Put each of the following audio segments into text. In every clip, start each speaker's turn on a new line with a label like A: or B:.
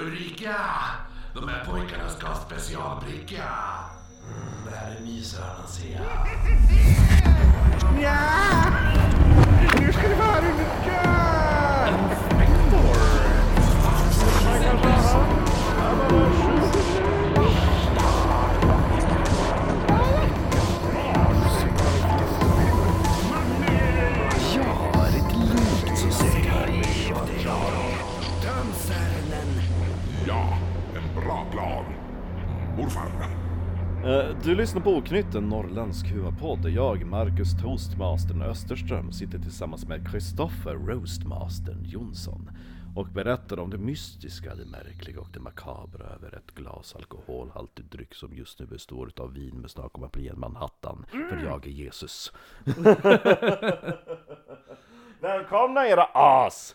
A: Ulrika! De här pojkarna ska ha specialbricka. Mm, det här är myshörnan ser jag.
B: Ja! Nu ska du få höra hur det går! Inspektor! Jag har ett litet
C: Ja, en bra plan. Morfar,
D: Eh, Du lyssnar på Oknytt, en norrländsk huvapodd där jag, Marcus Toastmastern Österström, sitter tillsammans med Kristoffer Roastmastern Jonsson och berättar om det mystiska, det märkliga och det makabra över ett glas alkoholhaltig dryck som just nu består av vin med smak av apelsin Manhattan, för jag är Jesus. Välkomna era as!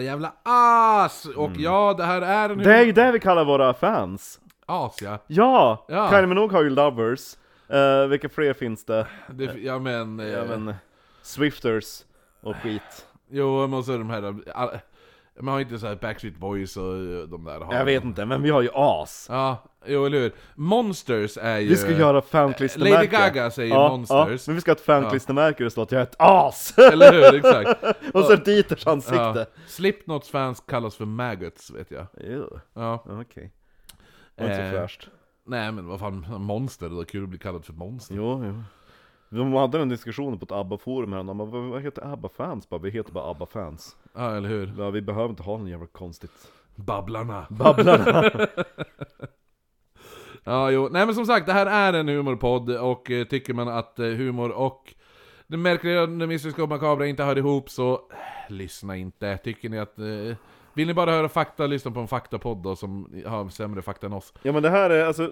E: Jävla as! Och
D: Mm.
E: ja, det här är en...
D: Det är ju det vi kallar våra fans!
E: As ja.
D: Ja!
E: Ja.
D: Kylie Minogue har ju lovers, uh, vilka fler finns det?
E: Det, ja men... Eh,
D: Ja men, Swifters och skit.
E: Jo, men så de här... eh, all- Man har inte så här Backstreet Boys och eh, de där. Har
D: Jag vet inte, men vi har ju as.
E: Ja, jo eller hur. Monsters är ju...
D: Vi ska göra fanklistermärke.
E: Lady Gaga säger Monsters.
D: men vi ska ha ett fanklistermärke där det står att jag är ett as!
E: Eller hur, exakt.
D: och så Dieters ansikte.
E: Ja. Slipknots fans kallas för maggots, vet jag.
D: Ew,
E: Ja.
D: Okej. Det var inte
E: Eh.
D: så fräscht.
E: Nej men vad fan, monster, det är kul att bli kallad för monster.
D: Jo, jo. De hade den diskussionen på ett ABBA-forum här, de bara, "Vad- vad heter ABBA-fans? Bara, Vi heter bara ABBA-fans.
E: Ja, eller hur.
D: Ja, Vi behöver inte ha någon jävla konstigt
E: Babblarna.
D: babblarna.
E: Ja, jo. Nej men som sagt, det här är en humorpodd och eh, tycker man att eh, humor och det märkliga, det mystiska och makabra inte hör ihop så eh, lyssna inte. Tycker ni att... Eh, vill ni bara höra fakta, lyssna på en faktapodd då som har sämre fakta än oss.
D: Ja men det här är, alltså,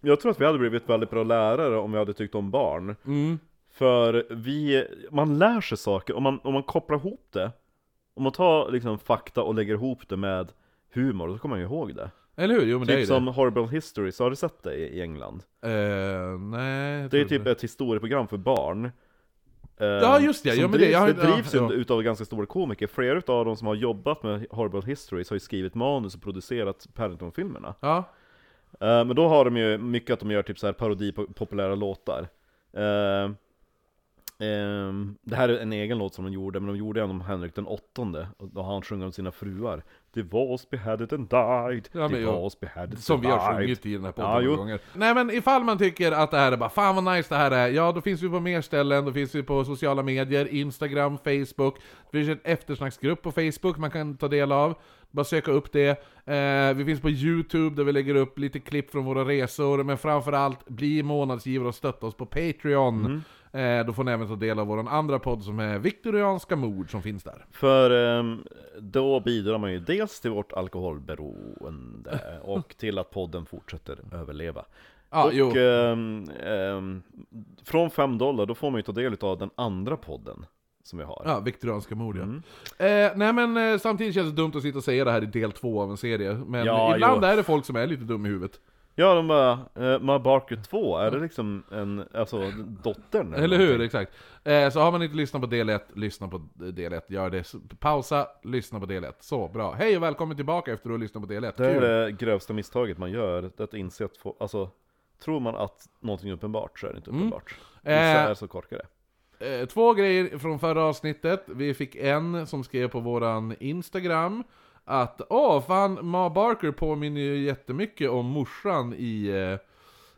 D: jag tror att vi hade blivit väldigt bra lärare om vi hade tyckt om barn. För vi, man lär sig saker, om man, om man kopplar ihop det, om man tar liksom fakta och lägger ihop det med humor, då kommer man ju ihåg det.
E: Eller hur? Jo men det är ju
D: typ som Horrible History, så har du sett det i i England?
E: det. Eh, nej... jag
D: Det är
E: tror
D: typ
E: inte.
D: ett historieprogram för barn. eh,
E: Ja, just det.
D: som
E: Ja, men det-
D: drivs,
E: jag har- ja,
D: drivs
E: ja.
D: ut- utav ganska stora komiker, flera utav de som har jobbat med Horrible Histories har ju skrivit manus och producerat Paddington-filmerna.
E: Ja.
D: Eh, men då har de ju mycket att de gör typ så här parodi på populära låtar. Eh, ehm, det här är en egen låt som de gjorde, men de gjorde en om Henrik den åttonde, och då han sjunger om sina fruar. The was beheaded and died,
E: Ja, men
D: the
E: jo.
D: was beheaded
E: Som vi
D: and
E: har
D: died.
E: sjungit i den här podden
D: Ja,
E: många
D: jo.
E: gånger. Nej men ifall man tycker att det här är bara 'Fan vad nice det här är' Ja, då finns vi på mer ställen, då finns vi på sociala medier, Instagram, Facebook. Det finns en eftersnacksgrupp på Facebook man kan ta del av. Bara söka upp det. Eh, vi finns på Youtube där vi lägger upp lite klipp från våra resor, men framförallt bli månadsgivare och stötta oss på Patreon.
D: Mm.
E: Eh, då får ni även ta del av vår andra podd som är Viktorianska mord som finns där.
D: För ehm, då bidrar man ju dels till vårt alkoholberoende och till att podden fortsätter överleva.
E: Ja, Ah, jo.
D: och ehm, ehm, från 5 dollar, då får man ju ta del av den andra podden som vi har. Mm.
E: Ja, viktorianska mord ja. Eh, nej men eh, samtidigt känns det dumt att sitta och säga det här i del två av en serie, men
D: Ja,
E: ibland
D: jo.
E: är det folk som är lite dumma i huvudet.
D: Ja, de bara, eh, My Barker 2, är det liksom en, alltså dottern?
E: Eller hur?
D: någonting?
E: Exakt. Eh, så har man inte lyssnat på del 1, lyssna på del 1, gör det. S- Pausa, lyssna på del 1. Så, bra. Hej och välkommen tillbaka efter att du har lyssnat på del 1.
D: Det är
E: Kul.
D: det grövsta misstaget man gör, det är att inse att, få, alltså, tror man att någonting är uppenbart så är det inte uppenbart. Vissa
E: Mm. Eh.
D: är så korkade.
E: Eh, två grejer från förra avsnittet. Vi fick en som skrev på våran Instagram att Åh fan, Ma Barker påminner ju jättemycket om morsan i... eh,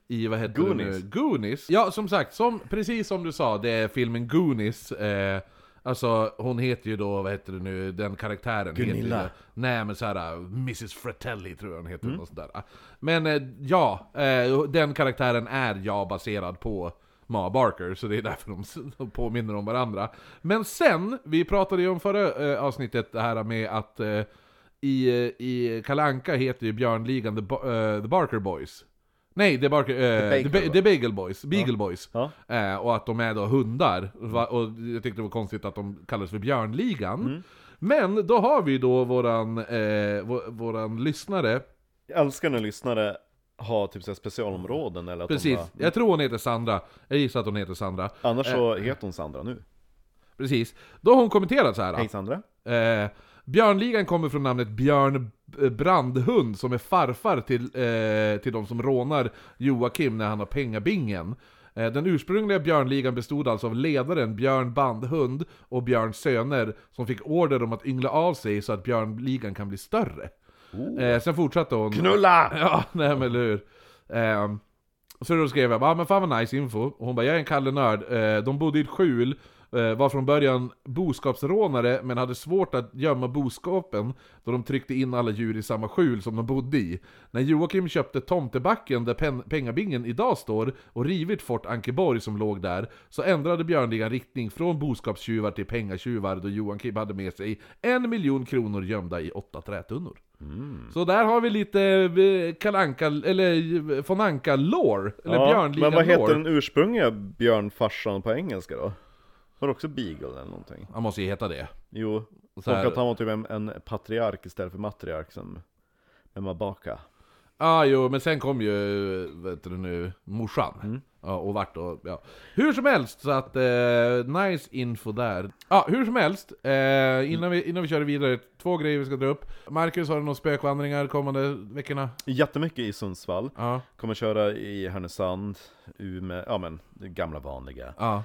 E: I vad heter
D: Goonies.
E: det nu? Goonies. Ja, som sagt, som, precis som du sa, det är filmen Goonies. Eh, alltså, hon heter ju då, vad heter det nu, den karaktären
D: Gunilla.
E: heter ju... Nej men såhär, Mrs Fratelli tror jag hon heter, mm. sådär. Men eh, ja, eh, den karaktären är jag baserad på Ma Barker, så det är därför de s- de påminner om varandra. Men sen, vi pratade ju om förra eh, avsnittet det här med att eh, i, eh, i Kalanka heter ju Björnligan the, Ba- eh, the Barker Boys. Nej, The, Barker, eh,
D: The
E: the,
D: Bagel
E: Ba- the Bagel Boys. Beagle Boys.
D: Ja.
E: Eh, och att de är då hundar. Va? Och jag tyckte det var konstigt att de kallades för Björnligan. Men då har vi då våran, eh, vå- våran lyssnare.
D: Jag älskar när lyssnare har typ så här specialområden eller att
E: Precis,
D: de bara,
E: jag tror hon heter Sandra. Jag gissar att hon heter Sandra. Eh.
D: Annars så heter hon Sandra nu.
E: Precis. Då har hon kommenterat så här.
D: Hej Sandra.
E: Eh, Björnligan kommer från namnet Björn B- Brandhund, som är farfar till, eh, till de som rånar Joakim när han har pengabingen. Eh, Den ursprungliga björnligan bestod alltså av ledaren Björn Bandhund och Björns söner som fick order om att yngla av sig så att björnligan kan bli större. Eh, sen fortsatte hon...
D: Knulla!
E: Ja, nej men eller hur. Ehm, så då skrev jag bara, ah, men fan vad nice info. Och hon bara, jag är en Kalle Nörd. Eh, de bodde i ett skjul, eh, var från början boskapsrånare, men hade svårt att gömma boskapen då de tryckte in alla djur i samma skjul som de bodde i. När Joakim köpte tomtebacken där pen- pengabingen idag står och rivit Fort Ankeborg som låg där, så ändrade björnligan riktning från boskapstjuvar till pengatjuvar då Joakim hade med sig en miljon kronor gömda i åtta trätunnor. Så där har vi lite Kalanka, eller von Anka lore eller
D: Ja,
E: Björnligan
D: men vad heter
E: lore.
D: den ursprungliga björnfarsan på engelska då? Var det också Beagle eller någonting?
E: Han måste ju heta det.
D: Jo, och
E: Så här-
D: att han var typ en, en patriark istället för matriark som Emma Baka.
E: Ja, ah, jo, men sen kom ju, vet du nu, morsan.
D: Mm.
E: Ja, och vart och, ja. Hur som helst, så att, eh, nice info där. Ja, hur som helst, eh, innan, vi, innan vi kör vidare, två grejer vi ska dra upp. Marcus, har du några spökvandringar kommande veckorna?
D: Jättemycket i Sundsvall.
E: Ja.
D: Kommer köra i Härnösand, Umeå, ja men det gamla vanliga.
E: Ja.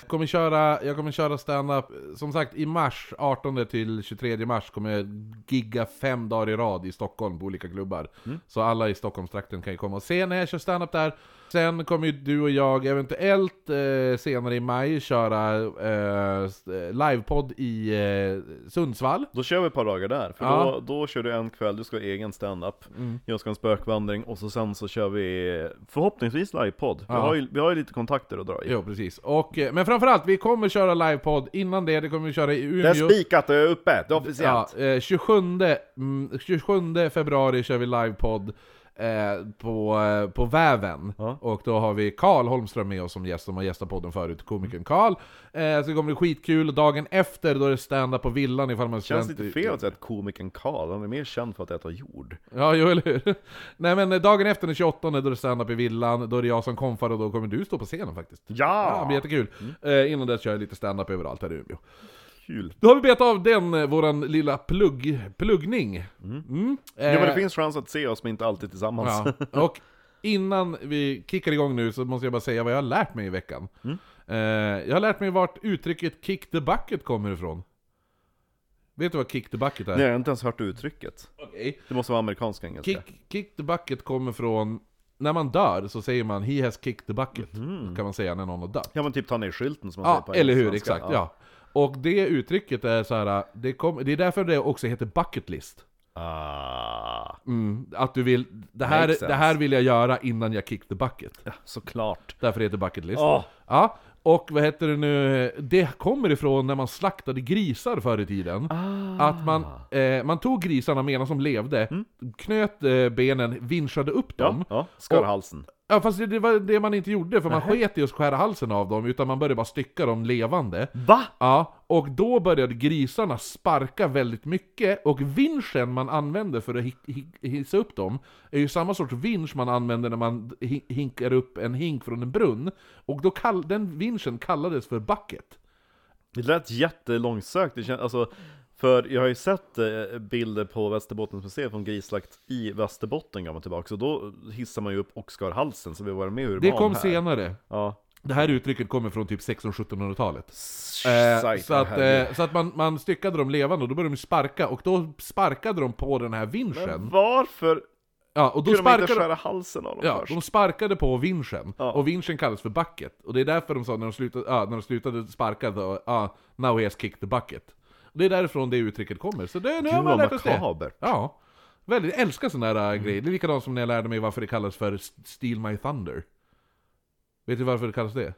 E: Jag kommer köra, jag kommer köra stand-up som sagt i mars, 18 till 23 mars, kommer jag gigga fem dagar i rad i Stockholm på olika klubbar. Så alla i Stockholmstrakten kan ju komma och se när jag kör stand-up där. Sen kommer ju du och jag eventuellt eh, senare i maj köra eh, s- eh, livepodd i eh, Sundsvall.
D: Då kör vi ett par dagar där, för
E: Ja. Mm.
D: då, då kör du en kväll, du ska ha egen stand-up Jag ska ha en spökvandring och så sen så kör vi förhoppningsvis livepodd vi,
E: Ja.
D: har ju, vi har ju lite kontakter att dra i
E: Jo, precis. Och, eh, men framförallt, vi kommer köra livepodd innan det, det kommer vi köra i Umeå.
D: Det är spikat, det är uppe, det är officiellt!
E: Ja, eh, 27, mm, 27 februari kör vi livepodd eh, på, eh, på Väven.
D: Ja.
E: Och då har vi Karl Holmström med oss som gäst, som har gästat podden förut,
D: Mm.
E: komikern Karl. Eh, så det kommer bli skitkul, och dagen efter då är det stand-up på villan ifall man
D: Känns
E: känt-
D: lite fel att säga att komikern Karl, han är mer känd för att äta jord
E: Ja, jo, eller hur? Nej men eh, dagen efter den 28 då är det stand-up i villan, då är det jag som konfar och då kommer du stå på scenen faktiskt. Ja, det blir jättekul.
D: Mm.
E: Eh, innan dess kör jag lite stand-up överallt här i Umeå.
D: Kul!
E: Då har vi betat av den, eh, våran lilla plugg, pluggning. Mm.
D: Ja men
E: Eh,
D: det finns chans att se oss men inte alltid tillsammans
E: Ja. Och innan vi kickar igång nu så måste jag bara säga vad jag har lärt mig i veckan.
D: Mm.
E: Eh, jag har lärt mig vart uttrycket 'kick the bucket' kommer ifrån. Vet du vad 'kick the bucket' är?
D: Nej, jag har inte ens hört uttrycket
E: Okej.
D: Det måste vara amerikansk engelska
E: Kick, kick the bucket kommer från... När man dör så säger man 'He has kicked the bucket' kan man säga när någon har dött.
D: Ja men typ ta ner skylten som Mhm. man säger
E: Ja,
D: på
E: eller hur,
D: engelska.
E: exakt. Ja. Och det uttrycket är så här, det, kom, det är därför det också heter 'bucket list'
D: Ah,
E: mm, Att du vill, det här,
D: Makes sense.
E: det här vill jag göra innan jag kick the bucket
D: såklart
E: Därför heter det bucket list.
D: Åh.
E: Ja, och vad heter det nu? Det kommer ifrån när man slaktade grisar förr i tiden. Att man, eh, man tog grisarna medan de levde, knöt eh, benen, vinschade upp dem.
D: Ja, ja. skar halsen
E: Ja, fast det, det var det man inte gjorde, för man sket i att skära halsen av dem, utan man började bara stycka dem levande.
D: Va?
E: Ja, och då började grisarna sparka väldigt mycket, och vinschen man använder för att hi- hi- hissa upp dem är ju samma sorts vinsch man använder när man hi- hinkar upp en hink från en brunn, och då kall- den vinschen kallades för bucket.
D: Det lät jättelångsökt, det känns, alltså, för jag har ju sett eh, bilder på Västerbottens museum från grisslakt i Västerbotten gamla tillbaka, så då hissar man ju upp och skar halsen, så vi var med ur
E: Det
D: barn
E: kom Eh,
D: här.
E: senare.
D: Ja.
E: Det här uttrycket kommer från typ 1600-1700-talet. Eh,
D: Sajt,
E: så att,
D: herregud.
E: eh, så att man, man styckade dem levande och då började de sparka, och då sparkade de på den här vinschen.
D: Varför
E: Ja, och då
D: kunde man
E: eh, sparkade
D: inte skära halsen av dem
E: Ja,
D: först?
E: de sparkade på vinschen,
D: Ja.
E: och vinschen kallas för bucket. Och det är därför de sa när de slutade, ja, när de slutade sparka, då, ja, now he has kicked the bucket. Och det är därifrån det uttrycket kommer, så det, nu har
D: Gud
E: man
D: vad
E: lärt oss det.
D: makabert.
E: Ja. Väldigt, jag älskar sådana här
D: Mm.
E: äh, grejer. Det är likadant som när jag lärde mig varför det kallas för s- Steal My Thunder. Vet du varför det kallas det?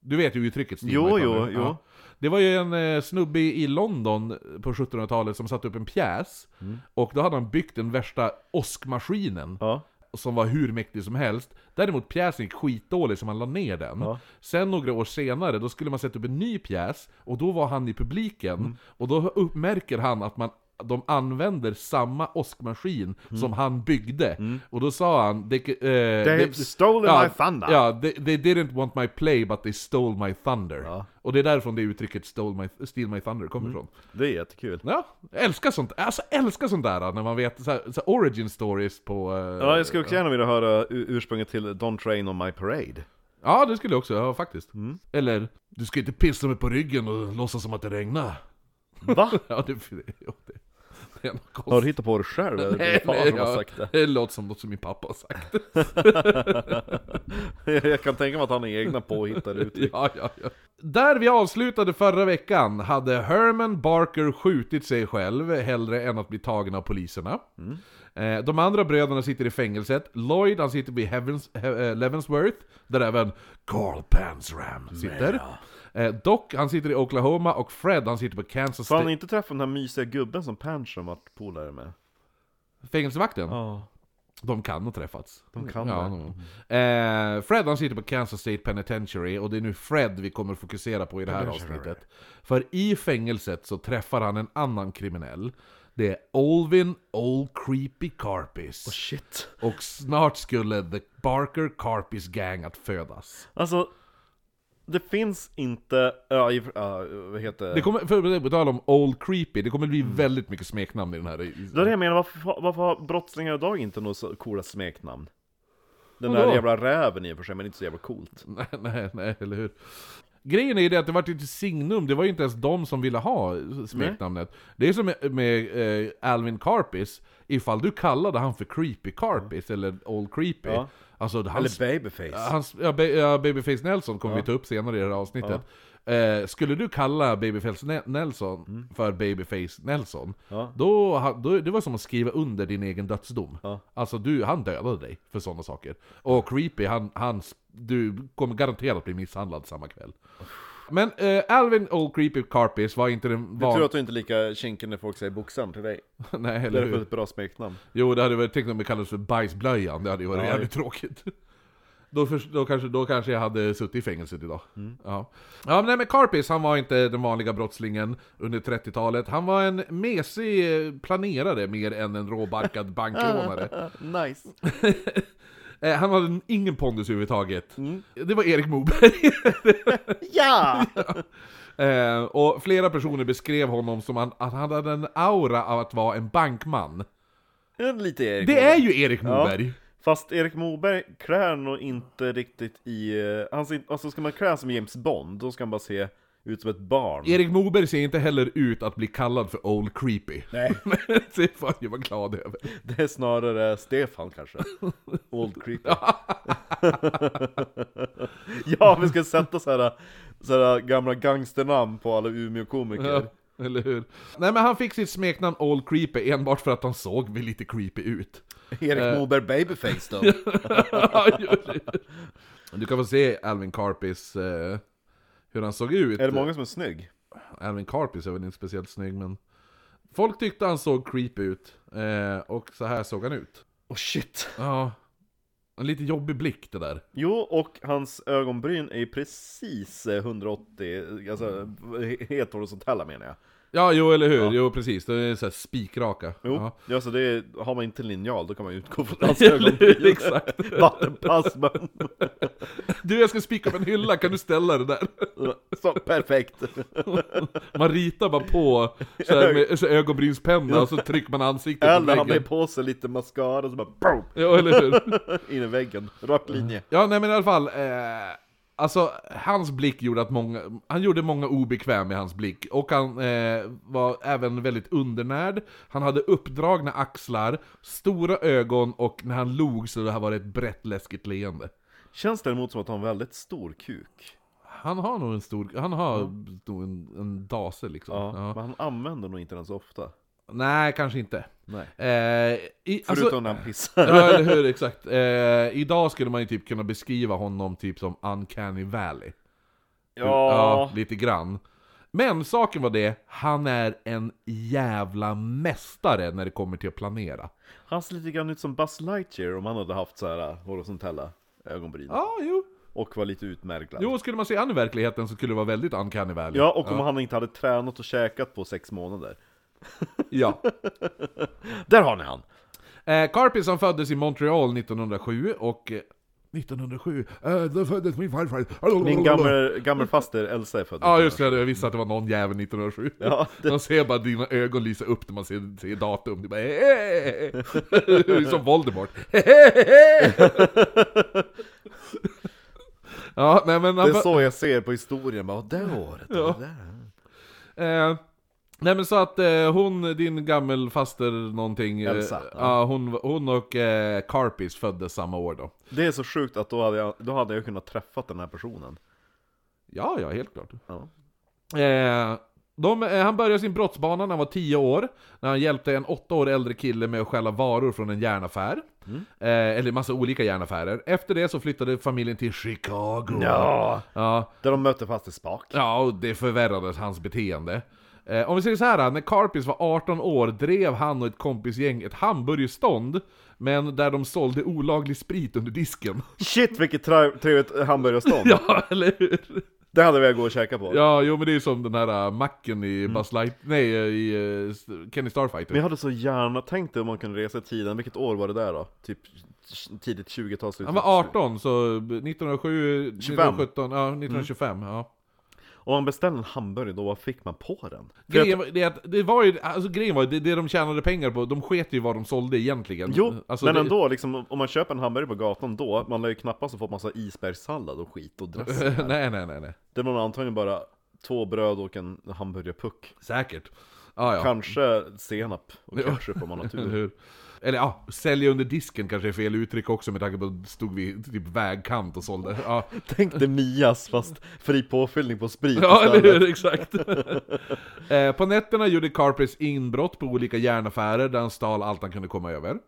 E: Du vet ju uttrycket Steal
D: Jo,
E: My
D: jo,
E: Thunder.
D: jo.
E: Det var ju en eh, snubbe i London på 1700-talet som satte upp en pjäs,
D: Mm.
E: och då hade han byggt den värsta åskmaskinen
D: Ja.
E: som var hur mäktig som helst. Däremot pjäsen gick skitdålig så man la ner den.
D: Ja.
E: Sen några år senare,
D: Mm.
E: då skulle man sätta upp en ny pjäs, och då var han i publiken, och då uppmärker han att man de använder samma åskmaskin
D: Mm.
E: som han byggde. Och då sa han... They, eh,
D: have stolen my thunder."
E: Ja, they, they didn't want my play but they stole my thunder. Och det är därifrån det uttrycket stole my, steal my thunder kommer
D: Mm.
E: ifrån.
D: Det är jättekul.
E: Ja, jag älskar sånt, alltså älskar sånt där när man vet så här, så här origin stories på... eh,
D: Ja, jag skulle också gärna vilja höra u- ursprunget till Don't Train On My Parade.
E: Ja, det skulle jag också, ja faktiskt. Mm. Eller, du ska inte pissa mig på ryggen och låtsas som att det regnar.
D: Va?
E: Ja, det, det, ja, det, det är något
D: Har
E: konstigt.
D: du hittat på det själv? eller?
E: Nej,
D: Fan,
E: nej,
D: vad
E: ja,
D: sagt det.
E: det låter som något som min pappa har sagt.
D: Jag kan tänka mig att han har egna påhittade uttryck.
E: Ja, ja, ja. Där vi avslutade förra veckan hade Herman Barker skjutit sig själv hellre än att bli tagen av poliserna. Eh, De andra bröderna sitter i fängelset. Lloyd han sitter vid Heavens, He- eh, Levensworth, där även Carl Pansram sitter. Eh, Doc han sitter i Oklahoma och Fred han sitter på Kansas
D: Får han
E: State.
D: inte träffa den här mysiga gubben som Pancham varit polare med?
E: Fängelsevakten?
D: Ja.
E: De kan ha träffats. De
D: kan
E: ja,
D: det.
E: någon gång. eh, Fred han sitter på Kansas State Penitentiary och det är nu Fred vi kommer fokusera på i det här avsnittet. För i fängelset så träffar han en annan kriminell. Det är Olvin Old Creepy Carpis.
D: Shit.
E: Och snart skulle The Barker Carpis Gang att födas.
D: Alltså, det finns inte... Ja, i- ja, vad heter
E: Det kommer, för på tal om Old Creepy, det kommer bli väldigt mycket smeknamn i den här.
D: Mm. Det är det jag menar, varför, varför har brottslingar idag inte några så coola smeknamn? Den
E: Vadå?
D: där jävla räven i och för sig, men inte så jävla coolt.
E: Nej, nej, nej, eller hur? Grejen är ju det att det vart ju ett signum, det var ju inte ens de som ville ha smeknamnet. Det är som med, med eh, Alvin Carpis, ifall du kallade han för Creepy Carpis, eller Old Creepy,
D: Ja.
E: alltså han...
D: Eller babyface.
E: Hans, ja, ba, ja, Babyface Nelson kommer vi ta upp senare i det här avsnittet. Eh, skulle du kalla Babyface Ne- Nelson för Babyface Nelson,
D: Mm. Ja.
E: då, ha- då, det var som att skriva under din egen dödsdom.
D: Ja.
E: Alltså du, han dödade dig för sådana saker. Och Creepy, han, han, du kommer garanterat bli misshandlad samma kväll. Men eh, Alvin Old Creepy Carpis var inte den
D: Jag tror
E: vanliga...
D: att du inte är lika kinkig när folk säger boxaren till dig.
E: Nej,
D: Det
E: eller
D: är för
E: hur?
D: ett bra smeknamn.
E: Jo, det hade varit, tänk om det kallades för bajsblöjan, det hade ju varit
D: Ja.
E: jävligt tråkigt. Då, först- då, kanske, då kanske jag hade suttit i fängelset idag. Ja. Ja, men, nej, men Carpis, han var inte den vanliga brottslingen under 30-talet. Han var en mesig eh, planerare mer än en råbarkad bankrånare.
D: Nice.
E: Eh, han hade en- ingen pondus överhuvudtaget. Det var Erik Moberg.
D: Ja!
E: eh, och flera personer beskrev honom som han, att han hade en aura av att vara en bankman.
D: Det är Lite Erik
E: Det
D: Moberg.
E: är ju Erik Moberg!
D: Fast Erik Moberg klär nog inte riktigt i... eh, Han ser, alltså ska man klä som James Bond, då ska han bara se ut som ett barn.
E: Erik Moberg ser inte heller ut att bli kallad för Old Creepy.
D: Nej,
E: det får jag vara glad över.
D: det är snarare Stefan kanske. Old creepy. ja, vi ska sätta så här, så här gamla gangsternamn på alla Umeå-komiker.
E: Eller hur? Nej men han fick sitt smeknamn Old Creepy enbart för att han såg väl lite creepy ut. Eh.
D: Erik Moberg babyface då.
E: du kan få se Alvin Carpis, eh, hur han såg ut.
D: är det många som är snygg?
E: Alvin Carpis är väl inte speciellt snygg men... Folk tyckte han såg creepy ut, eh, och så här såg han ut.
D: Oh shit.
E: Ja. En lite jobbig blick det där.
D: Jo, och hans ögonbryn är ju precis eh, 180, alltså he- heterosexuella menar jag.
E: Ja, jo eller hur, jo precis, det är såhär spikraka.
D: Jo,
E: Ja.
D: ja. så det är, har man inte linjal då kan man ju utgå från hans ögonbryn.
E: Exakt.
D: Vattenpass, men
E: Du, jag ska spika upp en hylla, kan du ställa det där?
D: så perfekt.
E: Man ritar bara på så här med så här ögonbrynspenna och så trycker man ansiktet på
D: Eller han har
E: väggen.
D: på sig lite mascara så bara boom,
E: Ja, eller hur?
D: in i väggen, rak linje.
E: Ja, nej men i alla fall. Eh, alltså, hans blick gjorde att många... Han gjorde många obekväm i hans blick. Och han eh, var även väldigt undernärd. Han hade uppdragna axlar, stora ögon och när han log så det här var det ett brett läskigt leende.
D: Känns däremot som att han har en väldigt stor kuk.
E: Han har nog en stor... Han har nog en, en dase liksom.
D: Ja,
E: Ja.
D: Men han använder nog inte den så ofta.
E: Nej, kanske inte.
D: Nej.
E: Eh, i,
D: Förutom
E: alltså,
D: när han pissar.
E: Ja, eller hur, exakt. Eh, idag skulle man ju typ kunna beskriva honom typ som Uncanny Valley.
D: Ja,
E: lite grann. Men saken var det, han är en jävla mästare när det kommer till att planera.
D: han ser lite grann ut som Buzz Lightyear om han hade haft så här eh, horisontella ögonbryn.
E: Ja, ah, jo.
D: Och var lite utmärglad.
E: Jo, skulle man se han i verkligheten så skulle det vara väldigt Uncanny Valley.
D: Ja, och om han inte hade tränat och käkat på sex månader.
E: Ja.
D: Där har ni han!
E: Eh, Carpi som föddes i Montreal 1907 och... eh, 1907? Eh, då föddes min farfar.
D: Min gammal, gammal faster Elsa är född
E: Oh. Ja just det, jag visste att det var någon jävel 1907.
D: Ja, det-
E: Man ser bara dina ögon lysa upp när man ser, ser datum. Det är bara, "Eh, eh, eh." Som Voldemort. ja, nej, men eh, han
D: Det är
E: var-
D: så jag ser på historien, bara det året, ja. det där.
E: Eh, nej men så att eh, hon, din gammelfaster någonting. eh,
D: Elsa,
E: Ja, hon, hon och eh, Carpis föddes samma år då.
D: Det är så sjukt att då hade jag, då hade jag kunnat träffa den här personen.
E: Ja, ja, helt klart.
D: Ja.
E: Eh, de, eh, han började sin brottsbana när han var 10 år, när han hjälpte en 8 år äldre kille med att stjäla varor från en järnaffär. Eh, eller massa olika järnaffärer. Efter det så flyttade familjen till Chicago.
D: Ja.
E: Ja,
D: Där de mötte fast i spak.
E: ja och det förvärrades hans beteende. Eh, om vi säger så här, när Carpis var 18 år drev han och ett kompisgäng ett hamburgerstånd, men där de sålde olaglig sprit under disken.
D: Shit vilket tra- trevligt hamburgerstånd!
E: ja, eller hur?
D: Det hade vi gå och käka på.
E: Ja, jo men det är ju som den här äh, macken i Buzz Light... Nej, äh, i äh, Kenny Starfighter.
D: Men jag hade så gärna tänkt dig om man kunde resa i tiden, vilket år var det där då? Typ tidigt 20-tal, slutet
E: Han var 18, så 1907, 1917, ja
D: Mm.
E: 1925, ja.
D: Om man beställde en hamburgare då, vad fick man på den? För
E: Grejen
D: jag,
E: var, det, är att det var ju, alltså grejen var ju, det, det de tjänade pengar på, de sket ju vad de sålde egentligen.
D: jo,
E: alltså,
D: men
E: det,
D: ändå, liksom, om man köper en hamburgare på gatan då, man lär ju knappast ha fått massa isbergssallad och skit och dressing.
E: nej, nej, nej, nej.
D: det var antagligen bara två bröd och en hamburgerpuck.
E: Säkert. Ja, ja.
D: Kanske senap och ketchup om man har
E: Eller
D: tur.
E: hur? Eller ja, sälja under disken kanske är fel uttryck också med tanke på att stod vid typ vägkant och sålde. Ja.
D: Tänk dig Mias fast fri påfyllning på sprit
E: Ja, eller
D: istället.
E: hur? Exakt. eh, på nätterna gjorde Carpris inbrott på olika järnaffärer där han stal allt han kunde komma över.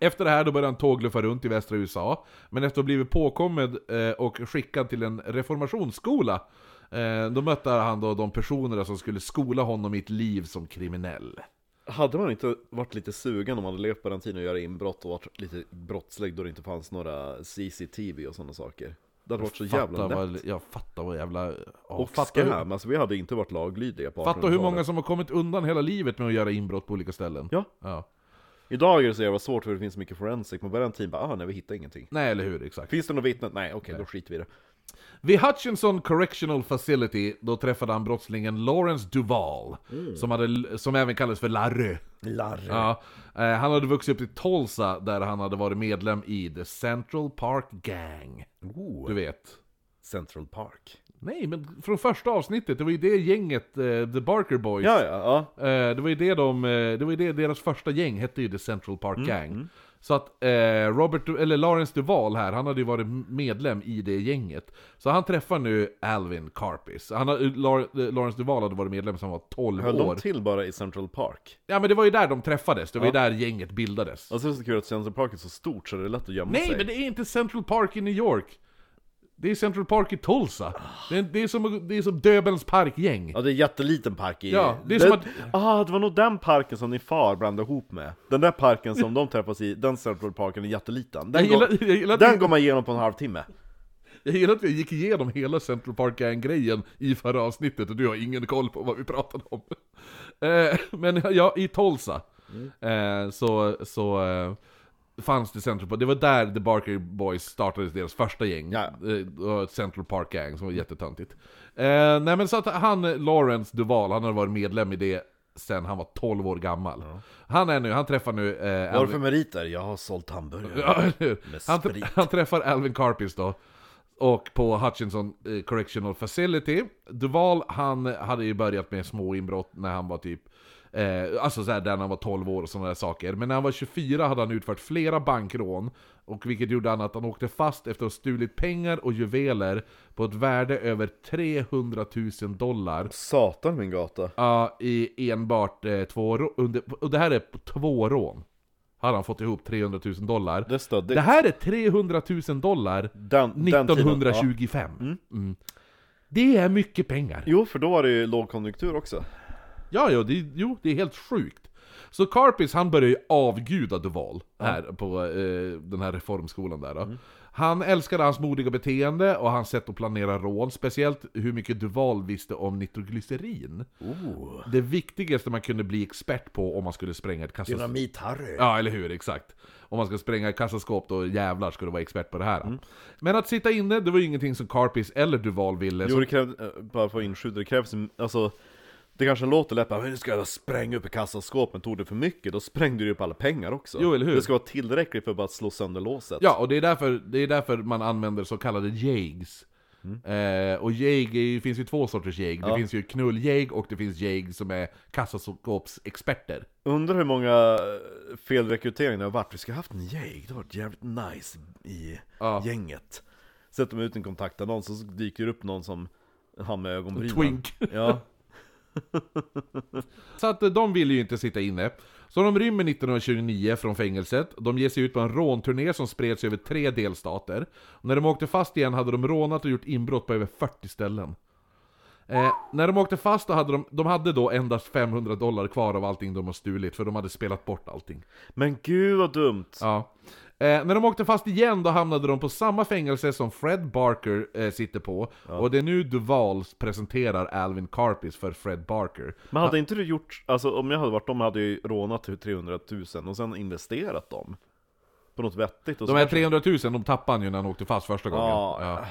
E: Efter det här då började han tågluffa runt i västra USA, men efter att ha blivit påkommen eh, och skickad till en reformationsskola, eh, då mötte han då de personerna som skulle skola honom i ett liv som kriminell.
D: Hade man inte varit lite sugen om man hade levt på den tiden och göra inbrott och varit lite brottslig då det inte fanns några CCTV och sådana saker? Det hade varit så jävla
E: Fatta
D: lätt.
E: vad, jag fattar vad jävla... Ja,
D: Och
E: fatta, hur,
D: scam, alltså vi hade inte varit laglydiga på
E: fatta hur
D: 1800-talet.
E: många som har kommit undan hela livet med att göra inbrott på olika ställen.
D: Ja. Idag är det så jävla svårt för det finns så mycket forensic, men på den tiden bara ah, nej vi hittar ingenting.
E: Nej, eller hur? Exakt.
D: Finns det något vittne? Nej okej, då skiter vi i det.
E: Vid Hutchinson Correctional Facility, då träffade han brottslingen Lawrence Duval,
D: Mm.
E: som, hade, som även kallades för Larry.
D: Larry.
E: Ja, eh, han hade vuxit upp i Tulsa, där han hade varit medlem i The Central Park Gang. Du vet.
D: Oh, Central Park.
E: Nej, men från första avsnittet, det var ju det gänget, eh, The Barker Boys.
D: Ja, ja, ja.
E: Eh, det var ju det de, eh, det var ju det deras första gäng hette ju The Central Park
D: Mm,
E: Gang. Så att eh, Robert, Du- eller Lawrence Duval här, han hade ju varit medlem i det gänget. Så han träffar nu Alvin Carpis. Han har, La- eh, Lawrence Duval hade varit medlem sedan han var 12
D: Höll
E: år.
D: de till bara i Central Park?
E: Ja men det var ju där de träffades, det var ju där gänget bildades.
D: Alltså det är så kul att Central Park är så stort så det är lätt att gömma sig.
E: Nej men det är inte Central Park i New York! Det är Central Park i Tulsa. Det är, det är, som, det är som Döbelns parkgäng.
D: Ah. Ja det är en jätteliten park i...
E: Ja, det är som att-
D: Ah, det var nog den parken som din far blandade ihop med Den där parken som de träffas i, den Central Parken är jätteliten Den,
E: Jag gillar-
D: går,
E: jag gillar att-
D: den går man igenom på en halvtimme
E: Jag gillar att vi gick igenom hela Central Park Gang-grejen i förra avsnittet och du har ingen koll på vad vi pratade om. Eh, Men ja, i Tulsa
D: Mm.
E: eh, så, så eh, fanns det Central Park, det var där The Barker Boys startade deras första gäng.
D: Ja.
E: Eh, det var ett Central Park Gang som var jättetöntigt. Eh, Nej men så att han, Lawrence Duval, han har varit medlem i det sen han var 12 år gammal. Han är nu, han träffar nu... eh,
D: Vad har
E: Alvin-
D: du för meriter? Jag har sålt hamburgare
E: Ja, eller hur?
D: Med
E: han,
D: sprit.
E: han träffar Alvin Carpis då. Och på Hutchinson eh, Correctional Facility. Duval, han hade ju börjat med små inbrott när han var typ... Eh, alltså såhär, där han var 12 år och sådana där saker. Men när han var 24 hade han utfört flera bankrån. Och vilket gjorde han att han åkte fast efter att ha stulit pengar och juveler på ett värde över 300 000 dollar.
D: Satan min gata
E: Ja, i enbart eh, två rå- under, Och det här är på två rån. Hade han fått ihop 300 000 dollar.
D: Det är stöddigt
E: Det här är 300 000 dollar
D: Den- den tiden,
E: 1925. Mm. Det är mycket pengar.
D: Jo, för då var det ju lågkonjunktur också
E: Ja, ja det, jo, det är helt sjukt. Så Karpis, han börjar ju avguda Duval här på eh, den här reformskolan där då. Han älskade hans modiga beteende och hans sätt att planera rån, speciellt hur mycket Duval visste om nitroglycerin. Det viktigaste man kunde bli expert på om man skulle spränga ett kassaskåp.
F: Dynamit-Harry.
E: Ja, eller hur, exakt. Om man ska spränga kassaskåp, då jävlar ska du vara expert på det här. Men att sitta inne, det var ju ingenting som Carpis eller Duval ville.
D: Jo,
E: så-
D: det krävs, eh, bara för att inskjuta, det krävs, en- alltså det kanske låter lätt bara, men nu ska jag spränga upp ett kassaskåp, men tog det för mycket, då sprängde du upp alla pengar också.
E: Jo, eller hur?
D: Det ska vara tillräckligt för att bara slå sönder låset.
E: Ja, och det är därför, det är därför man använder så kallade jigs. Eh, och jäg är ju- finns ju två sorters jäg. Det finns ju knulljäg och det finns jäg som är kassaskåpsexperter.
D: Undrar hur många eh, felrekryteringar det har varit. Vi ska ha haft en jäg, det har varit jävligt nice i
E: Ja.
D: gänget. Sätter de ut en kontaktannons och så dyker det upp någon som han med ögonbrynen.
E: Twink.
D: Ja.
E: Så att eh, de ville ju inte sitta inne. Så de rymmer 1929 från fängelset, de ger sig ut på en rånturné som spreds över tre delstater. När de åkte fast igen hade de rånat och gjort inbrott på över 40 ställen. Eh, när de åkte fast då hade de, de hade då endast 500 dollar kvar av allting de har stulit, för de hade spelat bort allting.
D: Men gud vad dumt!
E: Ja. Eh, när de åkte fast igen då hamnade de på samma fängelse som Fred Barker eh, sitter på. Och det är nu Duval presenterar Alvin Karpis för Fred Barker.
D: Men hade inte du gjort, alltså om jag hade varit dem hade jag ju rånat till 300 000 och sen investerat dem. På något vettigt. Och
E: De
D: så
E: här
D: kanske-
E: 300 000, de tappade han ju när han åkte fast första gången.
D: Ja.
E: Ja.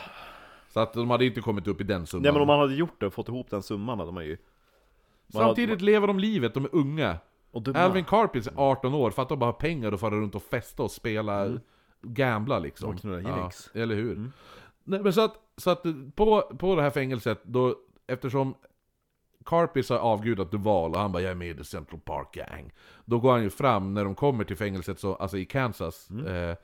E: Så att de hade inte kommit upp i den summan.
D: Nej men om man hade gjort det och fått ihop den summan hade man ju... man hade-
E: Samtidigt lever de livet, de är unga.
D: Och du
E: Alvin Karpis är 18 år, för att de bara har pengar och fara runt och festa och spela, gambla liksom.
D: Och knulla gigs.
E: eller hur? Nej, men så att, så att på, på det här fängelset, då, eftersom Karpis har avgudat Duval och han bara 'Jag är med i The Central Park Gang' Då går han ju fram när de kommer till fängelset, så, alltså i Kansas eh,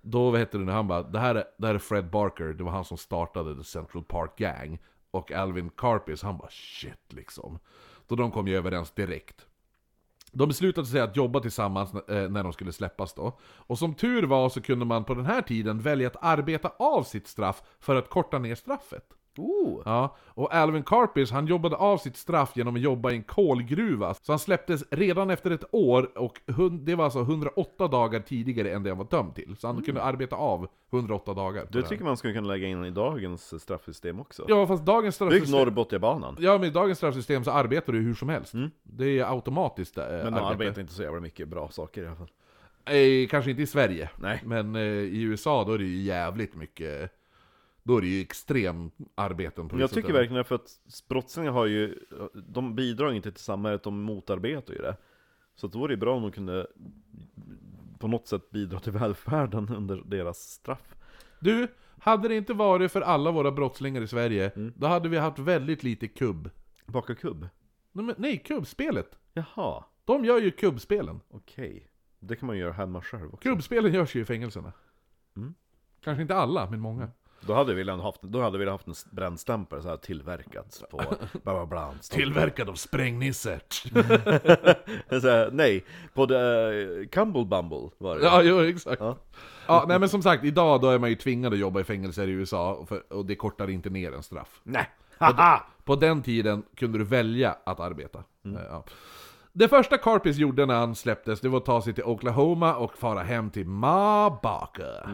E: Då, vad heter det nu, han bara det här, är, det här är Fred Barker, det var han som startade The Central Park Gang' Och Alvin Karpis, han bara 'Shit' liksom Då de kom ju överens direkt de beslutade sig att jobba tillsammans eh, när de skulle släppas då. Och som tur var så kunde man på den här tiden välja att arbeta av sitt straff för att korta ner straffet.
D: Oh!
E: Ja, och Alvin Karpis han jobbade av sitt straff genom att jobba i en kolgruva. Så han släpptes redan efter ett år och hun- det var alltså 108 dagar tidigare än det han var dömd till. Så han kunde arbeta av 108 dagar. på
D: Det
E: här.
D: Mm. tycker man skulle kunna lägga in i dagens straffsystem också.
E: Ja, fast dagens
D: Bygg
E: straffsystem...
D: Norrbotniabanan.
E: Ja, men i dagens straffsystem så arbetar du hur som helst. Det är automatiskt eh,
D: Mm. Men de
E: arbete.
D: arbetar inte så jävla mycket bra saker i alla fall.
E: Eh, kanske inte i Sverige.
D: Nej.
E: Men eh, i USA då är det ju jävligt mycket... Då är det ju extrem arbeten på
D: Jag
E: vissa
D: tycker
E: ställen.
D: verkligen det, för att brottslingar har ju, de bidrar inte till samhället, de motarbetar ju det. Så att då vore det bra om de kunde på något sätt bidra till välfärden under deras straff.
E: Du, hade det inte varit för alla våra brottslingar i Sverige, då hade vi haft väldigt lite kubb.
D: Baka kubb?
E: Nej, men, nej kubbspelet!
D: Jaha,
E: De gör ju kubbspelen.
D: okej. Det kan man ju göra hemma själv också.
E: Kubbspelen görs ju i fängelserna. Mm. Kanske inte alla, men många.
D: Då hade vi velat haft, då hade vi haft en brännstämpel så här tillverkats på bla bla bla.
E: Tillverkad av sprängnisse!
D: Så här, nej, på the, Cumble Bumble var det.
E: Ja, jo, exakt. Ja.
D: Ja.
E: nej men som sagt, idag då är man ju tvingad att jobba i fängelser i USA, för, och det kortar inte ner en straff.
D: Nej.
E: På den tiden kunde du välja att arbeta. Eh, Ja. Det första Carpis gjorde när han släpptes, det var att ta sig till Oklahoma och fara hem till Ma Barker.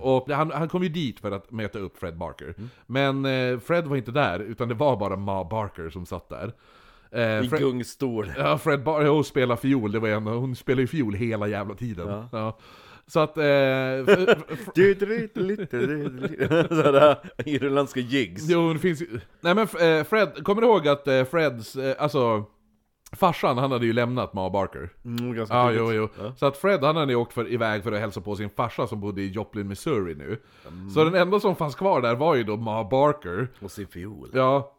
E: Och han, han kom ju dit för att möta upp Fred Barker. Men eh, Fred var inte där, utan det var bara Ma Barker som satt där. Eh,
D: I
E: Fred-
D: gungstol.
E: Ja, Fred Bar hon spelar fiol, det var en, hon spelar ju fiol hela jävla tiden. Ja. Så att... Eh, f- f-
D: Du, du, du, du, du, du. Sådär, irländska jigs.
E: jo, det finns ju... Nej men eh, Fred, kommer du ihåg att eh, Freds, eh, alltså... Farsan, han hade ju lämnat Ma Barker.
D: Mm, ganska
E: Ja,
D: tydligt.
E: jo, jo. Så att Fred, han hade ju åkt för, iväg för att hälsa på sin farsa som bodde i Joplin, Missouri nu.
D: Mm.
E: Så den enda som fanns kvar där var ju då Ma Barker.
D: Och sin fiol.
E: Ja.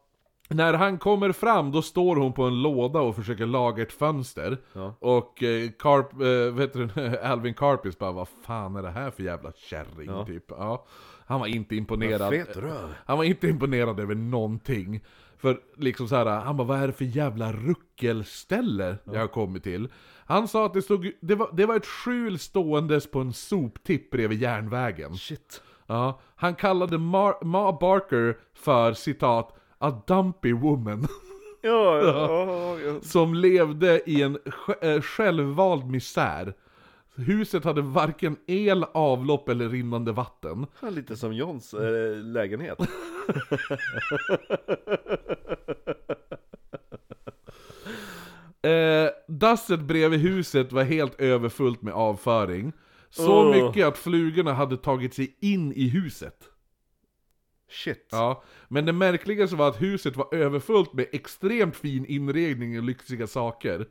E: När han kommer fram då står hon på en låda och försöker laga ett fönster.
D: Ja.
E: Och eh, Carp, eh, vet du, Alvin Karpis bara vad fan är det här för jävla kärring
D: Ja.
E: typ. Ja. Han var inte imponerad.
D: Fet röv.
E: Han var inte imponerad över någonting. För liksom så här, han bara vad är det för jävla ruckelställe jag har kommit till? Han sa att det stod, det var, det var ett skjul ståendes på en soptipp bredvid järnvägen.
D: Shit.
E: Ja, han kallade Mar- Ma Barker för citat 'a dumpy woman'
D: Ja, ja, ja.
E: som levde i en sj- eh, självvald misär. Huset hade varken el, avlopp eller rinnande vatten.
D: ja. Lite som Johns eh, lägenhet.
E: Eh, dasset bredvid huset var helt överfullt med avföring. Så
D: Åh.
E: mycket att flugorna hade tagit sig in i huset.
D: Shit.
E: Ja, men det märkligaste var att huset var överfullt med extremt fin inredning och lyxiga saker.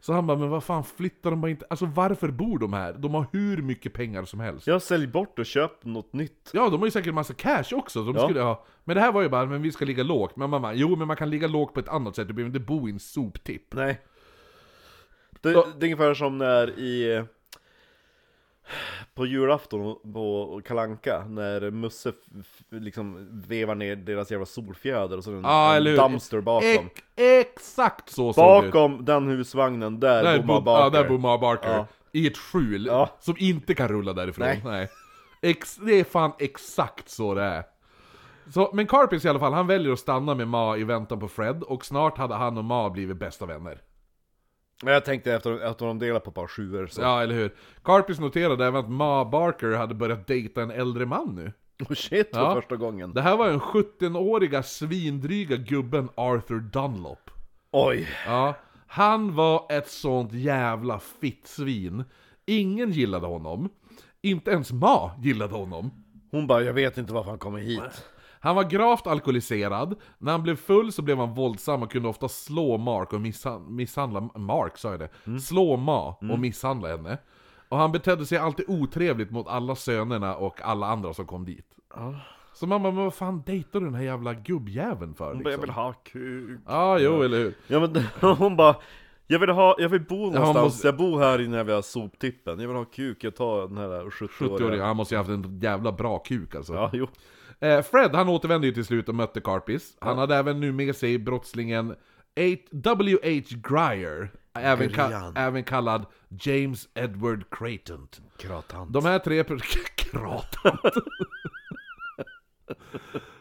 E: Så han bara, men vad fan flyttar de bara inte? Alltså varför bor de här? De har hur mycket pengar som helst.
D: Jag sälj bort och köp något nytt.
E: Ja, de har ju säkert massa cash också. De
D: Ja.
E: skulle, ja. Men det här var ju bara, men vi ska ligga lågt. Men mamma, jo men man kan ligga lågt på ett annat sätt, du behöver inte bo i en soptipp.
D: Nej. Det,
E: Ja.
D: det är ungefär som när i... På julafton på Kalanka när Musse f- liksom vevar ner deras jävla solfjäder och så är det en,
E: Ja, eller
D: en
E: hur?
D: dumpster bakom.
E: Ex- exakt så såg det ut.
D: Bakom den husvagnen, där,
E: Där
D: bommar
E: bor- Ja,
D: Barker.
E: där bor Ma Barker.
D: Ja.
E: I ett skjul,
D: Ja.
E: som inte kan rulla därifrån. Nej.
D: Nej.
E: Ex, det är fan exakt så det är. Så, men Carpins i alla fall, han väljer att stanna med Ma i väntan på Fred, och snart hade han och Ma blivit bästa vänner.
D: Men Jag tänkte efter att de delar på ett par sjuor så...
E: Ja, eller hur? Carpins noterade även att Ma Barker hade börjat dejta en äldre man nu.
D: Oh shit, för
E: Ja.
D: första gången.
E: Det här var den 17-åriga svindryga gubben Arthur Dunlop.
D: Oj.
E: Ja, han var ett sånt jävla fittsvin. Ingen gillade honom. Inte ens Ma gillade honom.
D: Hon bara, jag vet inte varför han kommer hit.
E: Han var gravt alkoholiserad, när han blev full så blev han våldsam och kunde ofta slå Mark och misshan- misshandla... Mark sa jag det?
D: Mm.
E: Slå Ma och misshandla henne. Och han betedde sig alltid otrevligt mot alla sönerna och alla andra som kom dit. Så mamma, men vad fan dejtar du den här jävla gubbjäveln för
D: Hon bara,
E: liksom?
D: jag vill ha kuk.
E: Ja, ah, jo, eller hur?
D: Ja men hon bara jag vill, ha, jag vill bo någonstans,
E: måste-
D: jag bor här inne vid den här soptippen Jag vill ha kuk, jag tar den här 70-åriga
E: 70-åring, han måste ju haft en jävla bra kuk alltså.
D: Ja, jo
E: Eh, Fred han återvände ju till slut och mötte Carpis. Han hade även nu med sig brottslingen H- W.H. Grier, även, ka-
D: Grian.
E: även kallad James Edward Creighton.
D: Kratant
E: De här tre... Per- Kratant.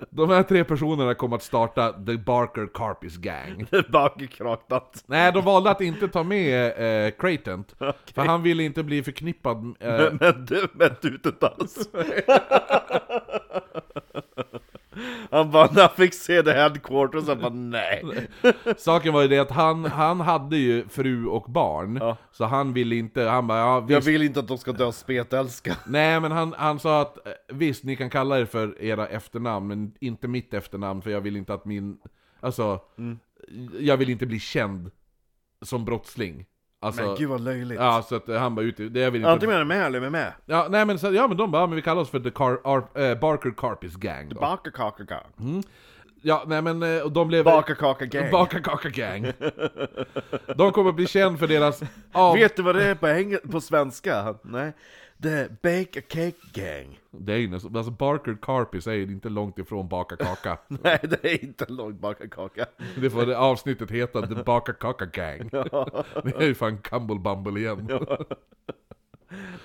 E: De här tre personerna kom att starta The Barker Carpis Gang.
D: Bagge kratant
E: Nej, de valde att inte ta med eh, Creighton, för han ville inte bli förknippad... Eh,
D: Men du, men du inte alls Han bara, när han fick se the headquarters, han bara nej
E: Saken var ju det att han, han hade ju fru och barn,
D: Ja.
E: så han ville inte, han bara ja,
D: Jag
E: visst,
D: vill inte att de ska dö av spetälska
E: Nej men han, han sa att eh, visst ni kan kalla er för era efternamn men inte mitt efternamn för jag vill inte att min, alltså,
D: Mm.
E: jag vill inte bli känd som brottsling. Alltså,
D: Men gud vad löjligt
E: Ja, så att eh, han bara ute, det jag vill inte...
D: Antingen är de med eller är de med
E: Ja, nej men, så, ja men de bara, ja, men vi kallar oss för The Car, Ar, eh, Barker Carpis Gang då.
D: Bagge kaka kaka
E: Ja, nej men, eh, och de blev...
D: Bagge kaka gang
E: Baka Kaka Gang. De kommer bli känd för deras... Av...
D: Vet du vad det är på, engel- på svenska? Nej. Det är Bake a Cake Gang.
E: Det är ju nästan, alltså Barker Carpis är ju inte långt ifrån Baka Kaka.
D: Nej, det är inte långt baka kaka.
E: Det får det avsnittet heta, The Baka Kaka Gang. Det är ju fan Cumble Bumble igen.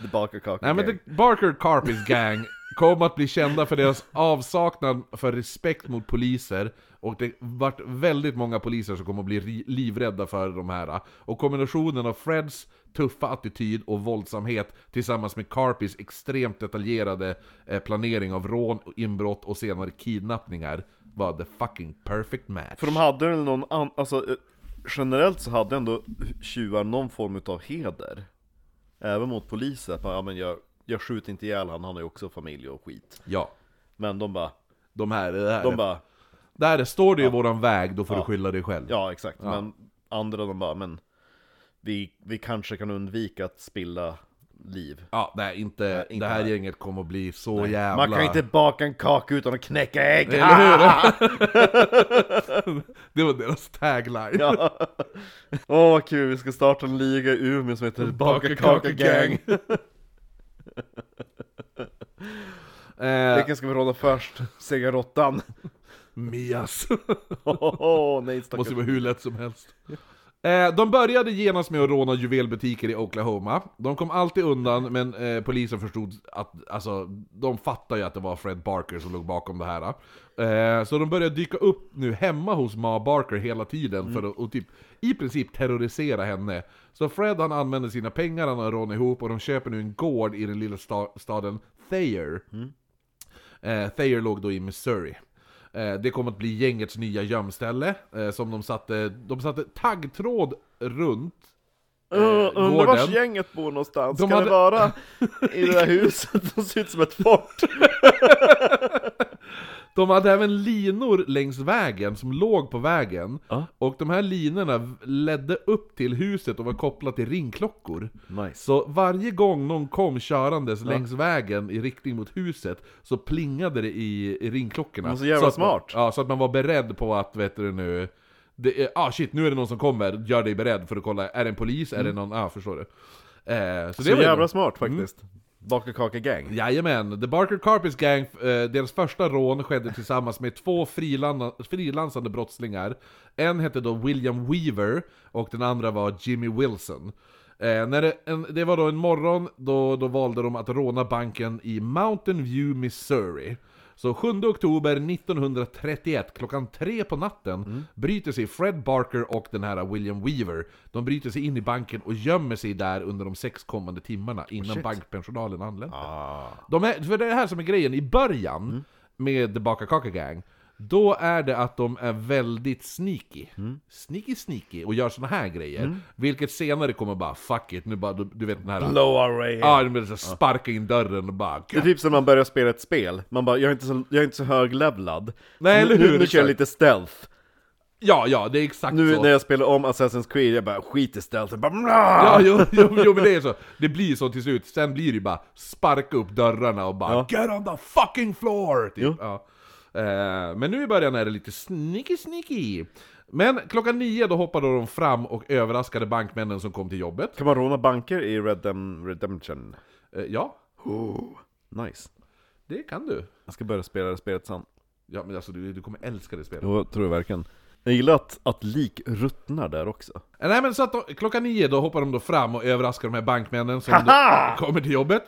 D: The Baka Kaka
E: Nej men
D: Gang.
E: The Barker Carpis Gang kom att bli kända för deras avsaknad för respekt mot poliser och det vart väldigt många poliser som kom att bli ri- livrädda för de här. Och kombinationen av Freds tuffa attityd och våldsamhet tillsammans med Carpis extremt detaljerade eh, planering av rån, inbrott och senare kidnappningar var the fucking perfect match.
D: För de hade väl någon annan, alltså eh, generellt så hade ändå tjuvar någon form av heder. Även mot poliser. Att man, Ja men jag, jag skjuter inte ihjäl han, han har ju också familj och skit.
E: Ja.
D: Men de bara,
E: De här, det här,
D: de bara,
E: där står det ju våran väg, då får du skylla dig själv.
D: ja exakt. Men andra de bara, men vi, vi kanske kan undvika att spilla liv.
E: Ja, nej inte,
D: inte
E: det här
D: här.
E: gänget kommer bli så jävla...
D: Man kan inte baka en kaka utan att knäcka ägg!
E: Eller hur? det var deras tagline.
D: Åh vad kul, vi ska starta en liga i Umeå som heter Baka Kaka Gang!
E: eh,
D: Vilken ska vi råda först? Sega Råttan?
E: Mias.
D: Åh, nej
E: Måste
D: stackars...
E: ju vara hur lätt som helst. Eh, de började genast med att råna juvelbutiker i Oklahoma. De kom alltid undan, men eh, polisen förstod att, alltså, de fattade ju att det var Fred Barker som låg bakom det här. Eh, så de började dyka upp nu hemma hos Ma Barker hela tiden för att och typ, i princip terrorisera henne. Så Fred han använder sina pengar han har rånat ihop och de köper nu en gård i den lilla sta- staden Thayer. Eh, Thayer låg då i Missouri. Eh, det kom att bli gängets nya gömställe, eh, som de satte, de satte taggtråd runt.
D: Uh, undrar vars
E: gården.
D: gänget bor någonstans?
E: De
D: kan
E: hade-
D: det vara i det där huset som ser ut som ett fort?
E: De hade även linor längs vägen, som låg på vägen.
D: Ja.
E: Och de här linorna v- ledde upp till huset och var kopplade till ringklockor.
D: Nice.
E: Så varje gång någon kom körandes längs vägen i riktning mot huset så plingade det i, i ringklockorna.
D: Men så jävla
E: att man-
D: smart.
E: Ja, så att man var beredd på att, vet du nu, det är, ah shit, nu är det någon som kommer, gör dig beredd för att kolla, är det en polis, är det någon, ja ah, förstår du. Eh, så det
D: Mm. Så
E: var ju
D: jävla
E: bra.
D: smart faktiskt. Baka kaka gang.
E: Jajamän, The Barker Carpets Gang, eh, deras första rån skedde tillsammans med två frilan- frilansande brottslingar. En hette då William Weaver och den andra var Jimmy Wilson. Eh, när det, en, det var då en morgon då, då valde de att råna banken i Mountain View, Missouri. Så 7 oktober 1931, klockan tre på natten, bryter sig Fred Barker och den här William Weaver. De bryter sig in i banken och gömmer sig där under de sex kommande timmarna innan bankpersonalen anländer.
D: Ah.
E: De är, för det är det här som är grejen, i början med The Baka Kaka Gang, då är det att de är väldigt sneaky. Sneaky sneaky, och gör såna här grejer. Vilket senare kommer bara 'fuck it' nu bara, du, du vet den här...
D: Blow away.
E: Ja, de blir så här, sparka in dörren och bara...
D: Det är typ som när man börjar spela ett spel, man bara 'Jag är inte så, jag är inte så höglevlad'
E: Nej, eller
D: Nu-
E: hur,
D: Nu, nu kör jag
E: exakt.
D: lite stealth
E: Ja, ja, det är exakt
D: Nu
E: så.
D: när jag spelar om Assassin's Creed, jag bara 'Skit i stealth' jag bara,
E: Ja,
D: "Mla!"
E: jo, jo, jo, men det är så. Det blir så till slut. Sen blir det ju bara sparka upp dörrarna och bara 'Get on the fucking floor!'
D: Jo.
E: Typ. Ja. Eh, men nu i början är det lite sneaky sneaky. Men klockan nio då hoppade de fram och överraskade bankmännen som kom till jobbet.
D: Kan man råna banker i Red Dem Redemption?
E: Eh, ja,
D: Nice
E: det kan du.
D: Jag ska börja spela det spelet sen
E: Ja, men alltså du, du kommer älska det spelet.
D: Jo, tror jag verkligen Jag gillar att, att lik ruttnar där också
E: Eh, Nej men så att de, klockan nio då hoppar de då fram och överraskar de här bankmännen som då kommer till jobbet.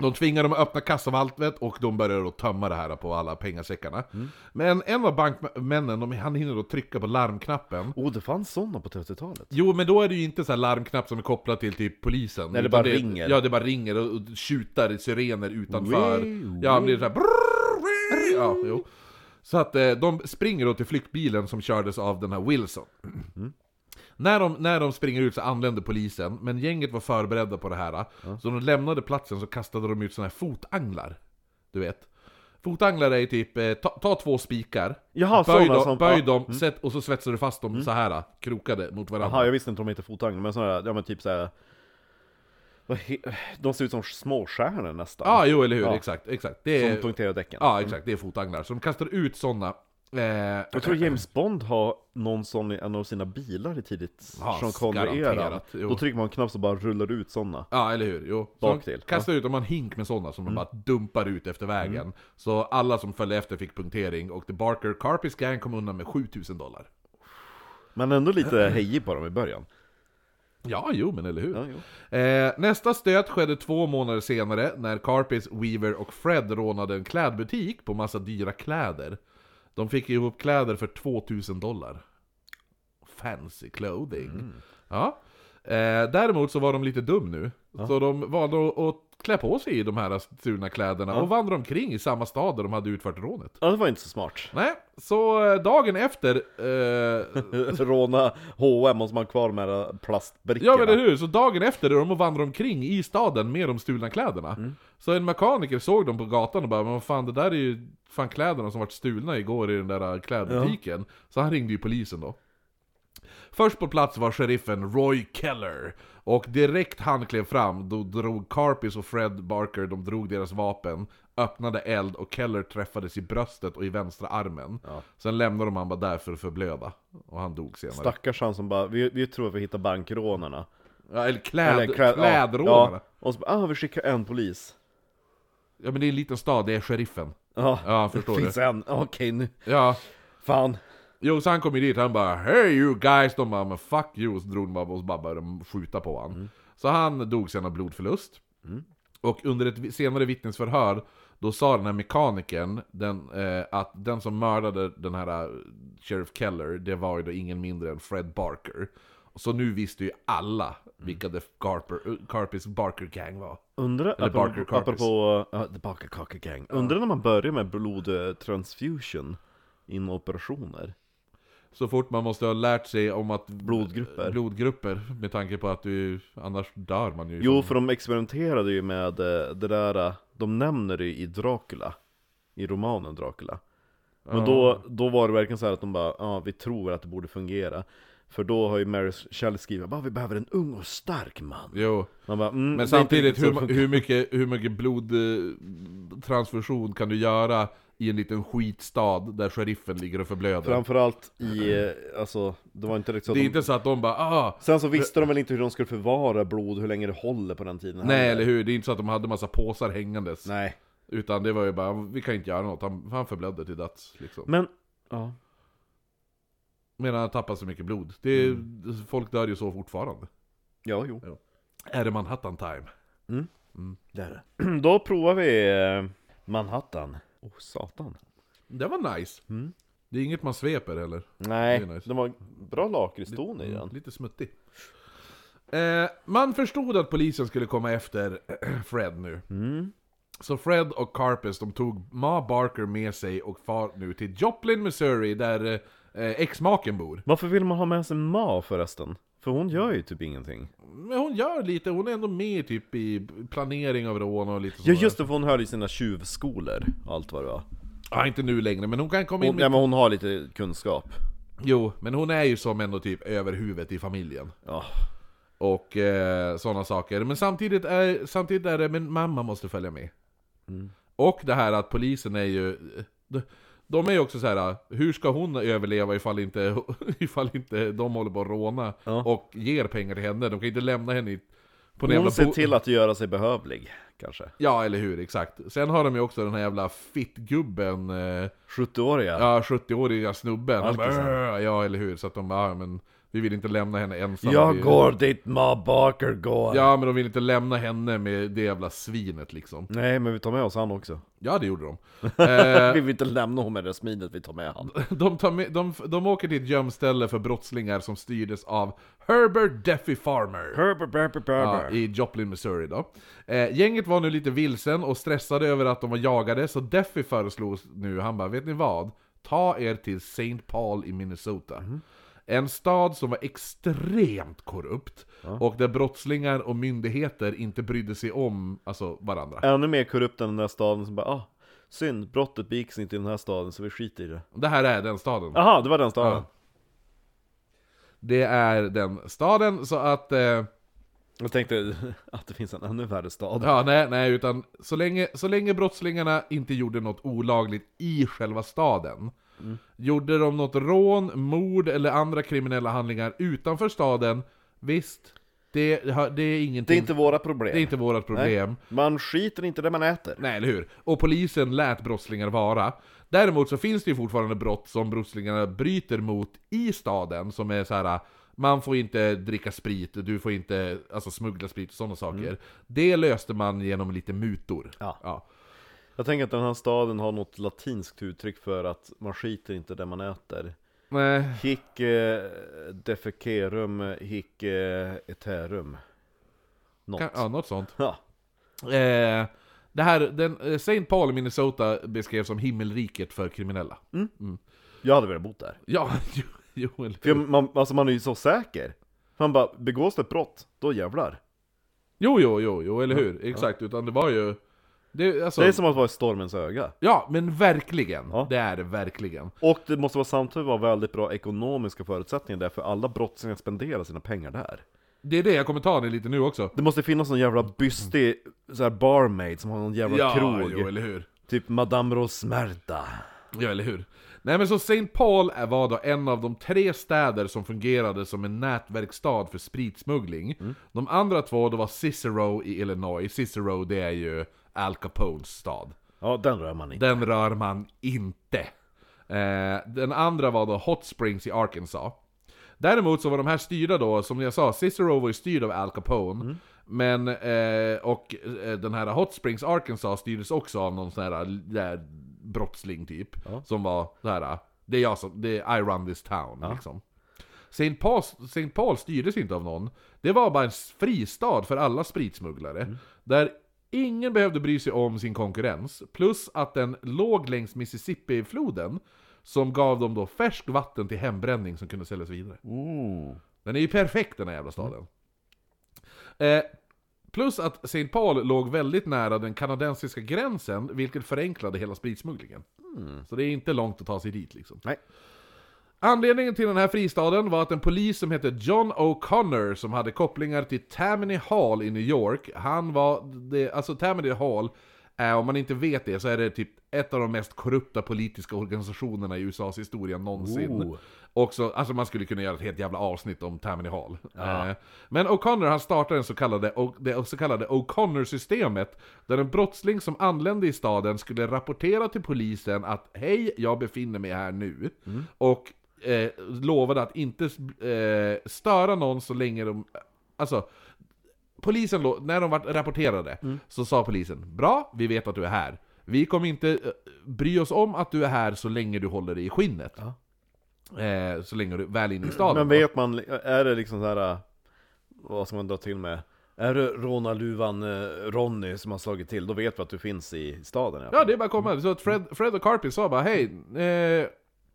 E: De tvingar dem att öppna kassavalvet och de börjar då tömma det här på alla pengasäckarna. Men en av bankmännen, de, han hinner då trycka på larmknappen.
D: Oh, det fanns sådana på 30-talet
E: Jo men då är det ju inte så här larmknapp som är kopplad till typ polisen.
D: Nej, det
E: Utan
D: bara ringer.
E: Ja det bara ringer och, och tjutar sirener utanför.
D: Wee,
E: Ja men det är såhär Ja, jo. Så att eh, de springer då till flyktbilen som kördes av den här Wilson.
D: Mm.
E: När de, när de springer ut så anländer polisen, men gänget var förberedda på det här. Så när de lämnade platsen så kastade de ut såna här fotanglar. Du vet. Fotanglar är ju typ, eh, ta, ta två spikar,
D: Jaha,
E: böj
D: såna
E: dem,
D: som-
E: böj
D: ja. Mm.
E: dem sätt, och så svetsar du fast dem så här krokade mot varandra.
D: Jaha, jag visste inte om de hette fotanglar, men sådana där, ja men typ såhär vad he- De ser ut som småstjärnor nästan
E: Ja, ah, jo eller hur,
D: Ja.
E: exakt, exakt. Det
D: Som
E: är,
D: punkterar däcken
E: ja, exakt, det är fotanglar. Så de kastar ut sådana. Eh,
D: Jag tror James Bond har någon sån i en av sina bilar i tidigt
E: Ja,
D: Sean Connery-eran
E: garanterat, jo.
D: Då trycker man på en knapp så bara rullar det ut sådana
E: Ja, eller hur? Jo. Så
D: Bak
E: de
D: till.
E: Kastar ut dem en hink med sådana som de bara dumpar ut efter vägen. Så alla som följde efter fick punktering och The Barker Carpis Gang kom undan med 7000 dollar.
D: Men ändå lite hejig på dem i början
E: Ja, jo men eller hur?
D: Ja, jo.
E: Eh, nästa stöt skedde två månader senare när Carpis, Weaver och Fred rånade en klädbutik på massa dyra kläder. De fick ihop kläder för 2000 dollar. Fancy clothing. Ja. Eh, däremot så var de lite dum nu. Så de valde att- att klä på sig i de här stulna kläderna och vandrade omkring i samma stad där de hade utfört rånet.
D: Ja, det var inte så smart
E: Nej, så eh, dagen efter eh,
D: Råna H&M och så man kvar med de här plastbrickorna
E: Ja men eller hur, så dagen efter är de och vandrar omkring i staden med de stulna kläderna. Så en mekaniker såg dem på gatan och bara men vad fan det där är ju fan kläderna som vart stulna igår i den där äh, klädbutiken. Så han ringde ju polisen då. Först på plats var sheriffen Roy Keller. Och direkt han klev fram, då drog Carpis och Fred Barker, de drog deras vapen, öppnade eld och Keller träffades i bröstet och i vänstra armen. Sen lämnade de han bara där för att förblöda. Och han dog senare.
D: Stackars han som bara, vi, vi tror att vi hittar bankrånarna
E: Ja, eller kläd,
D: Eller klä- ja,
E: klädrånarna. Ja.
D: ja. Och så bara, ah vi skickar en polis
E: men det är en liten stad, det är sheriffen.
D: Ja,
E: Ja, förstår
D: det finns en, okej nu,
E: Ja,
D: fan
E: Jo, så han kom ju dit, han bara 'Hey you guys' De bara 'Men fuck you' Så drog de bara och så bara började skjuta på honom. Så han dog sen av blodförlust. Och under ett vi- senare vittnesförhör då sa den här mekanikern den, eh, att den som mördade den här eh, Sheriff Keller, det var ju då ingen mindre än Fred Barker. Så nu visste ju alla vilka The Carper, eh, Carpis Barker Gang var.
D: Undrar,
E: Eller Barker
D: apropå,
E: Carpers.
D: apropå ja, The Barker Carpet Gang. Undrar när man börjar med blodtransfusion inom operationer.
E: Så fort man måste ha lärt sig om att... eh,
D: Blodgrupper.
E: Blodgrupper, med tanke på att du... Annars dör man ju.
D: Jo, för de experimenterade ju med eh, det där, eh, de nämner det i Dracula, i romanen Dracula. Men då, då var det verkligen så här att de bara, ja vi tror att det borde fungera. För då har ju Mary Shelley skrivit, bara vi behöver en ung och stark man.
E: Jo.
D: Man bara, mm, det är
E: Men
D: inte
E: samtidigt,
D: riktigt så
E: hur,
D: det
E: ma-
D: funkar.
E: hur, mycket, hur mycket blodtransfusion kan du göra i en liten skitstad där sheriffen ligger och förblöder?
D: Framförallt i, eh, alltså, det var inte riktigt så att
E: Det är
D: de...
E: inte så att de bara ah,
D: Sen så visste de väl inte hur de skulle förvara blod, hur länge det håller på den tiden
E: nej
D: heller.
E: eller hur, det är inte så att de hade massa påsar hängandes.
D: Nej.
E: Utan det var ju bara, vi kan inte göra något, han, han förblödde till döds liksom.
D: Men, ja.
E: Medan han tappar så mycket blod. Det är,
D: Mm.
E: Folk dör ju så fortfarande.
D: Ja, jo.
E: Är det Manhattan time?
D: Det är det. Då provar vi eh, Manhattan. Åh, oh, satan.
E: Det var nice. Det är inget man sveper heller.
D: Nej,
E: Det är nice.
D: den var bra lakritston i den.
E: Mm, Lite smuttig. Eh, man förstod att polisen skulle komma efter Fred nu.
D: Mm.
E: Så Fred och Carpus, de tog Ma Barker med sig och far nu till Joplin, Missouri, där eh, exmaken bor.
D: Varför vill man ha med sig Ma förresten? För hon gör ju typ ingenting.
E: Men hon gör lite, hon är ändå med typ i planering av rån och lite
D: Ja
E: sådär.
D: just det, för hon har ju sina tjuvskolor och allt vad det var.
E: Ja, Ah, inte nu längre, men hon kan komma in
D: Hon,
E: i
D: nej men hon har lite kunskap.
E: Jo, men hon är ju som ändå typ över huvudet i familjen.
D: Ja.
E: Och eh, sådana saker. Men samtidigt är, samtidigt är det, men mamma måste följa med.
D: Mm.
E: Och det här att polisen är ju... De, de är ju också så här, hur ska hon överleva ifall inte, ifall inte de håller på att råna
D: Ja.
E: och ger pengar till henne? De kan inte lämna henne i, på en jävla
D: Hon ser
E: bo-
D: till att göra sig behövlig, kanske.
E: Ja, eller hur, exakt. Sen har de ju också den här jävla fittgubben, eh,
D: 70-åriga.
E: ja 70-åriga snubben. Han
D: Alkisen.
E: bara, "Åh", ja, eller hur. Så att de bara, "Ja, men vi vill inte lämna henne ensam. Vi-
D: Jag går dit Ma Barker går.
E: Ja, men de vill inte lämna henne med det jävla svinet liksom.
D: Nej, men vi tar med oss han också.
E: Ja, det gjorde de. Eh,
D: Vi vill inte lämna honom med det smidet, vi tar med han.
E: de, tar med, de, de åker till ett gömställe för brottslingar som styrdes av Herbert Duffy Farmer. Ja, I Joplin, Missouri då. Eh, gänget var nu lite vilsen och stressade över att de var jagade, så Duffy föreslog nu, han bara, vet ni vad? Ta er till St. Paul i Minnesota. En stad som var extremt korrupt, och där brottslingar och myndigheter inte brydde sig om alltså, varandra.
D: Ännu mer korrupt än den där staden som bara ah, synd, brottet begicks inte i den här staden så vi skiter i det.
E: Det här är den staden.
D: Aha, det var den staden.
E: Ja. Det är den staden, så att... Eh,
D: Jag tänkte att det finns en ännu värre stad.
E: ja, nej, nej, utan så länge, så länge brottslingarna inte gjorde något olagligt i själva staden,
D: Mm.
E: gjorde de något rån, mord eller andra kriminella handlingar utanför staden, visst, det, har- det är ingenting...
D: Det är inte våra problem.
E: det är inte vårt problem.
D: Man skiter inte där man äter.
E: Nej, eller hur? Och polisen lät brottslingar vara. Däremot så finns det ju fortfarande brott som brottslingarna bryter mot i staden, som är så här. Man får inte dricka sprit, du får inte alltså, smuggla sprit och sådana saker. Det löste man genom lite mutor.
D: Mm. Ja.
E: Ja.
D: Jag tänker att den här staden har något latinskt uttryck för att man skiter inte där man äter.
E: Nej,
D: Hic eh, defekerum, hic eh, eterum. Något.
E: kan, ja, något sånt.
D: Ja.
E: Eh, det här, den, eh, St. Paul i Minnesota beskrevs som himmelriket för kriminella.
D: Mm. Jag hade velat bo där.
E: Ja, jo, jo eller
D: För jag- man, alltså man är ju så säker. Man bara, begås det ett brott, då jävlar.
E: Jo, jo, jo, jo, eller hur? Exakt, utan det var ju... Det, alltså,
D: Det är som att vara i stormens öga.
E: Ja, men verkligen.
D: Ja.
E: Det är det verkligen.
D: Och det måste vara samtidigt vara väldigt bra ekonomiska förutsättningar där, för alla brottslingar spenderar sina pengar där.
E: Det är det jag kommer ta det lite nu också.
D: Det måste finnas någon jävla bystig så här barmaid som har någon jävla krog.
E: jo, eller hur?
D: Typ Madame Rosmerta.
E: Ja, eller hur? Nej men så St. Paul är- var då en av de tre städer som fungerade som en nätverksstad för spritsmuggling. De andra två då var Cicero i Illinois. Cicero det är ju Al Capones stad.
D: Ja, den rör man inte.
E: Den rör man inte. Eh, den andra var då Hot Springs i Arkansas. Däremot så var de här styrda då, som jag sa, Cicero var ju styrd av Al Capone. Men, eh, och eh, den här Hot Springs Arkansas styrdes också av någon sån här där, brottsling typ. Som var så här, det är jag som, det är I run this town liksom. St. Paul, St. Paul styrdes inte av någon. Det var bara en fristad för alla spritsmugglare. Där ingen behövde bry sig om sin konkurrens. Plus att den låg längs Mississippi-floden. Som gav dem då färskt vatten till hembränning som kunde säljas vidare. Den är ju perfekt den här jävla staden. Eh, plus att St. Paul låg väldigt nära den kanadensiska gränsen, vilket förenklade hela spritsmugglingen. Så det är inte långt att ta sig dit liksom.
D: Mm. Nej.
E: Anledningen till den här fristaden var att en polis som hette John O'Connor, som hade kopplingar till Tammany Hall i New York, han var, det, alltså Tammany Hall, är, om man inte vet det, så är det typ ett av de mest korrupta politiska organisationerna i USAs historia någonsin.
D: Oh.
E: Också, alltså man skulle kunna göra ett helt jävla avsnitt om Tammany Hall. Eh, Men O'Connor han startade den så kallade, O- det så kallade O'Connor-systemet, där en brottsling som anlände i staden skulle rapportera till polisen att hej, jag befinner mig här nu. Och eh, lovade att inte eh, störa någon så länge de... Alltså, polisen, lå- när de var rapporterade,
D: Mm.
E: så sa polisen Bra, vi vet att du är här. Vi kommer inte eh, bry oss om att du är här så länge du håller dig i skinnet. Eh, så länge du är väl inne i staden.
D: Men vet man, är det liksom så här äh, vad ska man dra till med? Är det rånarluvan äh, Ronny som har slagit till, då vet vi att du finns i staden. i alla
E: Ja,
D: fall.
E: det är bara att komma. Så att Fred, Fred och Carpin sa bara hej, eh,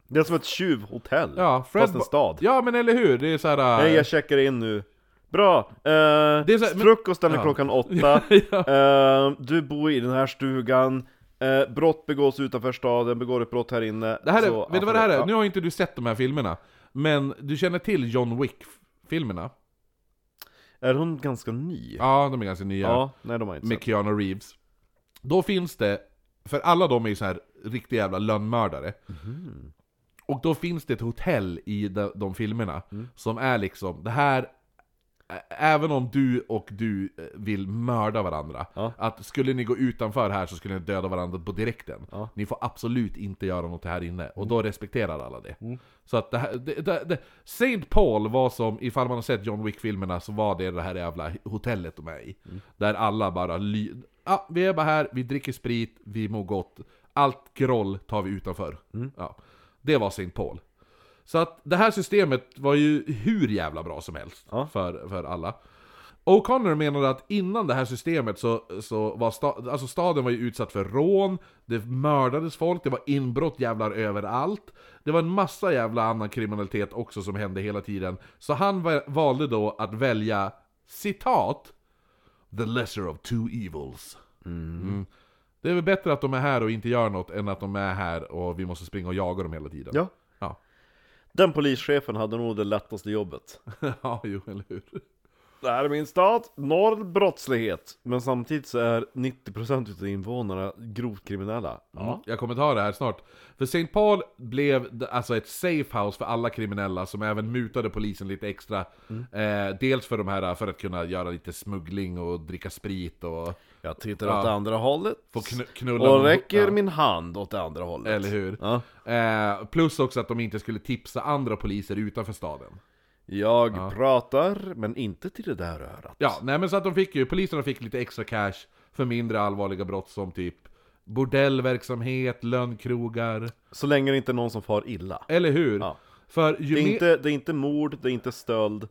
D: Det är som ett tjuvhotell,
E: ja, Fred
D: fast en
E: ba-
D: stad.
E: Ja, men eller hur? Det är så här. eh,
D: Nej, jag checkar in nu. Bra! Eh,
E: är så här, men-
D: frukosten är
E: Ja.
D: klockan åtta. Eh, du bor i den här stugan. Eh, brott begås utanför staden, begår ett brott här inne.
E: Det här är,
D: Så-
E: vet du vad det här är?
D: Ja.
E: Nu har inte du sett de här filmerna, men du känner till John Wick-filmerna?
D: Är hon ganska ny?
E: Ja, de är ganska nya.
D: Ja, nej de har jag inte
E: med
D: sett.
E: Keanu Reeves. Då finns det, för alla de är ju så här riktiga jävla lönnmördare.
D: Mhm.
E: Och då finns det ett hotell i de, de filmerna
D: Mm.
E: som är liksom, det här ä- Även om du och du eh, vill mörda varandra,
D: Ja.
E: att skulle ni gå utanför här så skulle ni döda varandra på direkten.
D: Ja.
E: Ni får absolut inte göra något här inne, och då respekterar alla det. Så att det här, det, det, det, St. Paul var som, ifall man har sett John Wick-filmerna, så var det det här jävla hotellet de är i. Där alla bara ly... Ja, vi är bara här, vi dricker sprit, vi mår gott. Allt groll tar vi utanför. Ja. Det var St. Paul. Så att det här systemet var ju hur jävla bra som helst
D: Ja.
E: för, för alla. O'Connor menade att innan det här systemet så, så var sta, alltså staden var ju utsatt för rån, det mördades folk, det var inbrott jävlar överallt. Det var en massa jävla annan kriminalitet också som hände hela tiden. Så han va- valde då att välja, citat, “the lesser of two evils”. Mm. Det är väl bättre att de är här och inte gör något än att de är här och vi måste springa och jaga dem hela tiden.
D: Ja.
E: Ja,
D: Den polischefen hade nog det lättaste jobbet.
E: ja jo, eller hur?
D: Det här är min stad, noll brottslighet. Men samtidigt så är 90% utav invånarna grovt kriminella. Ja.
E: Mm. Jag kommer ta det här snart. För St. Paul blev d- alltså ett safehouse för alla kriminella som även mutade polisen lite extra.
D: Mm.
E: Eh, dels för de här för att kunna göra lite smuggling och dricka sprit och...
D: Jag tittar
E: Ja.
D: åt andra hållet.
E: Får knu- knulla
D: och
E: någon-
D: räcker
E: ja.
D: min hand åt det andra hållet.
E: Eller hur?
D: Ja.
E: Eh, plus också att de inte skulle tipsa andra poliser utanför staden.
D: Jag pratar, men inte till det där örat.
E: Ja, nej men så att de fick ju, poliserna fick lite extra cash för mindre allvarliga brott som typ bordellverksamhet, lönnkrogar.
D: Så länge det inte är någon som far illa.
E: Eller hur?
D: Ja.
E: För ju
D: Det är,
E: mer-
D: inte, det är inte mord, det är inte stöld,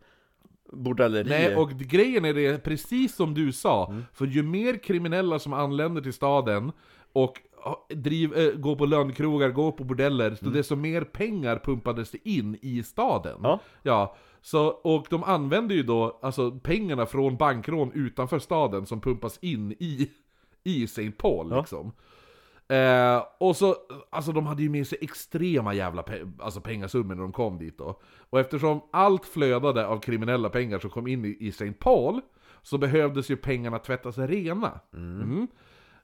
D: bordelleri.
E: Nej, och grejen är det, precis som du sa, för ju mer kriminella som anländer till staden och ja, driv, eh, går på lönnkrogar, går på bordeller, så desto mer pengar pumpades det in i staden.
D: Ja.
E: så, och de använde ju då alltså, pengarna från bankrån utanför staden som pumpas in i, i St. Paul liksom. Eh, och så, alltså de hade ju med sig extrema jävla pe- alltså pengasummor när de kom dit då. Och eftersom allt flödade av kriminella pengar som kom in i, i St. Paul, så behövdes ju pengarna tvättas rena. Mm.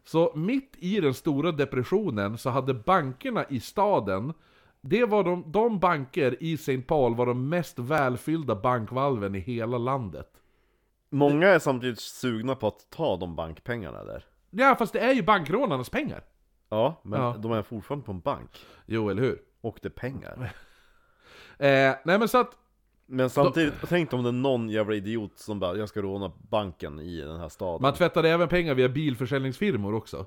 E: Så mitt i den stora depressionen så hade bankerna i staden, det var de, de banker i St. Paul var de mest välfyllda bankvalven i hela landet.
D: Många är samtidigt sugna på att ta de bankpengarna där.
E: Ja, fast det är ju bankrånarnas pengar.
D: Ja, men
E: Ja.
D: de är fortfarande på en bank.
E: Jo, eller hur?
D: Och det är pengar.
E: Eh, nej men så att,
D: Men samtidigt, tänk om det är någon jävla idiot som bara 'Jag ska råna banken i den här staden'
E: man tvättade även pengar via bilförsäljningsfirmor också.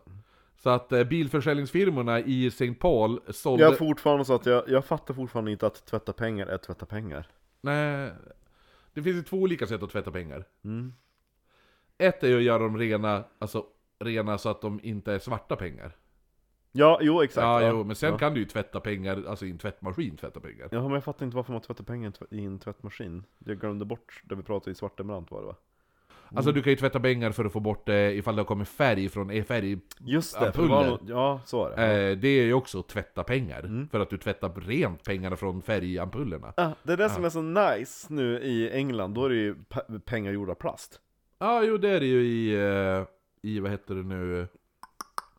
E: Så att eh, bilförsäljningsfirmorna i St. Paul sålde...
D: Jag är fortfarande så att jag, jag fattar fortfarande inte att tvätta pengar är tvätta pengar.
E: Nej. Det finns ju två olika sätt att tvätta pengar.
D: Mm.
E: Ett är ju att göra dem rena, alltså rena så att de inte är svarta pengar.
D: Ja, jo exakt.
E: Ja,
D: va?
E: jo, men sen
D: ja.
E: kan du ju tvätta pengar, alltså i en tvättmaskin tvätta pengar.
D: Ja, men jag fattar inte varför man tvättar pengar i en tv- i en tvättmaskin. Jag glömde bort det vi pratade i Svartenbrandt var det va?
E: Alltså du kan ju tvätta pengar för att få bort det ifall det har kommit färg från eh, färg.
D: Just
E: Ja,
D: det, för det var
E: pulver.
D: nog- ja Mm. så är det.
E: Eh, det är ju också att tvätta pengar. För att du tvättar rent pengarna från färgampullerna.
D: Ah, det är det som är så nice nu i England, då är det ju pe- pengar gjorda av plast.
E: Ja, ah, jo det är det ju i, eh, i vad heter det nu, eh,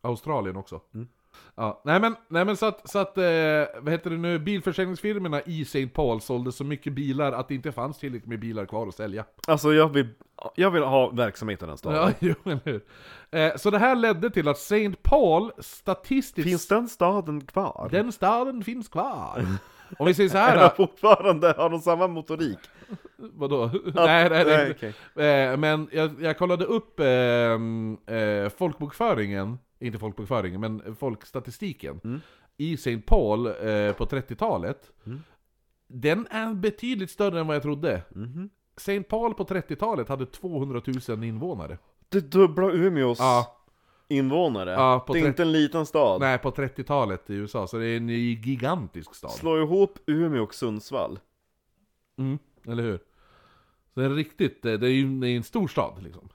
E: Australien också.
D: Mm.
E: Ja, nej men, nej men så att, så att eh, vad heter det nu, bilförsäljningsfirmorna i St. Paul sålde så mycket bilar att det inte fanns tillräckligt med bilar kvar att sälja.
D: Alltså jag vill, jag vill ha verksamhet i den staden.
E: Ja, jo, eller hur? Eh, så det här ledde till att St. Paul statistiskt...
D: Finns den staden kvar?
E: Den staden finns kvar! Om vi säger så
D: Är den
E: här,
D: fortfarande, har de samma motorik?
E: vadå? nej, nej, nej.
D: nej, okej.
E: Eh, men jag, jag kollade upp eh, eh, folkbokföringen, inte folkbokföringen, men folkstatistiken
D: Mm.
E: i St. Paul eh, på 30-talet. Den är betydligt större än vad jag trodde.
D: Mhm.
E: St. Paul på 30-talet hade 200 000 invånare.
D: Det dubbla Umeås
E: Ja.
D: invånare.
E: Ja, på
D: det är
E: tre-
D: inte en liten stad.
E: Nej, på 30-talet i USA, så det är en gigantisk stad.
D: Slå ihop Umeå och Sundsvall.
E: Mm, eller hur? Så det är riktigt, eh, det är ju det är en stor stad liksom.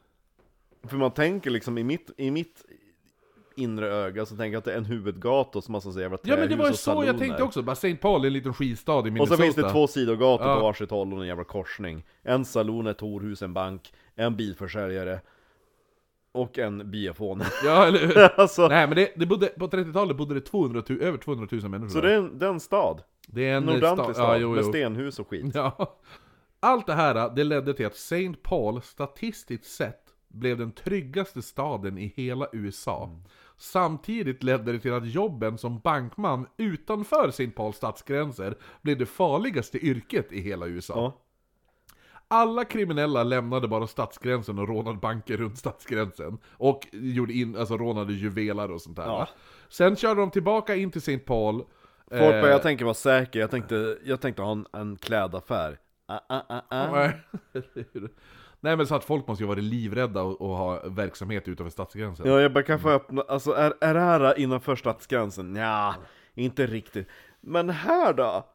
D: För man tänker liksom i mitt, i mitt inre öga så tänker jag att det är en huvudgata och så massa så jävla
E: Ja men det
D: trähus
E: var ju
D: och
E: så
D: saloner.
E: jag tänkte också, bara St. Paul är en liten skistad i
D: Och
E: Minnesota.
D: så finns det två sidogator
E: Ja.
D: på varsitt håll och en jävla korsning. En saloon, ett horhus, en bank, en bilförsäljare och en biafon.
E: Ja, eller hur?
D: alltså,
E: Nej men det, det bodde, på 30-talet bodde det 200 000, över 200 000 människor
D: så
E: där.
D: det är en, det är en stad.
E: det är
D: En
E: en eh,
D: ordentlig stad
E: Ja, jo,
D: med
E: jo.
D: stenhus och skit.
E: Ja. Allt det här, det ledde till att St. Paul statistiskt sett blev den tryggaste staden i hela USA. Samtidigt ledde det till att jobben som bankman utanför St. Pauls stadsgränser blev det farligaste yrket i hela USA.
D: Ja.
E: Alla kriminella lämnade bara stadsgränsen och rånade banker runt stadsgränsen. Och gjorde in, alltså rånade juveler och sånt där.
D: Ja.
E: va? Sen körde de tillbaka in till St. Paul.
D: Folk
E: Eh.
D: bara, jag tänker vara säker, jag tänkte, jag tänkte ha en, en klädaffär. Ah, ah, ah, ah.
E: Nej men så att folk måste ju vara livrädda och, och ha verksamhet utanför stadsgränsen.
D: Ja, jag bara kan få öppna, alltså är, är det här innanför stadsgränsen? Nja, inte riktigt. Men här då?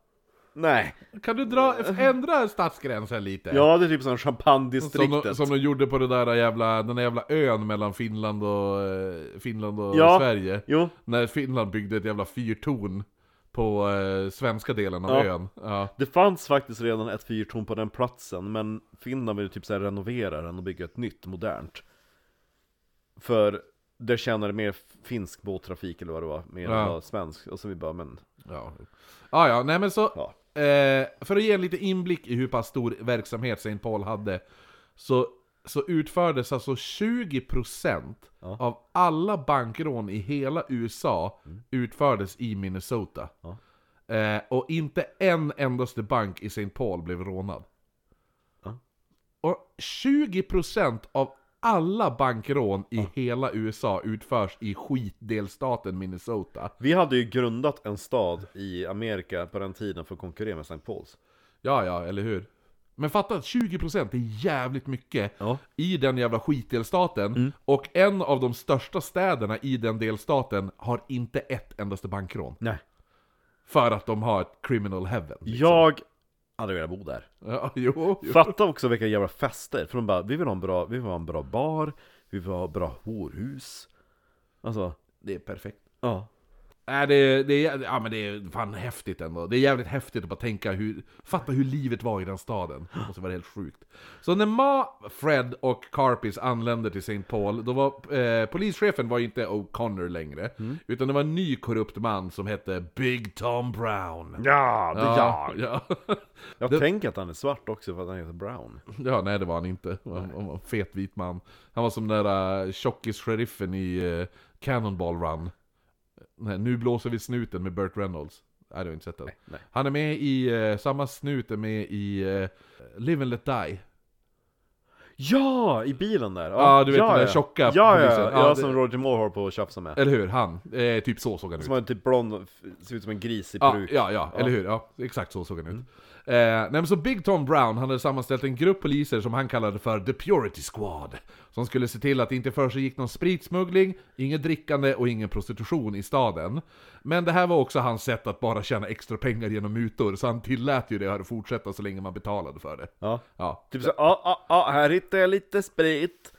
D: Nej.
E: Kan du dra, ändra stadsgränsen lite?
D: Ja, det är typ som
E: Som de,
D: champagnedistriktet.
E: som de gjorde på det där jävla, den där jävla ön mellan Finland och, eh, Finland och
D: Ja.
E: Sverige.
D: Jo,
E: När Finland byggde ett jävla fyrtorn på eh, svenska delen av
D: Ja.
E: ön. Ja.
D: det fanns faktiskt redan ett fyrtorn på den platsen, men Finland ville typ så här renovera den och bygga ett nytt, modernt. För det tjänade mer finsk båttrafik eller vad det var, mer än
E: Ja.
D: vad svensk. Och så vi bara, men
E: Ja. Ah, ja, nej men så...
D: ja.
E: Eh, för att ge en lite inblick i hur pass stor verksamhet St. Paul hade Så, så utfördes alltså 20%
D: Ja.
E: av alla bankrån i hela USA Utfördes i Minnesota
D: Mm. Ja.
E: eh, Och inte en endaste bank i St. Paul blev rånad
D: Ja.
E: Och 20% av alla bankrån i hela USA utförs i skitdelstaten Minnesota
D: Vi hade ju grundat en stad i Amerika på den tiden för att konkurrera med St. Pauls.
E: Ja, ja, eller hur? Men fatta att 20% är jävligt mycket
D: Ja.
E: i den jävla skitdelstaten, och en av de största städerna i den delstaten har inte ett endaste bankrån.
D: Nej.
E: För att de har ett criminal heaven. liksom.
D: Jag hade velat bo där.
E: Ja, jo, jo.
D: Fatta också vilka jävla fester, för de bara, vi vill ha en bra, vi vill ha en bra bar, vi vill ha bra horhus. Alltså,
E: Det är perfekt.
D: ja.
E: Nej, det, det, är, ja, men det är fan häftigt ändå. Det är jävligt häftigt att bara tänka hur, fatta hur livet var i den staden. Det måste vara helt sjukt. Så när Ma, Fred och Carpis anlände till St. Paul, då var eh, polischefen var ju inte O'Connor längre. Utan det var en ny korrupt man som hette Big Tom Brown.
C: Ja,
E: ja.
D: Jag tänker att han är svart också för att han heter Brown.
E: Ja, nej det var han inte. Han, han var en fet vit man. Han var som den där eh, tjockis-sheriffen i eh, Cannonball Run. Nej, nu blåser vi snuten med Burt Reynolds. Nej, du har inte sett den. Han är med i, eh, samma snut är med i eh, Live and Let Die.
D: Ja! I bilen där!
E: Ja, du vet den där tjocka
D: Ja, ja,
E: polisen.
D: ja,
E: Ja,
D: ja
E: det-
D: som Roger Moore har på att tjafsa med.
E: Eller hur? Han. Eh, typ så såg han ut.
D: Som har en typ blond, f- ser ut som en gris i
E: Ja,
D: peruk.
E: ja, ja, eller hur? Ja, exakt så såg han ut.
D: Mm.
E: Eh, nej, men så Big Tom Brown han hade sammanställt en grupp poliser som han kallade för The Purity Squad. Som skulle se till att det inte försiggick någon spritsmuggling, inget drickande och ingen prostitution i staden. Men det här var också hans sätt att bara tjäna extra pengar genom mutor, så han tillät ju det här att fortsätta så länge man betalade för det.
D: Ja.
E: Ja,
D: Typ så, ja, ja, ja, här hittar jag lite sprit.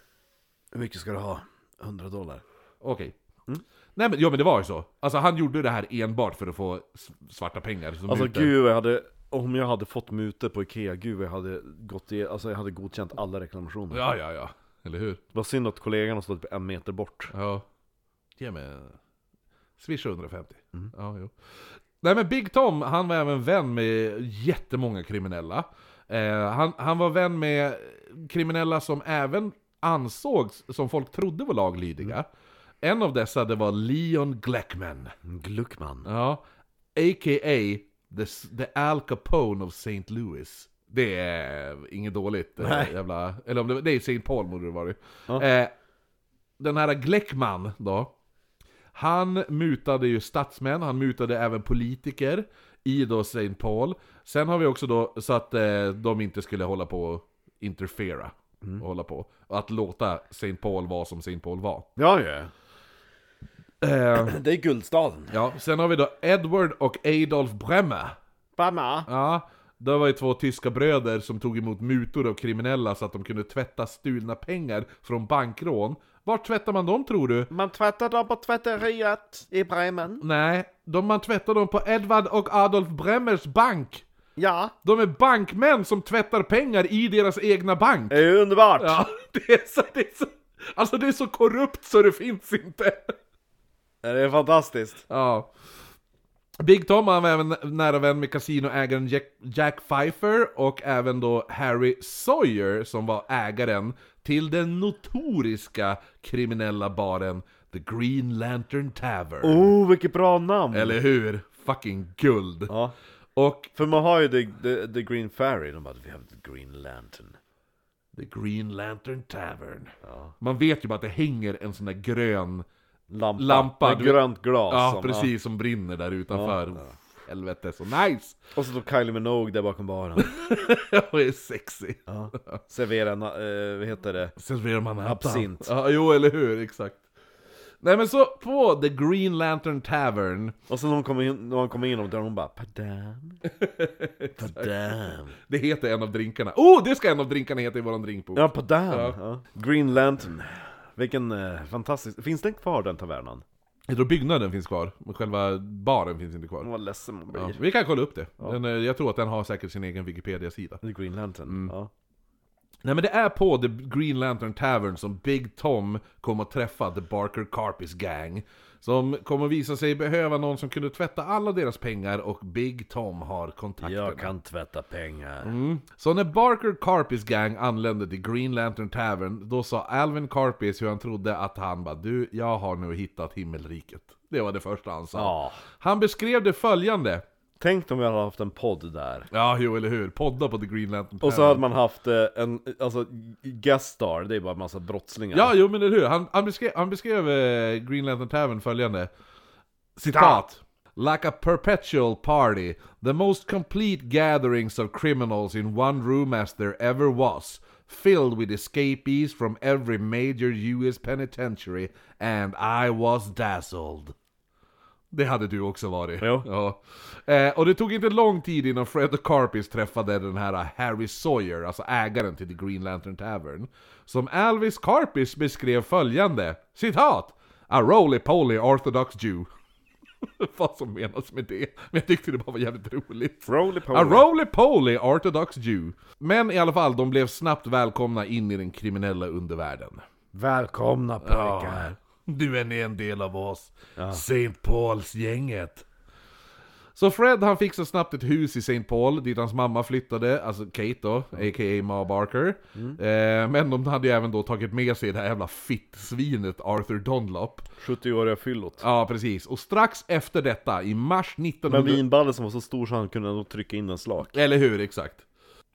D: Hur mycket ska du ha? 100 dollar.
E: okej.
D: Mm.
E: Nej men, ja, men det var ju så. Alltså han gjorde det här enbart för att få s- svarta pengar. Som
D: Alltså
E: mutor.
D: gud vad jag hade, om jag hade fått mutor på Ikea, gud vad jag hade gått i, alltså jag hade godkänt alla reklamationer.
E: Ja, ja, ja. Eller hur?
D: Det var synd att kollegan har stått en meter bort.
E: Ja. Ge mig... eh, Swish 150.
D: Mm.
E: Ja, jo. Nej men Big Tom, han var även vän med jättemånga kriminella. Eh, han, han var vän med kriminella som även ansågs, som folk trodde var laglydiga.
D: Mm.
E: En av dessa, det var Leon Gleckman.
D: Gluckman.
E: Ja. A.k.a. The, the Al Capone of St. Louis. Det är inget dåligt. eh, Jävla, eller om det, det är St. Paul borde det varit.
D: Ja.
E: Eh, den här Gleckman då. Han mutade ju statsmän, han mutade även politiker i då St. Paul. Sen har vi också då så att eh, de inte skulle hålla på och interfera. Och hålla på. Och att låta St. Paul vara som St. Paul var.
D: Ja, ja.
E: Eh,
D: Det är Guldstaden.
E: ja, sen har vi då Edward och Adolf Bremer.
D: Bamma.
E: Ja, det var ju två tyska bröder som tog emot mutor av kriminella så att de kunde tvätta stulna pengar från bankrån. Vart tvättar man dem tror du?
D: Man tvättar dem på tvätteriet i Bremen.
E: Nej, de man tvättar dem på Edvard och Adolf Bremmers bank!
D: Ja.
E: De är bankmän som tvättar pengar i deras egna bank!
D: Det är ju underbart.
E: Ja, det är så... Det är så alltså det är så korrupt så det finns inte!
D: Det är fantastiskt.
E: Ja. Big Tom han var även nära vän med kasinoägaren Jack, Jack Pfeiffer och även då Harry Sawyer som var ägaren till den notoriska kriminella baren The Green Lantern Tavern.
D: Oh, vilket bra namn.
E: Eller hur? Fucking guld!
D: Ja.
E: Och
D: För man har ju the, the, the Green Fairy, de bara 'We have the Green Lantern'
E: The Green Lantern Tavern. Man vet ju bara att det hänger en sån där grön
D: Lampa,
E: Lampa,
D: med
E: du-
D: grönt glas
E: Ja,
D: som-
E: precis, som brinner där utanför. Helvete, så nice!
D: Och så står Kylie Minogue där bakom baren
E: Och är sexy.
D: Serverar, na- eh, vad heter det?
E: Serverar man
D: Absint.
E: Ja, jo, eller hur, exakt. Nej men så, på The Green Lantern Tavern,
D: Och sen när hon kommer in, när hon kommer in och där hon bara 'Padam' Padam
E: det heter en av drinkarna. Oh, det ska en av drinkarna heta i våran drinkbok!
D: Ja, Padam! Ja. Green Lantern Vilken eh, fantastisk, finns den kvar den tavernan?
E: Jag tror byggnaden finns kvar, men själva baren finns inte kvar.
D: Vad ledsen man blir
E: Ja, vi kan kolla upp det. Den, eh, jag tror att den har säkert sin egen Wikipedia-sida.
D: The Green Lantern,
E: Mm.
D: ja
E: Nej men det är på The Green Lantern Tavern som Big Tom kom att träffa The Barker Carpis Gang. Som kommer visa sig behöva någon som kunde tvätta alla deras pengar och Big Tom har kontakterna.
D: kan tvätta pengar
E: Mm. Så när Barker Carpis gang anlände till Green Lantern Tavern, då sa Alvin Carpis hur han trodde att han bara Du, jag har nu hittat himmelriket. Det var det första han sa.
D: Ja.
E: Han beskrev det följande.
D: Tänk om vi hade haft en podd där
E: Ja, jo eller hur. Podda på The Green Lantern Tavern.
D: Och så hade man haft eh, en, alltså, guest star, det är bara en massa brottslingar
E: Ja, jo men eller hur. Han, han beskrev, han beskrev eh, Green Lantern Tavern följande. Citat. Like a perpetual party, the most complete gatherings of criminals in one room as there ever was, filled with escapees from every major US penitentiary, and I was dazzled. Det hade du också varit.
D: Jo.
E: Ja. Eh, och det tog inte lång tid innan Fred Carpis träffade den här eh, Harry Sawyer, alltså ägaren till The Green Lantern Tavern. Som Alvis Carpis beskrev följande, citat! A roly-poly orthodox Jew. Vad som menas med det, men jag tyckte det bara var jävligt roligt.
D: Roly-poly.
E: A roly-poly orthodox Jew. Men i alla fall, de blev snabbt välkomna in i den kriminella undervärlden.
D: Välkomna pojkar!
E: Du är en del av oss. St. Pauls-gänget. Så Fred han fick så snabbt ett hus i St. Paul dit hans mamma flyttade, alltså Kate då, a.k.a. Ma Barker. Eh, men de hade ju även då tagit med sig det här jävla fittsvinet Arthur Dunlop.
D: 70-åriga fyllot.
E: Ja, precis. Och strax efter detta, i mars 1900...
D: Men vinballen som var så stor så han kunde nog trycka in en slak.
E: Eller hur, exakt.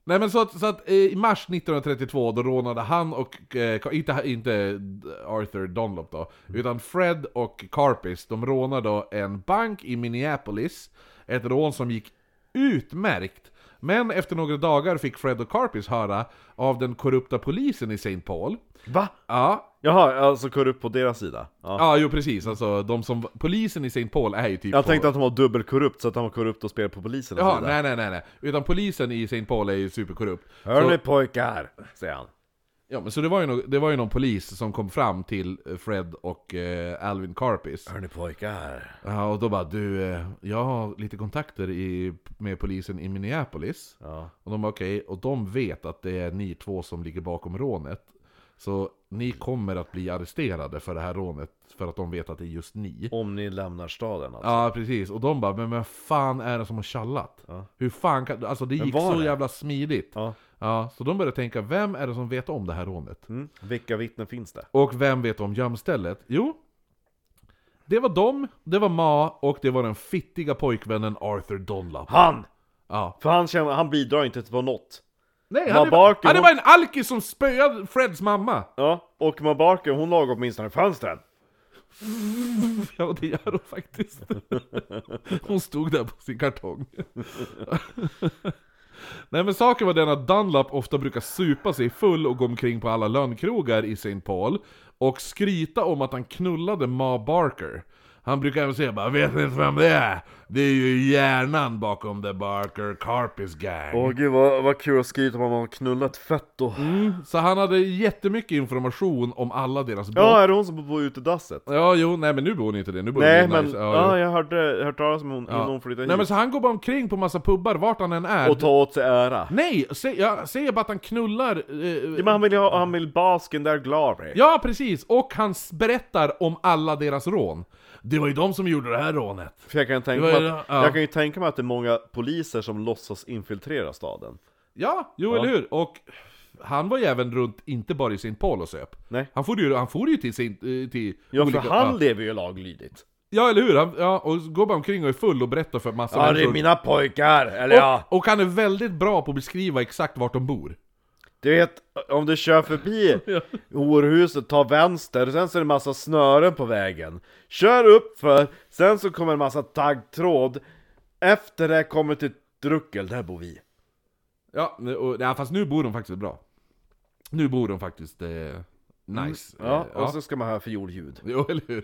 E: Nej men så att, så att eh, i mars 1932 då rånade han och, eh, Ka- inte, inte Arthur Dunlop då, utan Fred och Carpis, de rånade då en bank i Minneapolis, ett rån som gick utmärkt. Men efter några dagar fick Fred och Carpis höra av den korrupta polisen i St. Paul.
D: Va?
E: Ja,
D: Jaha, alltså korrupt på deras sida? Ja.
E: ja jo precis, alltså de som, polisen i St. Paul är ju typ
D: Jag
E: på-
D: tänkte att han var dubbelkorrupt, så att han var korrupt och spelade på polisens
E: Jaha,
D: sida.
E: nej nej nej nej. Utan polisen i St. Paul är ju superkorrupt.
D: Hör
E: Så-
D: ni pojkar, säger han.
E: Ja, men så det var, ju no- det var ju någon polis som kom fram till eh, Fred och eh, Alvin Carpis.
D: Hör ni pojkar.
E: Ja, och då bara du, eh, jag har lite kontakter i, med polisen i Minneapolis.
D: Ja.
E: Och de bara okej, och de vet att det är ni två som ligger bakom rånet. Så ni kommer att bli arresterade för det här rånet, för att de vet att det är just ni.
D: Om ni lämnar staden alltså.
E: Ja, precis. Och de bara, men vad fan är det som har tjallat? Hur fan kan... Alltså det gick
D: var
E: så
D: det?
E: jävla smidigt.
D: Ja.
E: Ja, så de började tänka, vem är det som vet om det här rånet?
D: Mm. Vilka vittnen finns det?
E: Och vem vet om gömstället? Jo, det var dem, det var Ma och det var den fittiga pojkvännen Arthur Dunlap.
D: Han!
E: Ja.
D: För han, känner, han bidrar inte till något.
E: Nej,
D: Ma
E: han, är,
D: Barker,
E: han är
D: hon-
E: bara en alkis som spöade Freds mamma!
D: Ja, och Ma Barker, hon lagar åtminstone fönstren.
E: Ja, det gör hon faktiskt. Hon stod där på sin kartong. Nej men saken var den att Dunlap ofta brukar supa sig full och gå omkring på alla lönnkrogar i St. Paul och skryta om att han knullade Ma Barker. Han brukar även säga bara ”Vet ni inte vem det är? Det är ju hjärnan bakom The Barker Carpis Gang”.
D: Åh gud vad, vad kul att skryta om att man har knullat fett då.
E: Så han hade jättemycket information om alla deras brott.
D: Ja,
E: Ja,
D: är det hon som bor i utedasset?
E: jo, nej men nu bor hon inte det. Nu bor
D: Nej
E: hon i
D: men,
E: nice-
D: ja,
E: jo.
D: jag hörde, hört talas om hon innan hon flyttade
E: Nej men
D: hit.
E: så han går bara omkring på massa pubbar vart han än är.
D: Och ta åt sig ära.
E: Nej, sä, jag säger bara att han knullar... eh,
D: Ja, men han vill ju ha, han vill basken där glory.
E: ja, precis! Och han s- berättar om alla deras rån. Det var ju de som gjorde det här rånet.
D: För jag kan, tänka
E: Det var ju
D: mig att,
E: det, ja.
D: jag kan ju tänka mig att det är många poliser som låtsas infiltrera staden.
E: Ja, jo eller hur? Och han var ju även runt, inte bara i St. Paul och söp.
D: Nej.
E: Han for ju, han for ju till, sin, eh, till
D: Ja,
E: olika...
D: för han
E: Ja,
D: lever ju laglydigt.
E: ja, eller hur? Han, ja, och går bara omkring och är full och berättar för massa människor.
D: mina pojkar, eller
E: och, och han är väldigt bra på att beskriva exakt vart de bor.
D: Du vet, om du kör förbi horhuset, ta vänster, sen så är det massa snören på vägen. Kör upp för, sen så kommer en massa taggtråd. Efter det kommer till druckel, där bor vi.
E: Ja, nu- och, ja, fast nu bor de faktiskt bra. Nu bor de faktiskt eh, nice.
D: Mm, Ja,
E: Eh,
D: och så ska man höra fioljud.
E: Jo, eller hur?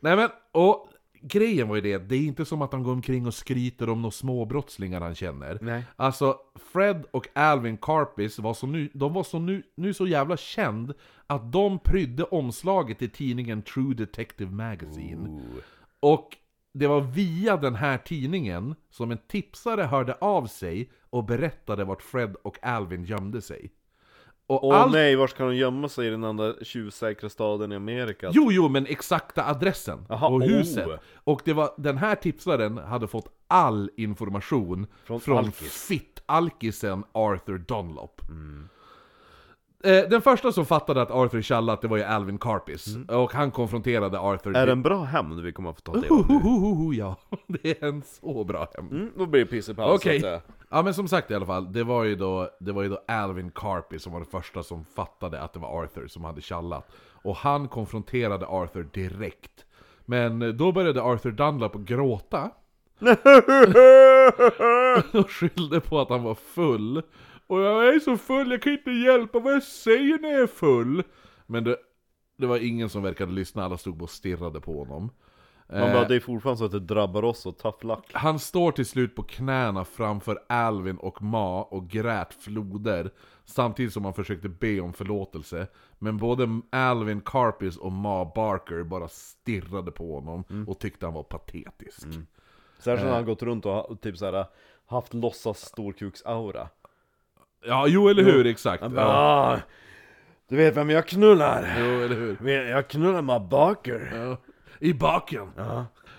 E: Nej men, och grejen var ju det, det är inte som att han går omkring och skryter om några småbrottslingar han känner.
D: Nej.
E: Alltså, Fred och Alvin Carpis var så nu, de var så nu, nu så jävla känd att de prydde omslaget till tidningen True Detective Magazine. Och det var via den här tidningen som en tipsare hörde av sig och berättade vart Fred och Alvin gömde sig. Och
D: Åh
E: allt-
D: nej, var ska de gömma sig i den andra tjuvsäkra staden i Amerika?
E: Jo, jo, men exakta adressen
D: Jaha,
E: och
D: oh.
E: huset. Och det var, den här tipsaren hade fått all information
D: Från
E: från,
D: Alkis. Mm.
E: fitt-alkisen Arthur Dunlop. Eh, Den första som fattade att Arthur tjallat, det var ju Alvin Carpis. Och han konfronterade Arthur...
D: Mm. Är
E: till-
D: det en bra hämnd vi kommer att få ta del av nu?
E: Hohohoho, ja. Det är en så bra hämnd.
D: Mm, då blir det piss i pausen.
E: Okej.
D: så att säga.
E: Ja men som sagt i alla fall, det var ju då, det var ju då Alvin Carpi som var den första som fattade att det var Arthur som hade tjallat. Och han konfronterade Arthur direkt. Men då började Arthur Dunlap att gråta. och skyllde på att han var full. Och jag är så full, jag kan inte hjälpa vad jag säger när jag är full. Men det, det var ingen som verkade lyssna, alla stod bara och stirrade på honom.
D: Man
E: Eh.
D: bara, det är fortfarande så att det drabbar oss och tough luck.
E: Han står till slut på knäna framför Alvin och Ma och grät floder Samtidigt som han försökte be om förlåtelse Men både Alvin Carpis och Ma Barker bara stirrade på honom och tyckte han var patetisk
D: Särskilt
E: Eh.
D: när han gått runt och ha- typ såhär, haft låtsas storkuks-aura.
E: Ja, jo eller hur, exakt! Ja.
D: Ah, du vet vem jag knullar?
E: Jo, eller hur?
D: Jag knullar med Barker.
E: I baken!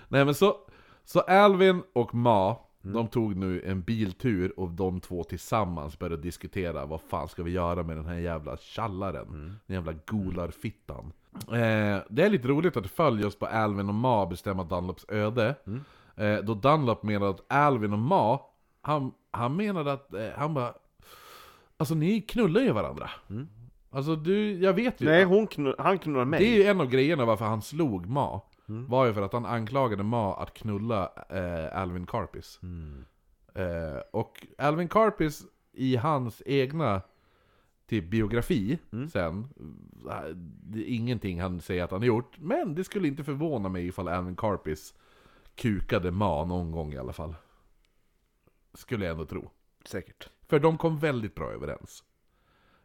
E: Nej men så, Så Alvin och Ma, de tog nu en biltur och de två tillsammans började diskutera vad fan ska vi göra med den här jävla tjallaren? Den jävla golarfittan. Eh, det är lite roligt att det följer just på Alvin och Ma bestämma Dunlops öde. Eh, då Dunlop menade att Alvin och Ma, han, han menade att, eh, han bara Alltså ni knullar ju varandra. Alltså du, jag vet ju.
D: Nej, hon knu- han knullar mig.
E: Det är ju en av grejerna varför han slog Ma. Var ju för att han anklagade Ma att knulla eh, Alvin Karpis. Eh, och Alvin Karpis i hans egna typ, biografi sen, eh, det är ingenting han säger att han har gjort. Men det skulle inte förvåna mig ifall Alvin Karpis kukade Ma någon gång i alla fall. Skulle jag ändå tro.
D: Säkert.
E: För de kom väldigt bra överens.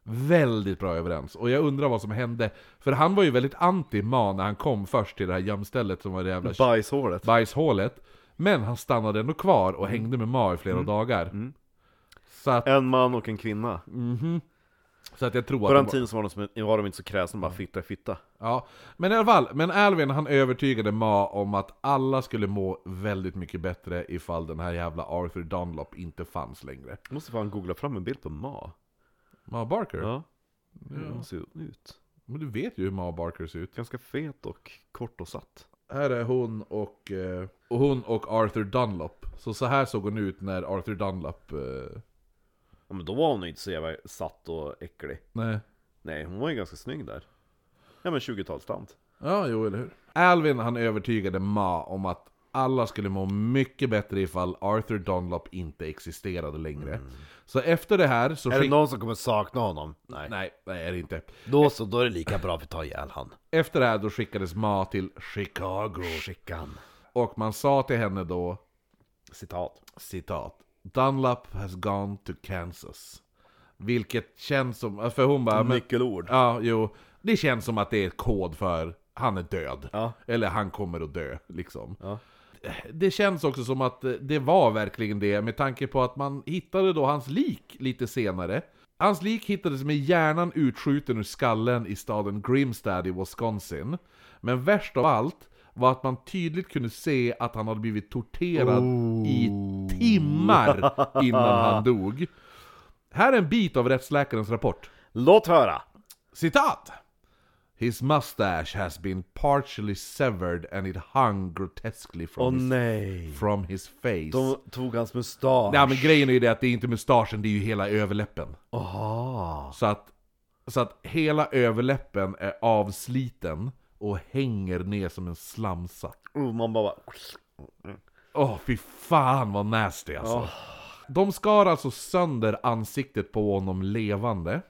E: Väldigt bra överens. Och jag undrar vad som hände. För han var ju väldigt anti Ma när han kom först till det här gömstället som var det jävla
D: Bajshålet.
E: bajshålet. Men han stannade ändå kvar och
D: Mm.
E: hängde med Ma i flera dagar. Så, att,
D: En man och en kvinna.
E: så att jag tror att...
D: På
E: de
D: den
E: var-
D: tiden så var de, som, var de inte så kräsna, de bara fitta är fitta.
E: Ja, men i alla fall, men Alvin han övertygade Ma om att alla skulle må väldigt mycket bättre ifall den här jävla Arthur Dunlop inte fanns längre.
D: Jag måste fan googla fram en bild på Ma.
E: Ma Barker?
D: Ja. Hur hon ser ut.
E: Men du vet ju hur Ma Barker ser ut.
D: Ganska fet och kort och satt.
E: Här är hon och, eh, och hon och Arthur Dunlop. Så så här såg hon ut när Arthur Dunlop... Eh,
D: Ja, men då var hon ju inte så jävla satt och äcklig.
E: nej.
D: Nej, hon var ju ganska snygg där. Ja men 20-talstant.
E: Ja, jo, eller hur? Alvin han övertygade Ma om att alla skulle må mycket bättre ifall Arthur Dunlop inte existerade längre. Så efter det här så...
F: Mm. Är det
E: skick-
F: någon som kommer sakna honom? Nej.
E: Nej, nej, är det inte.
F: Då så, då är det lika bra att vi tar ihjäl han.
E: Efter det här då skickades Ma till Chicago.
F: Skicka han.
E: Och man sa till henne då
D: Citat.
E: citat. Dunlop has gone to Kansas. Vilket känns som, för hon bara... men-
D: Nyckelord.
E: Ja, jo. Det känns som att det är kod för han är död.
D: Ja.
E: Eller han kommer att dö, liksom.
D: Ja.
E: Det känns också som att eh, det var verkligen det, med tanke på att man hittade då hans lik lite senare. Hans lik hittades med hjärnan utskjuten ur skallen i staden Grimstad i Wisconsin. Men värst av allt var att man tydligt kunde se att han hade blivit torterad i
D: Oh.
E: timmar innan han dog. Här är en bit av rättsläkarens rapport.
D: Låt höra!
E: Citat! His mustache has been partially severed and it hung grotesquely from,
D: Åh
F: Mm.
E: his,
D: nej!
E: from his face.
D: De tog hans mustasch.
E: Nej men grejen är ju det att det är inte mustaschen, det är ju hela överläppen.
D: Aha.
E: Så att, så att hela överläppen är avsliten och hänger ner som en slamsa.
D: Oh, man bara...
E: Åh fy fan vad nasty alltså. De skar alltså sönder ansiktet på honom levande.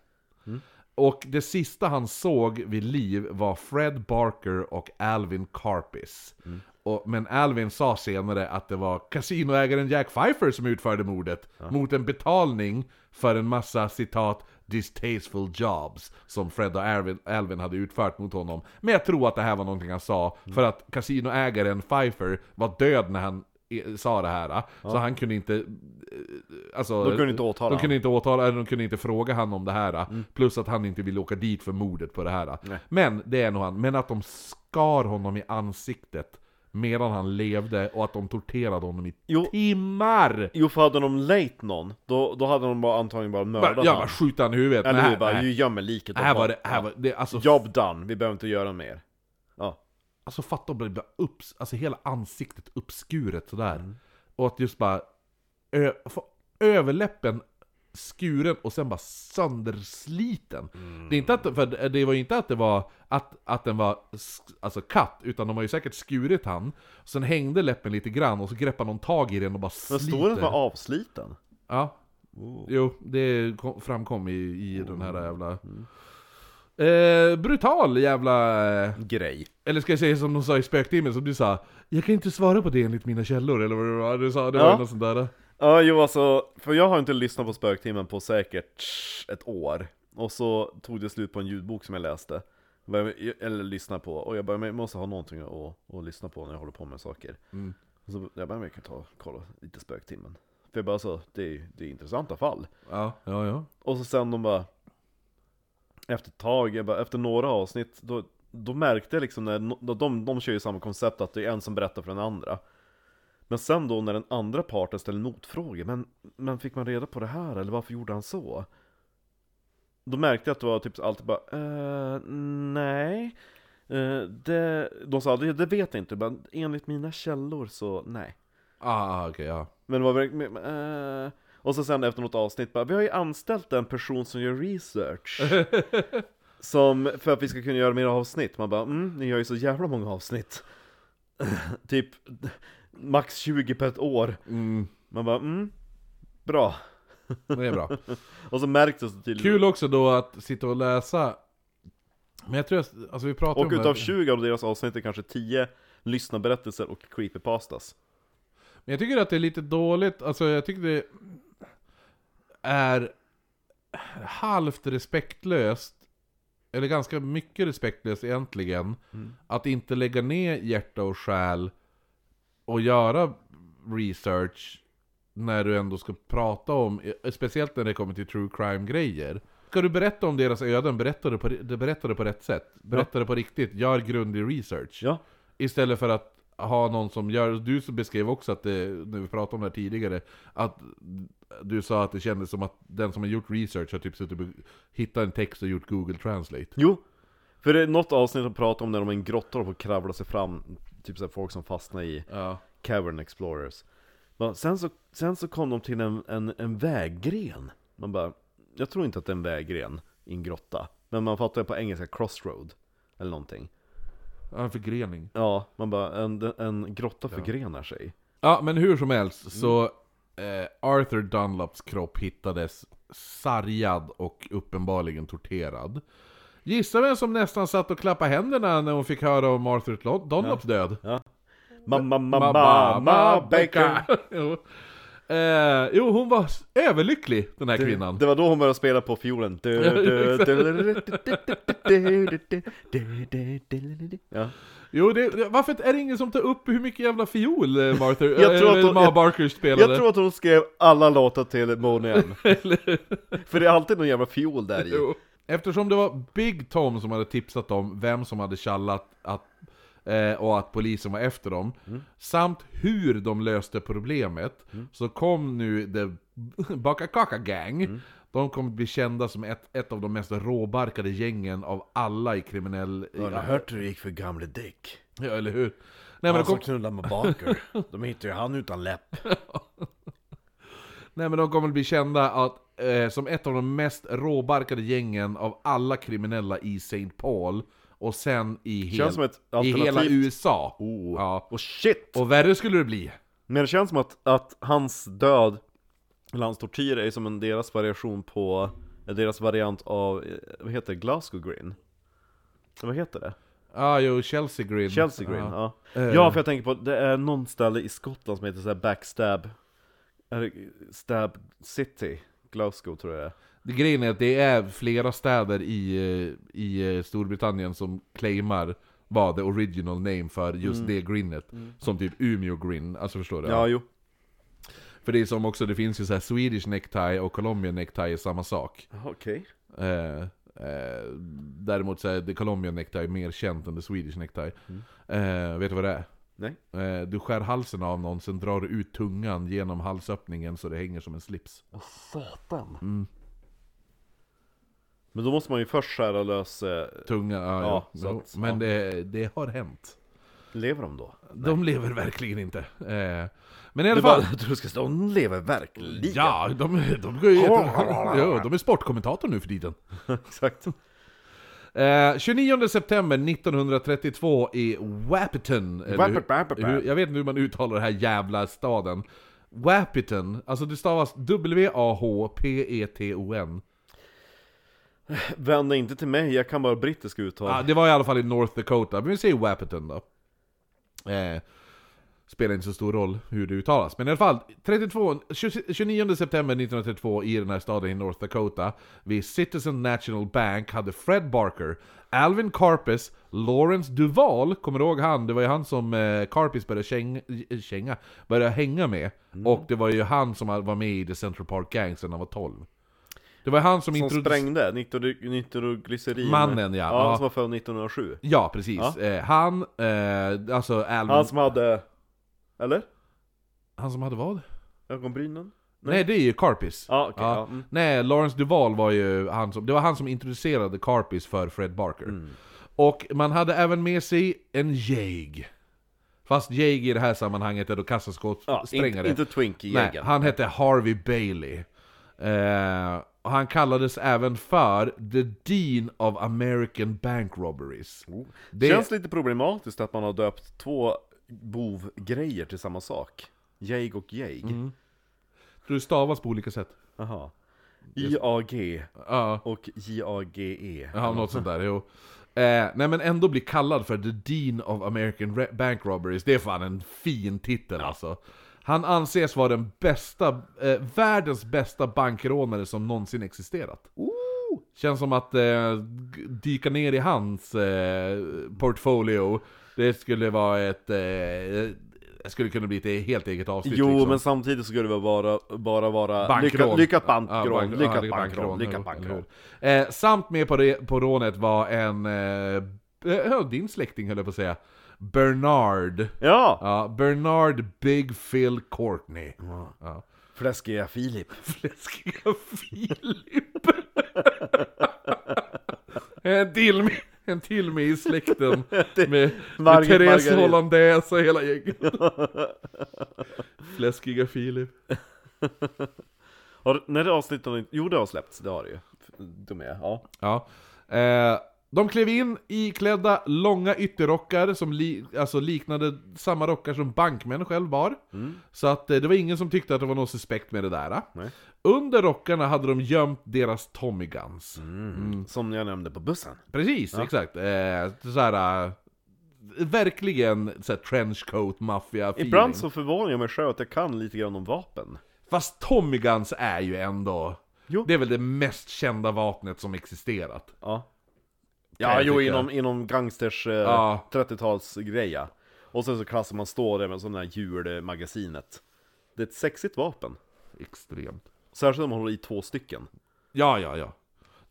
E: Och det sista han såg vid liv var Fred Barker och Alvin Karpis.
D: Mm.
E: Och, men Alvin sa senare att det var kasinoägaren Jack Pfeiffer som utförde mordet mot en betalning för en massa citat ”distasteful jobs” som Fred och Alvin, Alvin hade utfört mot honom. Men jag tror att det här var någonting han sa,
D: Mm.
E: för att kasinoägaren Pfeiffer var död när han eh, sa det här, så han kunde inte... eh, Alltså,
D: De kunde inte åtala
E: de kunde inte åtala, eller de kunde inte fråga han om det här.
D: Mm.
E: Plus att han inte ville åka dit för mordet på det här. Men, det är nog han. Men att de skar honom i ansiktet medan han levde och att de torterade honom i
D: Jo.
E: timmar!
D: Jo, för hade de lejt någon, då, då hade de bara, antagligen bara
E: Bara-
D: mördat
E: Jag bara skjuter han i huvudet.
D: Eller
E: Nej,
D: hur? Bara,
E: nej.
D: ju gömmer liket. och
E: här
D: bara-
E: var det, här var det, alltså,
D: Job done, vi behöver inte göra mer. Ja.
E: alltså fatta att bli bara upps, alltså hela ansiktet uppskuret sådär. Och att just bara, ö, få överläppen skuren och sen bara söndersliten. Det, är inte att, för det var ju inte att det var att, att den var sk- alltså katt, utan de har ju säkert skurit han. Sen hängde läppen lite grann och så greppade någon tag i den och bara
D: Men
E: sliter.
D: står det att man är avsliten?
E: Ja. Jo, det kom, framkom i, i den här jävla... Eh, brutal jävla... eh,
D: Grej.
E: Eller ska jag säga som de sa i spöktimmen, som du sa Jag kan inte svara på det enligt mina källor, eller vad det var du sa, det var
D: Ja.
E: ju något sånt där
D: Ja, jo alltså, för jag har inte lyssnat på Spöktimmen på säkert ett år. Och så tog det slut på en ljudbok som jag läste. Eller lyssnade på. Och jag bara, men jag måste ha någonting att, att lyssna på när jag håller på med saker.
E: Mm.
D: Och så jag bara, men jag kan ta och kolla lite Spöktimmen. För jag bara, så, det är, det är intressanta fall.
E: Ja, ja, ja
D: Och så sen de bara Efter ett tag, jag bara, efter några avsnitt Då, då märkte jag liksom när, no- de, de, de kör ju samma koncept att det är en som berättar för den andra Men sen då när den andra parten ställer motfrågor, men, men fick man reda på det här eller varför gjorde han så? Då märkte jag att det var typ alltid bara, eh, nej. Eh, det, de sa, det, det vet jag inte, men enligt mina källor så nej.
E: Ah, okej, ja.
D: Men det var verkligen... men, eh, och så sen efter något avsnitt bara, vi har ju anställt en person som gör research. som, för att vi ska kunna göra mer avsnitt. Man bara, mm, ni gör ju så jävla många avsnitt. typ max 20 på ett år. Man bara, mm, bra.
E: Det är bra.
D: Och så märktes det tydligt.
E: Kul också då att sitta och läsa. Men jag tror att, alltså vi pratar
D: Och
E: om det här-
D: utav 20 av deras avsnitt är kanske 10 lyssnarberättelser och creepypastas.
E: Men jag tycker att det är lite dåligt, alltså jag tycker det är halvt respektlöst, eller ganska mycket respektlöst egentligen, att inte lägga ner hjärta och själ och göra research när du ändå ska prata om, speciellt när det kommer till true crime-grejer. Ska du berätta om deras öden, berätta det på, berätta det på rätt sätt. Berätta det på riktigt, gör grundlig research.
D: Ja.
E: Istället för att ha någon som gör, du som beskrev också att det, när vi pratade om det här tidigare, att du sa att det kändes som att den som har gjort research har typ suttit och hittat en text och gjort Google Translate.
D: Jo, för det är något avsnitt som pratar om när de är i en grotta och får kravla sig fram, typ såhär folk som fastnar i
E: Ja.
D: Cavern Explorers. Men sen, så, sen så kom de till en, en, en väggren. Man bara, jag tror inte att det är en väggren i en grotta. Men man fattar ju på engelska crossroad, eller någonting.
E: En förgrening.
D: Ja, man bara, en, en grotta förgrenar sig.
E: Ja, men hur som helst så eh, Arthur Dunlaps kropp hittades sargad och uppenbarligen torterad. Gissa vem som nästan satt och klappade händerna när hon fick höra om Arthur Lon- Dunlaps död?
D: Mamma, mamma, mamma, Baker!
E: jo. Eh, jo, hon var s- överlycklig, den här kvinnan.
D: Det var då hon började spela på fiolen. Du, du, du, du, du, du, du, du, du, du, du. Ja.
E: Jo, det, det- varför är det ingen som tar upp hur mycket jävla fiol eh, Martha,
D: Jag tror att hon-
E: Ma
D: jag-
E: Barker spelade?
D: Jag tror att hon skrev alla låtar till Monium. För det är alltid någon jävla fiol där i.
E: Jo. Eftersom det var Big Tom som hade tipsat om vem som hade tjallat att, eh, och att polisen var efter dem, samt hur de löste problemet, så kom nu The Bakakaka Gang, de kommer bli kända som ett, ett av de mest råbarkade gängen av alla i kriminell...
F: Har ni hört hur det gick för gamle Dick?
E: Ja, eller hur? Nej, men de
F: Han
E: kom,
F: som knullade med Barker. De hittade ju han utan läpp.
E: Nej men de kommer bli kända att, eh, som ett av de mest råbarkade gängen av alla kriminella i St. Paul och sen i, hel,
D: Känns som ett
E: i hela
D: alternativt- Oh.
E: USA. Ja.
D: Och shit!
E: Och värre skulle det bli.
D: Men det känns som att, att hans död, eller hans tortyr, är som en deras variation på, eh, deras variant av, eh, vad heter det, Glasgow Green? Vad heter det?
E: Ah, jo, Chelsea Green.
D: Chelsea Green,
E: Ja. Eh.
D: ja. Ja, ja för jag tänker på, det är någon ställe i Skottland som heter så här Backstab, är det Stab City, Glasgow tror jag det är.
E: Det Grejen är att det är flera städer i, eh, i eh, Storbritannien som claimar var the original name för just det grinet. Som typ Umeå Green, alltså förstår du?
D: Mm. Ja, jo.
E: För det är som också, det finns ju så här Swedish necktie och Colombian necktie är samma sak.
D: Okej.
E: Eh, eh, däremot så är The Colombian Necktie mer känt än The Swedish Necktie. Eh, vet du vad det är?
D: Mm. Nej.
E: Eh, du skär halsen av någon, sen drar du ut tungan genom halsöppningen så det hänger som en slips.
D: Mm. Men då måste man ju först skära lös, eh,
E: Tunga, ja, ja,
D: Ja, så
E: jo.
D: att-
E: Men det, det har hänt.
D: lever de då?
E: De lever verkligen inte. Eh, men i alla
D: Det var,
E: fall...
D: jag tror du ska stå, de lever verkligen!
E: Ja, de, de, går ju jätte- ja, de är sportkommentator nu för tiden.
D: Exakt.
E: Eh, 29 september 1932 i Wapiton. eller
D: Wapit-
E: hur-
D: Wapit-
E: hur- Jag vet inte hur man uttalar den här jävla staden. Wapiton, alltså det stavas E W-A-H-P-E-T-O-N.
D: Vänd dig inte till mig, jag kan bara brittiska uttal.
E: Ah, det var i alla fall i North Dakota, men vi säger Wapiton då. Eh, spelar inte så stor roll hur det uttalas. Men i alla fall, 32, 20 29 september 1932 i den här staden i North Dakota, vid Citizen National Bank, hade Fred Barker, Alvin Karpis, Lawrence Duval, kommer du ihåg han? Det var ju han som eh, Karpis började, käng, eh, känga, började hänga med, och det var ju han som var med i The Central Park Gang sedan han var 12. Det var han som,
D: som
E: introducerade...
D: sprängde, nitro- nitroglycerin.
E: Mannen, ja.
D: ja.
E: Ja.
D: Han som var född 1907.
E: Ja, precis. Eh, han, eh, alltså Alvin...
D: Han som hade... Eller?
E: Han som hade vad?
D: Ögonbrynen?
E: Nej, det är ju Carpis.
D: Ja, okej, ja, mm.
E: Nej, Lawrence Duval var ju han som, det var han som introducerade Carpis för Fred Barker.
D: Mm.
E: Och man hade även med sig en jäg. Fast jäg i det här sammanhanget är då
D: Ja,
E: kassaskåpssprängare.
D: inte, inte Twinkie
E: Nej,
D: jägaren.
E: han hette Harvey Bailey. Eh, och han kallades även för The Dean of American Bank Robberies.
D: Det
E: Det,
D: Oh. känns lite problematiskt att man har döpt två bovgrejer till samma sak. Jäg och jäg.
E: Mm. det stavas på olika sätt.
D: Jaha. JAG
E: Ja.
D: och JAGE.
E: Ja, något sånt där, jo. Eh, nej men ändå bli kallad för The Dean of American Re- Bank Robberies, det är fan en fin titel alltså. Han anses vara den bästa, eh, världens bästa bankrånare som någonsin existerat. Känns som att eh, g- dyka ner i hans eh, portfolio, det skulle vara ett... Eh, det skulle kunna bli ett helt eget avsnitt
D: Jo,
E: liksom.
D: men samtidigt så skulle det bara, bara vara
E: Bankrån.
D: lyckat lycka
E: Ja,
D: bankrån,
E: bank- ja,
D: lyckat
E: lyckat
D: bankrån, lyckat
E: eller hur?
D: bankrån.
E: Eh, samt med på, det, på rånet var en, eh, ja, din släkting höll jag på att säga, Bernard.
D: Ja!
E: Ja, Bernard Big Phil Courtney. Ja.
D: Fläskiga Filip.
E: Fläskiga Filip. en, till med, en till med i släkten. Med, med
D: Margit
E: Therese
D: Margaret.
E: Hollandaise och hela gänget. Fläskiga Filip.
D: Har, när det avsnittet har inte- Jo, det har släppts, det har det ju. De är, ja.
E: Ja. Eh, de klev in iklädda långa ytterrockar som li- alltså liknade samma rockar som bankmän själv bar. Så att eh, det var ingen som tyckte att det var något suspekt med det där. eh.
D: Mm. Nej.
E: Under rockarna hade de gömt deras Tommy Guns.
D: Mm. Som jag nämnde på bussen.
E: Precis, exakt. Eh, såhär, eh, verkligen såhär trenchcoat maffia feeling.
D: Ibland så förvånar jag mig själv att jag kan lite grann om vapen.
E: Fast Tommy Guns är ju ändå...
D: Jo.
E: Det är väl det mest kända vapnet som existerat.
D: Ja.
E: Kan
D: Ja,
E: jag
D: jo,
E: tycka.
D: inom, inom gangsters eh,
E: Ja.
D: 30-talsgreja. Och sen så klassar man stå där med sådana här hjulmagasinet. Det är ett sexigt vapen.
E: Extremt.
D: Särskilt om man håller i två stycken.
E: Ja, ja, ja.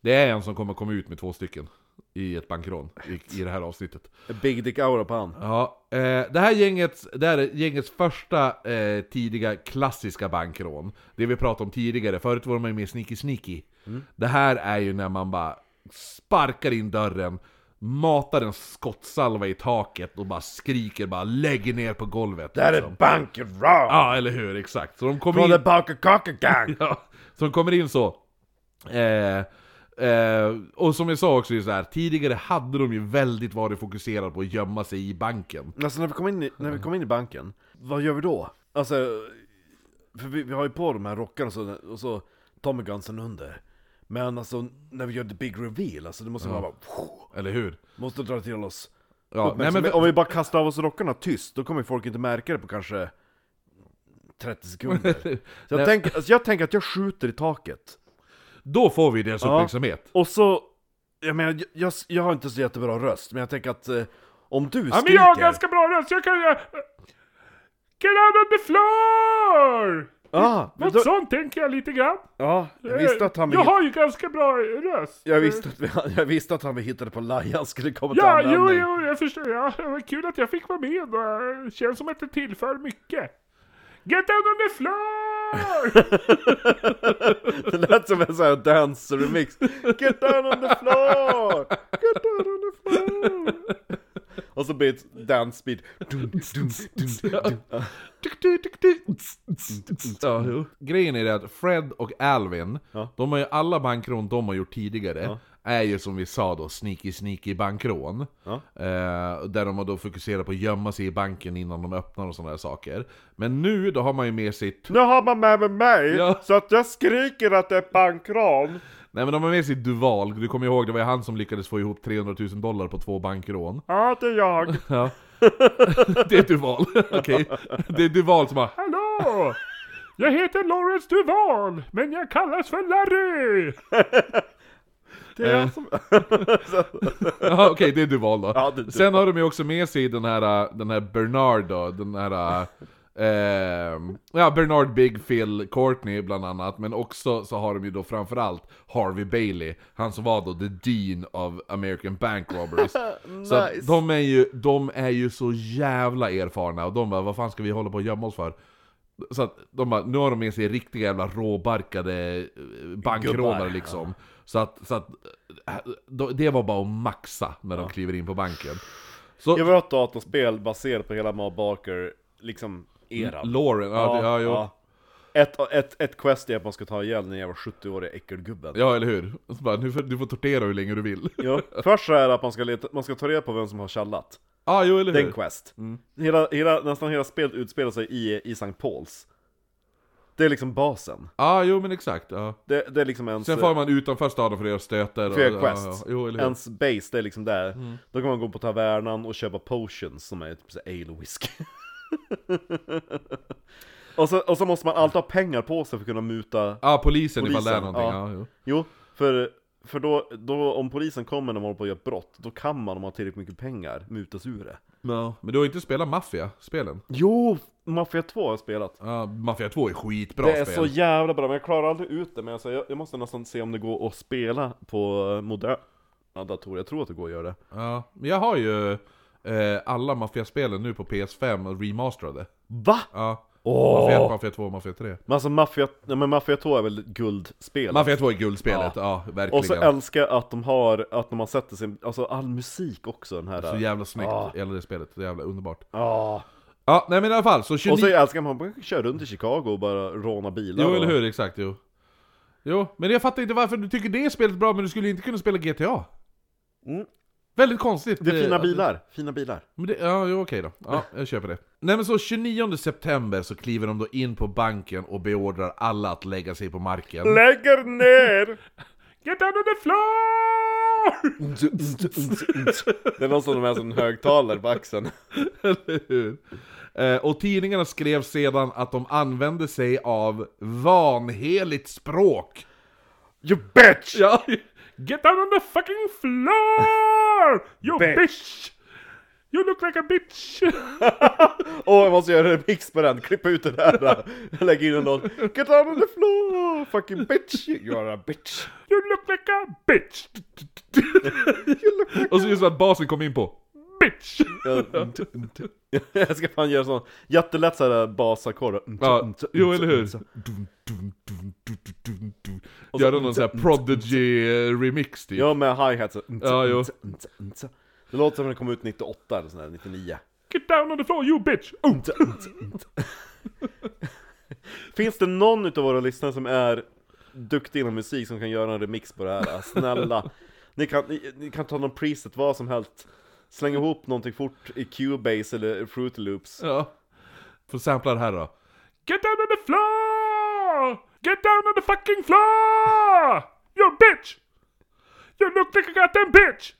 E: Det är en som kommer komma ut med två stycken i ett bankrån i, i det här avsnittet.
D: Big Dick Aura på han.
E: Ja, eh, det här gängets, det här är gängets första eh, tidiga klassiska bankrån. Det vi pratade om tidigare, förut var man ju mer sneaky sneaky.
C: Mm.
E: Det här är ju när man bara sparkar in dörren, matar en skottsalva i taket och bara skriker bara lägg ner på golvet.
C: Det här är
E: liksom.
C: banken
D: Ah,
E: Ja, eller hur, exakt. Så de kommer
C: Från
E: in...
C: the Bunker Cocker Gang!
E: Ja, så de kommer in så. Eh, eh, och som jag sa också, är det så här, tidigare hade de ju väldigt varit fokuserade på att gömma sig i banken.
D: Alltså när vi kom in i, när vi kom in i banken, vad gör vi då? Alltså, för vi, vi har ju på de här rockarna och så, och så Tommy Gunsen under. Men alltså när vi gör the big reveal, alltså det måste vara bara,
E: Eller hur?
D: måste dra till oss.
E: Ja, nej, men,
D: Uppmärksamhet. om vi bara kastar av oss rockarna tyst, då kommer folk inte märka det på kanske 30 sekunder. Så jag,
E: Nej.
D: tänker, alltså jag tänker att jag skjuter i taket.
E: då får vi deras
D: Ja.
E: uppmärksamhet.
D: Och så, jag menar, jag, jag, jag har inte så jättebra röst, men jag tänker att eh, om du skriker...
E: bra röst, jag kan... Granada de flor!
D: Ah, men då,
E: sånt tänker jag lite grann.
D: ja, jag visste att han... ville-
E: ju ganska bra röst.
D: Jag visste, att vi, jag visste att han vi hittade på Lajan skulle komma till användning.
E: jag förstår. Ja, det var kul att jag fick vara med och det känns som att det tillför mycket. Get out on the floor!
D: Det lät som en sån här dance-remix. Get down on the floor! Get down on the floor! Och så blir det ett dance-beat.
E: ja, jo. Grejen är det att Fred och Alvin,
D: Ja.
E: de har ju alla bankrån de har gjort tidigare, är ju som vi sa då sneaky sneaky bankrån.
D: Ja.
E: Eh, där de har då fokuserat på att gömma sig i banken innan de öppnar och sådana där saker. Men nu, då har man ju med sig
D: Nu har man med mig, mig
E: Ja.
D: så att jag skriker att det är bankran.
E: Nej men de har med sig Duval, du kommer ihåg det var ju han som lyckades få ihop 300 000 dollar på två bankrån.
D: Ja, det är jag.
E: Ja. Det är Duval, okej. Det är Duval som bara Hallå! Jag heter Lawrence Duval, men jag kallas för Larry!
D: Det är jag som...
E: Ja, okej, det är Duval då.
D: Ja, det är Duval.
E: Sen har de ju också med sig den här, den här Bernard då, den här... eh, ehm, ja, Bernard Big Phil Courtney bland annat, men också så har de ju då framförallt Harvey Bailey, han som var då the Dean of American Bank Robberies. Så att
D: Nice.
E: de är, ju, de är ju så jävla erfarna, och de bara 'Vad fan ska vi hålla på och gömma oss för?' Så att de bara, nu har de med sig riktiga jävla råbarkade eh, bankrånare
D: Gubbar,
E: liksom. Så att, så att eh, då- det var bara att maxa när de kliver in på banken. Så
D: Jag vill ha ett dataspel baserat på hela Ma Barker, liksom, eran.
E: Lauren, ja, det- ja, jo.
D: Ett, ett, ett quest är att man ska ta ihjäl den jävla 70-åriga äckelgubben.
E: Ja, eller hur? Och Så bara, nu får, du får tortera hur länge du vill. Ja,
D: Jo. Först så är det att man ska, leta, man ska ta reda på vem som har tjallat.
E: ah, jo, eller
D: Det är
E: hur?
D: en quest.
E: Mm.
D: Hela, hela, nästan hela spelet utspelar sig i, i St. Pauls. Det är liksom basen.
E: ah, jo, men exakt. Ja.
D: Det, det är liksom ens...
E: Sen far man utanför staden för att göra stöter. och-
D: För
E: ja,
D: quest.
E: ja, Jo, eller hur? Mm.
D: Ens base, det är liksom där. Då kan man gå på tavernan och köpa potions som är typ så här ale whisky. och, så, och så måste man alltid ha pengar på sig för att kunna muta
E: Ja, ah, polisen, ifall det är
D: Polisen,
E: någonting. Ja.
D: ja.
E: jo.
D: Jo, för, för då, då om polisen kommer när man håller på att göra ett brott, då kan man om man har tillräckligt mycket pengar mutas ur det.
E: Men du har inte spelat Mafia-spelen?
D: Jo! Mafia 2 har jag spelat.
E: Ja, Mafia 2 är skitbra
D: Det är
E: spel.
D: så jävla bra, men jag klarar aldrig ut det. Men alltså, jag, säger, jag, jag måste nästan se om det går att spela på eh, moderna datorer. Jag tror att det går att göra det.
E: Ja, men jag har ju eh, alla Mafia-spelen nu på PS5 och remasterade.
D: Va?
E: Ja.
D: Åh!
E: Mafia 1, Mafia 2, Mafia 3.
D: Men alltså Mafia, nej, men Mafia 2 är väl guldspel?
E: Mafia 2 är guldspelet, ja, verkligen.
D: Och så älskar jag att de har, att när man sätter sin, alltså all musik också den här...
E: Så
D: Så
E: jävla snyggt,
D: Ja.
E: hela det spelet. Så jävla underbart. Ja, nej men i alla fall, så 29...
D: Och så älskar man att man kan köra runt i Chicago och bara råna bilar
E: Jo,
D: och...
E: eller hur? Exakt, jo. Jo, men jag fattar inte varför du tycker det är spelet är bra, men du skulle inte kunna spela GTA.
D: Mm.
E: Väldigt konstigt.
D: Det är fina
E: eh,
D: bilar, fina bilar.
E: Men det, ja, jo, okej då. Ja, jag köper det. Nej men så 29 september så kliver de då in på banken och beordrar alla att lägga sig på marken.
D: Lägger ner!
E: Get down on the floor!
D: Det är någon som har med sig en högtalare på axeln.
E: Eller hur? Eh, och tidningarna skrev sedan att de använde sig av vanheligt språk.
D: You bitch!
E: Ja, get down on the fucking floor! You bitch! You look like a bitch!
D: Åh, jag måste göra en remix på den, klippa ut det där. Lägg in en låt. Get down on the floor, fucking bitch! You are a bitch!
E: You look like a bitch! och så just att basen kom in på bitch!
D: Jag ska fan göra sån jättelätt såhär basackord.
E: Ja, jo eller hur? Göra någon sån här Prodigy-remix typ.
D: Ja, med hi-hat så.
E: Ja, jo.
D: Det låter som att den kom ut 98 eller sån där, 99.
E: Get down on the floor you bitch! Oh.
D: Finns det någon utav våra lyssnare som är duktig inom musik som kan göra en remix på det här? Snälla! Ni kan, ni, ni kan ta någon preset, vad som helst. Släng ihop någonting fort i Cubase eller Fruity Loops.
E: Ja. Får sampla det här då. Get down on the floor! Get down on the fucking floor! You bitch! You look like a goddamn bitch!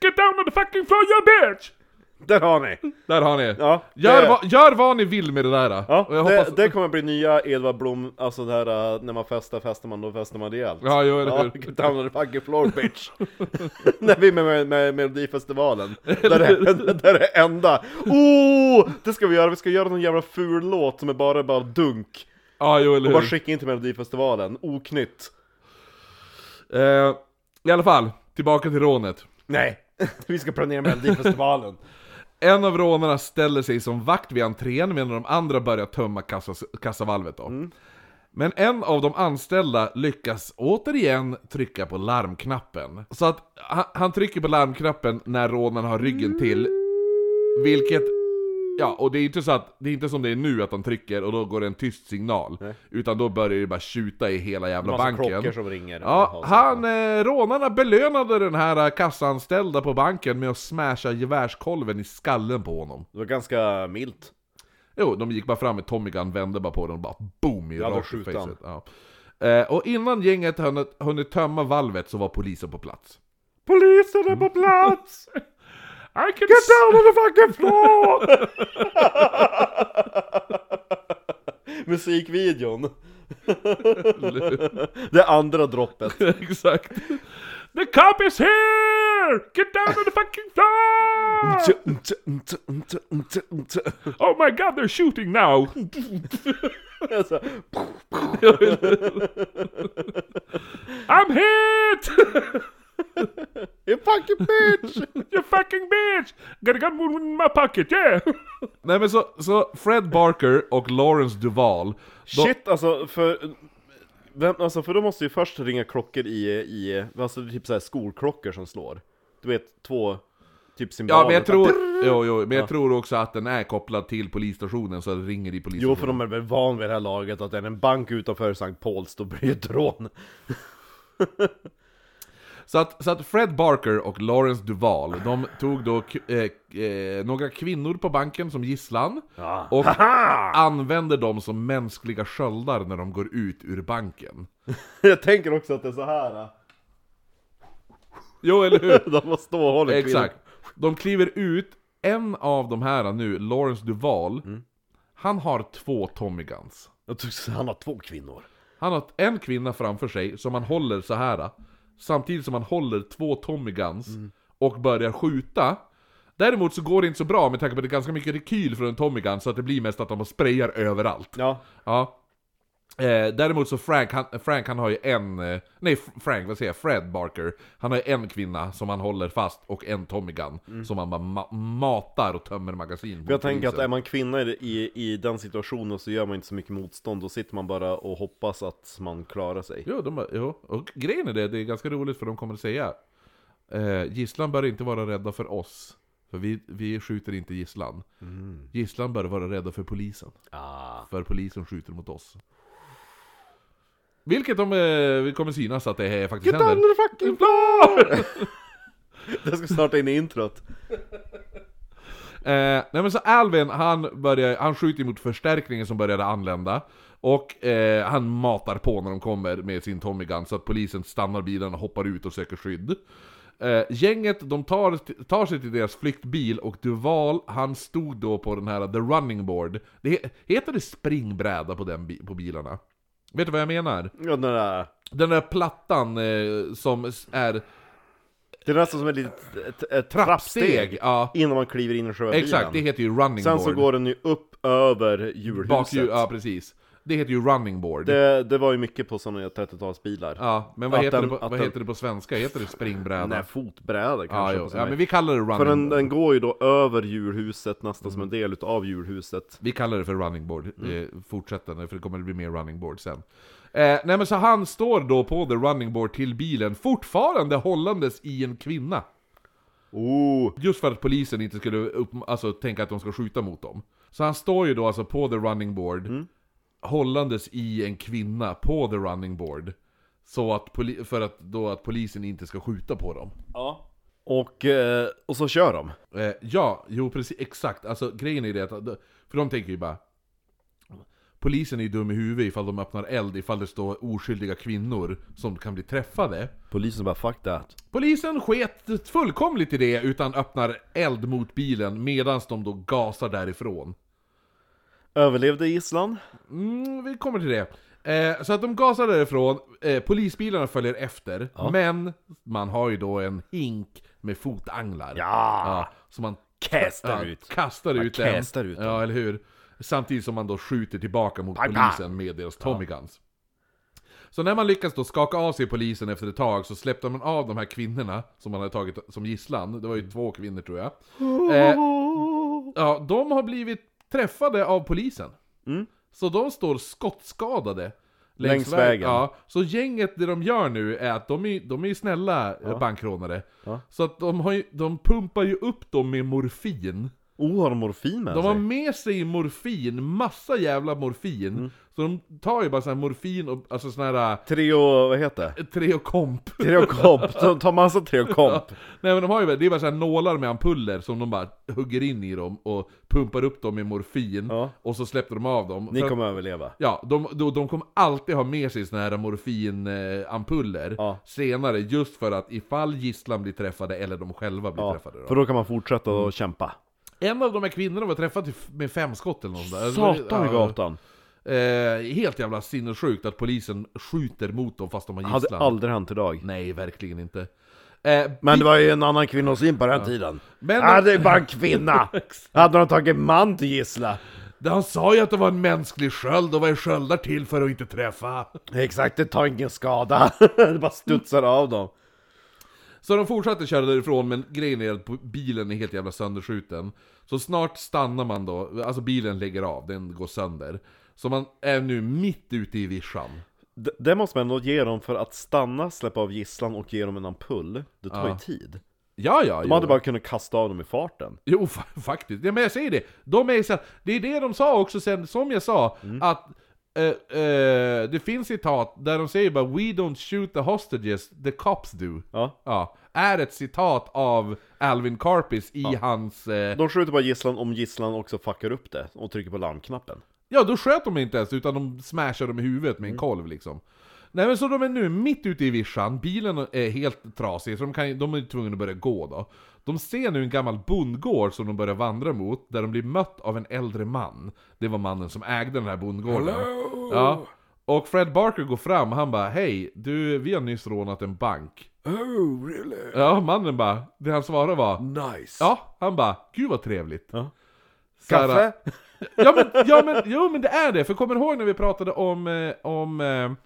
E: Get down on the fucking floor you bitch!
D: Där har ni!
E: Där har ni!
D: Ja,
E: Gör,
D: det-
E: vad, gör vad ni vill med det där! då.
D: Ja,
E: Och jag
D: det,
E: hoppas-
D: det kommer bli nya Edvard Blom, alltså det här eh, när man festar, festar man, då festar man rejält.
E: Ja, jo, eller
D: Ja,
E: hur?
D: get down on the fucking floor bitch! När vi är med, med, med Melodifestivalen, där är, där är enda. Oh! Det ska vi göra, vi ska göra någon jävla ful låt som är bara, bara dunk.
E: Ja, jo, eller
D: Och
E: hur?
D: bara skicka in till Melodifestivalen, oknytt.
E: Eh, I alla fall, tillbaka till rånet.
D: Nej, vi ska planera Melodifestivalen.
E: En av rånarna ställer sig som vakt vid entrén medan de andra börjar tömma kassas, kassavalvet då.
D: Mm.
E: Men en av de anställda lyckas återigen trycka på larmknappen. Så att han, han trycker på larmknappen när rånaren har ryggen till, vilket... Ja, och det är inte så att, det är inte som det är nu att han trycker och då går det en tyst signal. Utan då börjar det bara tjuta i hela jävla
D: Massa
E: banken.
D: klockor som ringer.
E: Ja, han, eh, rånarna belönade den här eh, kassaanställda på banken med att smasha gevärskolven i skallen på honom.
D: Det var ganska milt.
E: Jo, de gick bara fram med Tommy Gun, vände bara på den och bara boom i
D: Ja, då
E: rakt i
D: skjuter han.
E: facet. Ja. Eh, och innan gänget hunnit, hunnit tömma valvet så var polisen på plats.
D: Polisen är på plats!
E: I can
D: Get down on the fucking floor! Musikvideon. Det andra droppet.
E: Exakt. The cop is here! Get down on the fucking floor! Oh my god, they're shooting now!
D: Alltså,
E: I'm hit!
D: You fucking bitch!
E: You fucking bitch! Gotta gun moon in my pocket, yeah! Nej men så, så Fred Barker och Lawrence Duval, de,
D: Shit alltså, för... Vem, alltså för då måste ju först ringa klockor i, i alltså det är typ såhär skolklockor som slår. Du vet, två typ symboler.
E: Ja men jag tror, jo, jo, men jag tror också att den är kopplad till polisstationen så det ringer i polisstationen.
D: Jo för de är väl van vid det här laget att är det en bank utanför Sankt Pauls då blir det ett rån.
E: Så att, så att Fred Barker och Lawrence Duval, de tog då k- eh, eh, några kvinnor på banken som gisslan och använder dem som mänskliga sköldar när de går ut ur banken.
D: Jag tänker också att det är så här. äh,
E: Jo, eller hur?
D: De måste stå och hålla kvinnor.
E: Exakt. De kliver ut, en av de här nu, Lawrence Duval, han har två Tommy Guns.
D: Jag tror så han har två kvinnor.
E: Han har en kvinna framför sig som han håller så här Samtidigt som han håller två Tommy Guns
D: Mm.
E: och börjar skjuta Däremot så går det inte så bra med tanke på att det är ganska mycket rekyl från en Tommy Gun så att det blir mest att de sprayar överallt
D: Ja.
E: Ja. Eh, däremot så Frank, han, Frank han har ju en, eh, nej F- Frank, vad säger jag, Fred Barker Han har ju en kvinna som han håller fast och en Tommy Gun Som han bara ma- matar och tömmer magasin på
D: Mm. Jag tänker att
E: polisen.
D: är man kvinna i, i, i den situationen så gör man inte så mycket motstånd. Då sitter man bara och hoppas att man klarar sig.
E: Jo, de, har- jo, och grejen är det, det är ganska roligt för de kommer att säga eh, Gisslan bör inte vara rädda för oss, för vi, vi skjuter inte gisslan. Gisslan bör vara rädda för polisen, för polisen skjuter mot oss. Vilket de eh, kommer synas att det här faktiskt
D: Get
E: händer.
D: under the fucking floor! det ska snart in i introt.
E: Eh, nej men så Alvin, han, börjar, han skjuter mot förstärkningen som började anlända Och eh, han matar på när de kommer med sin Tommy Gun så att polisen stannar bilen och hoppar ut och söker skydd eh, Gänget, de tar, tar sig till deras flyktbil och Duval, han stod då på den här The Running Board det, he- Heter det springbräda på, den, bi- på bilarna? Vet du vad jag menar?
D: Ja, den där.
E: Den där plattan eh, som s- är
D: Det är nästan som ett litet ett,
E: trappsteg,
D: ett trappsteg
E: ja
D: innan man kliver in i själva
E: Exakt, det
D: bilen.
E: heter ju running
D: Sen
E: board
D: så går den ju upp över hjulhuset.
E: Bakhjul, ja precis. Det heter ju running board.
D: det, det var ju mycket på sådana 30-talsbilar.
E: Ja, men vad,
D: Att
E: heter,
D: den-
E: det på,
D: att
E: vad
D: den-
E: heter det på svenska? Heter det springbräda?
D: Nej, fotbrädor
E: ja,
D: kanske.
E: jo.
D: på såna
E: ja,
D: här.
E: men vi kallar det running
D: För den,
E: board.
D: den går ju då över djurhuset nästan
E: Mm.
D: som en del utav djurhuset.
E: Vi kallar det för running board.
D: Mm.
E: Eh, fortsätt den, för det kommer att bli mer running board sen. Eh, nej men så han står då på the running board till bilen, fortfarande hållandes i en kvinna.
D: Oh,
E: Just för att polisen inte skulle upp, alltså, tänka att de ska skjuta mot dem. Så han står ju då alltså på the running board, hållandes i en kvinna på the running board. Så att poli- för att, då att polisen inte ska skjuta på dem.
D: ja. Och, eh, och så kör de.
E: Eh, ja, jo precis, exakt. Alltså grejen är det att, för de tänker ju bara Polisen är ju dum i huvudet ifall de öppnar eld, ifall det står oskyldiga kvinnor som kan bli träffade.
D: Polisen bara 'fuck that'
E: Polisen sket fullkomligt i det utan öppnar eld mot bilen medan de då gasar därifrån.
D: Överlevde gisslan?
E: Mm, vi kommer till det. Eh, så att de gasar därifrån, eh, polisbilarna följer efter, men man har ju då en hink med fotanglar.
D: Ja!
E: Ja, så man
D: Kastar
E: ja,
D: ut.
E: Kastar
D: Man
E: ut den.
D: kastar ut den.
E: Ja, eller hur? Samtidigt som man då skjuter tillbaka mot
D: Bang, bang.
E: polisen med deras Tommy Guns. Så när man lyckas då skaka av sig polisen efter ett tag så släppte man av de här kvinnorna som man hade tagit som gisslan. Det var ju två kvinnor tror jag.
D: Oh!
E: Eh, ja, de har blivit träffade av polisen. Så de står skottskadade.
D: Mm. Längs vägen.
E: Ja, så gänget, det de gör nu är att de är, de är ju snälla eh, bankrånare. Så att de, har ju, de pumpar ju upp dem med morfin.
D: Oh, har de morfin med
E: De
D: sig?
E: har med sig morfin, massa jävla morfin.
D: Mm.
E: Så de tar ju bara sån här morfin och alltså sån här
D: Treo, vad heter det?
E: eh, Treokomp.
D: Treokomp, de tar massa treokomp.
E: Nej men de har ju, bara- det är bara så här nålar med ampuller som de bara hugger in i dem och pumpar upp dem med morfin.
D: Ja.
E: Och så släpper de av dem.
D: Ni
E: För-
D: kommer överleva.
E: Ja, de, de, de kommer alltid ha med sig såna här morfinampuller
D: Ja.
E: senare, just för att ifall gisslan blir träffade eller de själva blir
D: Ja,
E: träffade. Mm. Då.
D: för då kan man fortsätta och kämpa.
E: En av de här kvinnorna var träffad till- med fem skott eller något där.
D: Satan i
E: Ja,
D: gatan!
E: Eh, helt jävla sinnessjukt att polisen skjuter mot dem fast de har
D: Hade
E: gisslan.
D: aldrig hänt idag.
E: Nej, verkligen inte. Eh,
D: Men det var ju en annan kvinnosyn på den tiden.
E: Men-
D: ja, det är bara en kvinna! Hade de tagit man till gissla?
E: han sa ju att det var en mänsklig sköld, och vad är sköldar till för att inte träffa?
D: Exakt, det tar ingen skada. det bara studsar av dem.
E: Så de fortsatte köra därifrån, men grejen är att bilen är helt jävla sönderskjuten. Så snart stannar man då, alltså bilen lägger av, den går sönder. Så man är nu mitt ute i vischan.
D: D- det måste man ändå ge dem för att stanna, släppa av gisslan och ge dem en ampull. Det tar ju tid.
E: Ja, ja,
D: De hade bara kunnat kasta av dem i farten.
E: Jo, fa- faktiskt. Ja, men jag säger det. De är så här, det är det de sa också sen, som jag sa, att eh, eh, det finns citat där de säger bara We don't shoot the hostages, the cops do.
D: Ja.
E: Ja. Är ett citat av Alvin Karpis i hans... Eh,
D: De skjuter bara gisslan om gisslan också fuckar upp det och trycker på larmknappen.
E: ja, då sköt de inte ens, utan de smashade dem i huvudet
B: Mm.
E: med en kolv liksom. Nej men så de är nu mitt ute i vischan, bilen är helt trasig, så de, kan, de är tvungna att börja gå då. De ser nu en gammal bondgård som de börjar vandra mot, där de blir mött av en äldre man. Det var mannen som ägde den här bondgården. Ja. Och Fred Barker går fram, han bara Hej, du, vi har nyss rånat en bank.
B: Oh, really?
E: Ja, mannen bara, det han svarade var
B: Nice.
E: Ja, han bara, gud vad trevligt.
D: Ja.
E: Så här, Ja men, ja men, jo men det är det, för kommer du ihåg när vi pratade om, eh, om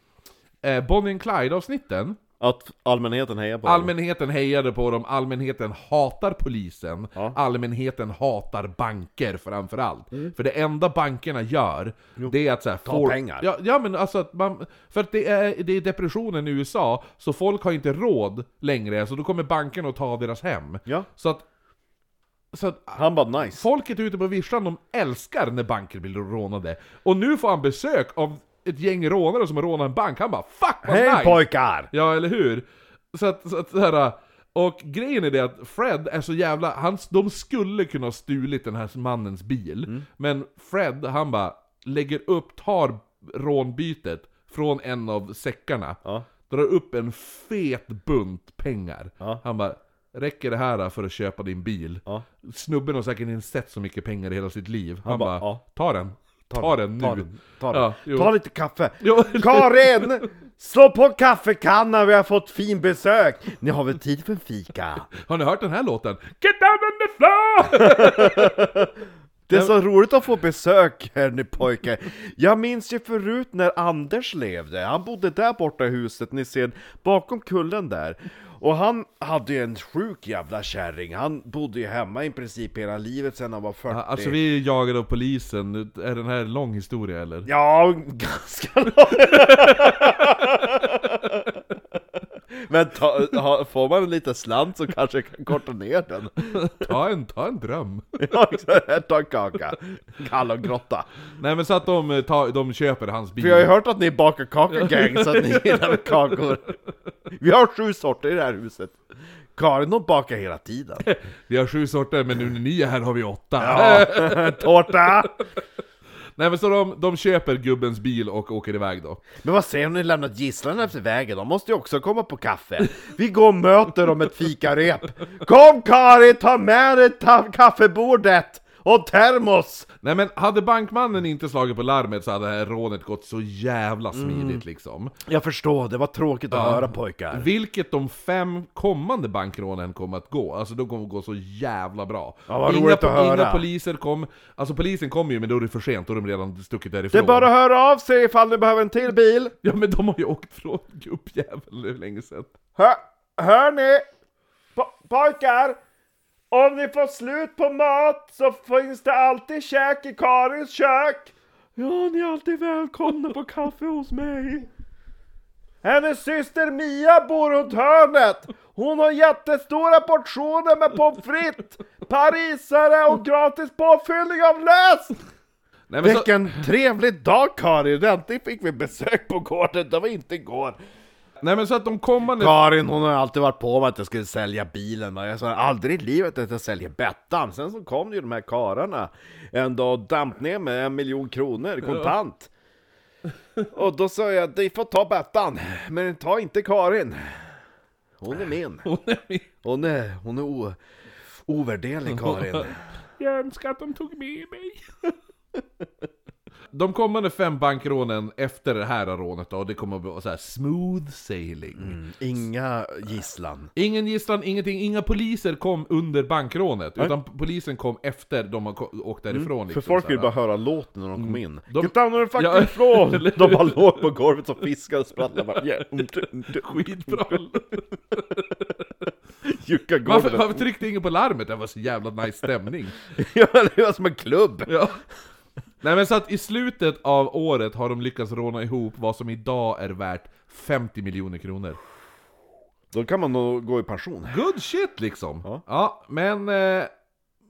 E: eh, eh, Bonnie and Clyde avsnitten?
D: Att allmänheten hejar på dem.
E: Allmänheten hejade på dem, allmänheten hatar polisen,
D: Ja. Mm.
E: allmänheten hatar banker framförallt. För det enda bankerna gör, det är att så här, Ta
D: pengar.
E: Ja, ja men alltså att man, för att det är, det är depressionen i USA, så folk har inte råd längre, så då kommer bankerna och tar deras hem.
D: Ja.
E: Så att, så att
D: Ah, Han bara nice.
E: Folket ute på vischan, de älskar när banker blir rånade. Och nu får han besök av ett gäng rånare som har rånat en bank. Han bara 'Fuck vad
D: Hej
E: nice!'
D: pojkar!
E: Ja, eller hur? Så att, så att så här, och grejen är det att Fred är så jävla... Han, de skulle kunna ha stulit den här mannens bil.
D: Mm.
E: Men Fred, han bara lägger upp, tar rånbytet från en av säckarna.
D: Ja.
E: Drar upp en fet bunt pengar.
D: Ja.
E: Han bara Räcker det här för att köpa din bil?
D: Ja.
E: Snubben har säkert inte sett så mycket pengar i hela sitt liv. Han,
D: bara,
E: bara,
D: ja.
E: ta den. Ta, den nu.
D: Ta den, ta, den.
E: Ja, jo.
D: ta lite kaffe.
E: Jo.
D: Karin! Slå på kaffekannan, vi har fått fin besök! Ni har väl tid för en fika?
E: Har ni hört den här låten? Get down on the floor!
D: Det är så roligt att få besök här ni pojkar. Jag minns ju förut när Anders levde, han bodde där borta i huset, ni ser bakom kullen där. Och han hade ju en sjuk jävla kärring, han bodde ju hemma i princip hela livet sen han var 40.
E: Ja, Alltså vi är jagade av polisen, är den här lång historia eller?
D: Ja, ganska långt. Men ta, ha, får man en liten slant så kanske jag kan korta ner den.
E: Ta en, ta en dröm!
D: Ja, exakt. Här, ta en kaka. Hallongrotta.
E: Nej men så att de, eh, tar, de köper hans bil.
D: För jag har ju hört att ni bakar kakor gang, så att ni gillar kakor. Vi har sju sorter i det här huset. Karin hon bakar hela tiden.
E: Vi har sju sorter, men nu när ni är här har vi åtta.
D: Ja, tårta!
E: Nej men så de, de köper gubbens bil och åker iväg då.
D: Men vad säger om ni lämnat gisslan efter vägen? De måste ju också komma på kaffe. Vi går och möter dem ett fikarep. Kom Karin, ta med dig ta- kaffebordet! Och termos!
E: Nej men hade bankmannen inte slagit på larmet så hade det här rånet gått så jävla smidigt
D: Mm.
E: liksom.
D: Jag förstår, det var tråkigt att höra pojkar.
E: Vilket de fem kommande bankrånen kommer att gå, alltså de kommer att gå så jävla bra.
D: Ja, vad
E: inga,
D: roligt att höra.
E: inga poliser kom, alltså polisen kommer ju men då är det för sent, då har de redan stuckit
D: Det
E: därifrån.
D: är bara att höra av sig ifall ni behöver en till bil.
E: Ja men de har ju åkt från gubbjäveln nu länge sedan.
D: Hör, hör ni? Po- pojkar! Om ni får slut på mat så finns det alltid käk i Karins kök! Ja, ni är alltid välkomna på kaffe hos mig! Hennes syster Mia bor runt hörnet! Hon har jättestora portioner med pommes frites, parisare och gratis påfyllning av läsk!
E: Nej, men så,
D: Vilken trevlig dag Karin! Äntligen fick vi besök på gården, det var inte igår!
E: nej men så att de kommande...
D: Karin hon har alltid varit på mig att jag skulle sälja bilen, men jag sa aldrig i livet att jag säljer Bettan. Sen så kom ju de här kararna en dag och damp ner med en miljon kronor kontant. Och då sa jag, ni får ta Bettan, men ta inte Karin. Hon är min.
E: Hon är min.
D: Hon är, hon är o, ovärderlig Karin.
E: Jag önskar att de tog med mig. De kommande fem bankrånen efter det här rånet då, det kommer att bli så här smooth sailing.
D: Inga gisslan.
E: Ingen gisslan, ingenting, inga poliser kom under bankrånet, utan polisen kom efter de har ko- åkt därifrån.
D: Mm. För
E: liksom, så
D: folk
E: här.
D: vill bara höra låten när de kom in.
E: Mm. De-
D: Get down on the fucking
E: Ja.
D: floor! De bara låg på golvet och fiskade och sprattlade. Bara, yeah.
E: Skitbra!
D: mjuka
E: Varför,
D: golvet.
E: varför tryckte ingen på larmet? Det var så jävla nice stämning.
D: Ja, det var som en klubb.
E: Ja. Nej men så att i slutet av året har de lyckats råna ihop vad som idag är värt 50 miljoner kronor.
D: Då kan man nog gå i pension.
E: Good shit liksom! Ja,
D: Ja.
E: men eh,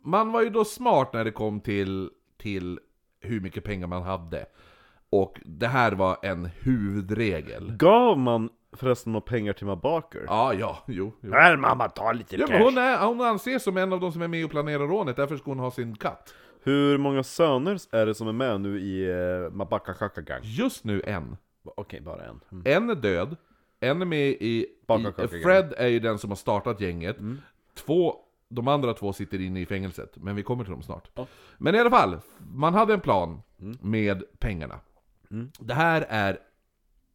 E: man var ju då smart när det kom till, till hur mycket pengar man hade. Och det här var en huvudregel.
D: Gav man förresten några pengar till Mabaker?
E: Ja, ja, jo. jo.
F: Här mamma, ta lite
E: Ja,
F: cash.
E: men hon, är, hon anses som en av de som är med och planerar rånet, därför ska hon ha sin katt.
D: Hur många söner är det som är med nu i eh, Mabaka Kaka Gang?
E: Just nu en.
D: Okej, bara en. Mm.
E: En är död, en är med i...
D: Baka
E: i
D: kaka igen.
E: Fred är ju den som har startat gänget. Två, de andra två sitter inne i fängelset, men vi kommer till dem snart. Men i alla fall, man hade en plan med pengarna. Det här är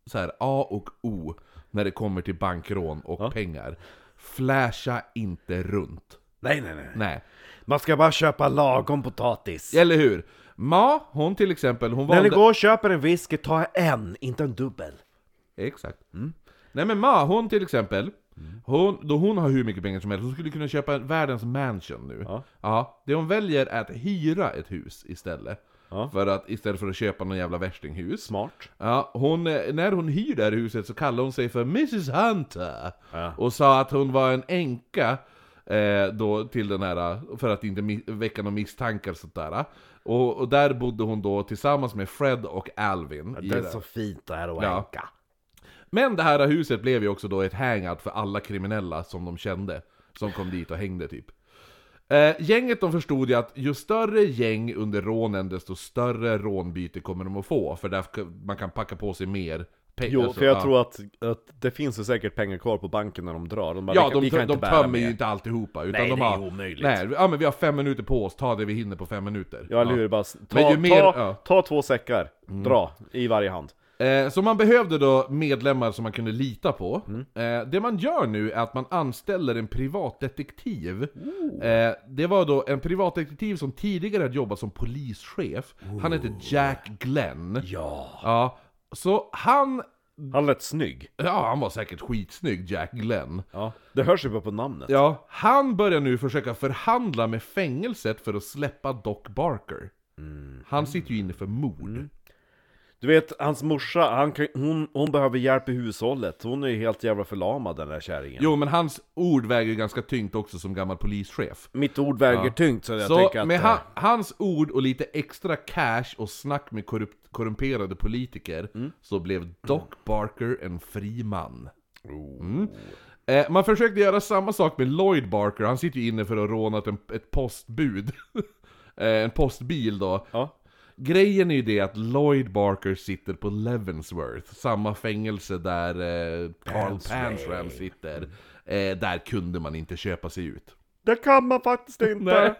E: så här, A och O när det kommer till bankrån och pengar. Flasha inte runt.
F: Nej, nej, nej.
E: Nej.
F: Man ska bara köpa lagom potatis.
E: Eller hur? Ma, hon till exempel, hon
F: När
E: valde...
F: ni går och köper en whisky, ta en, inte en dubbel.
E: Exakt. Mm. Nej men Ma, hon till exempel, hon, då hon har hur mycket pengar som helst, hon skulle kunna köpa världens mansion nu. Ja. det hon väljer är att hyra ett hus istället.
D: Ja.
E: För att, istället för att köpa någon jävla värstinghus.
D: Smart.
E: Ja, hon, eh, när hon hyr det här huset så kallar hon sig för Mrs Hunter. Och sa att hon var en änka eh, då till den här, för att inte mi- väcka några misstankar och sånt där. Och, och där bodde hon då tillsammans med Fred och Alvin. i
F: Det är
E: det.
F: så fint det här att
E: Ja.
F: änka.
E: Men det här huset blev ju också då ett hangout för alla kriminella som de kände, som kom dit och hängde typ. Eh, gänget de förstod ju att ju större gäng under rånen, desto större rånbyte kommer de att få, för där k- man kan packa på sig mer pengar.
D: Jo,
E: Så,
D: för jag
E: Alltså, ja.
D: tror att, att det finns ju säkert pengar kvar på banken när de drar. De bara,
E: Ja,
D: vi kan,
E: de,
D: vi kan
E: de,
D: inte
E: de
D: bära
E: tömmer ju
D: mer.
E: inte alltihopa, utan
F: Nej,
E: de
F: det är
E: har...
F: omöjligt.
E: Nej, ja men vi har fem minuter på oss, ta det vi hinner på fem minuter.
D: Ja, eller hur? Bara, s- ta,
E: Men ju mer-
D: ta,
E: ja. Mm.
D: ta två säckar, dra, i varje hand.
E: Eh, Så man behövde då medlemmar som man kunde lita på. Eh, Det man gör nu är att man anställer en privatdetektiv. Eh, Det var då en privatdetektiv som tidigare hade jobbat som polischef. Han hette Jack Glenn.
F: Ja.
E: Ja, så han...
D: Han lät snygg.
E: Ja, han var säkert skitsnygg, Jack Glenn.
D: Ja. Det hörs ju bara på namnet.
E: Ja, han börjar nu försöka förhandla med fängelset för att släppa Doc Barker. Han sitter ju inne för mord.
D: Du vet, hans morsa, han kan, hon, hon behöver hjälp i hushållet. Hon är ju helt jävla förlamad den där kärringen.
E: Jo, men hans ord väger ju ganska tyngt också som gammal polischef.
D: Mitt ord väger tyngt så jag
E: Så
D: tänker att...
E: med
D: eh,
E: ha, hans ord och lite extra cash och snack med korrupt, korrumperade politiker
D: Mm.
E: så blev Doc Barker en fri man.
D: Oh.
E: Mm. Eh, man försökte göra samma sak med Lloyd Barker, han sitter ju inne för att ha rånat en, ett postbud. eh, en postbil då.
D: Ja.
E: Grejen är ju det att Lloyd Barker sitter på Levensworth, samma fängelse där eh, Carl Pansram sitter. Eh, där kunde man inte köpa sig ut.
D: Det kan man faktiskt inte!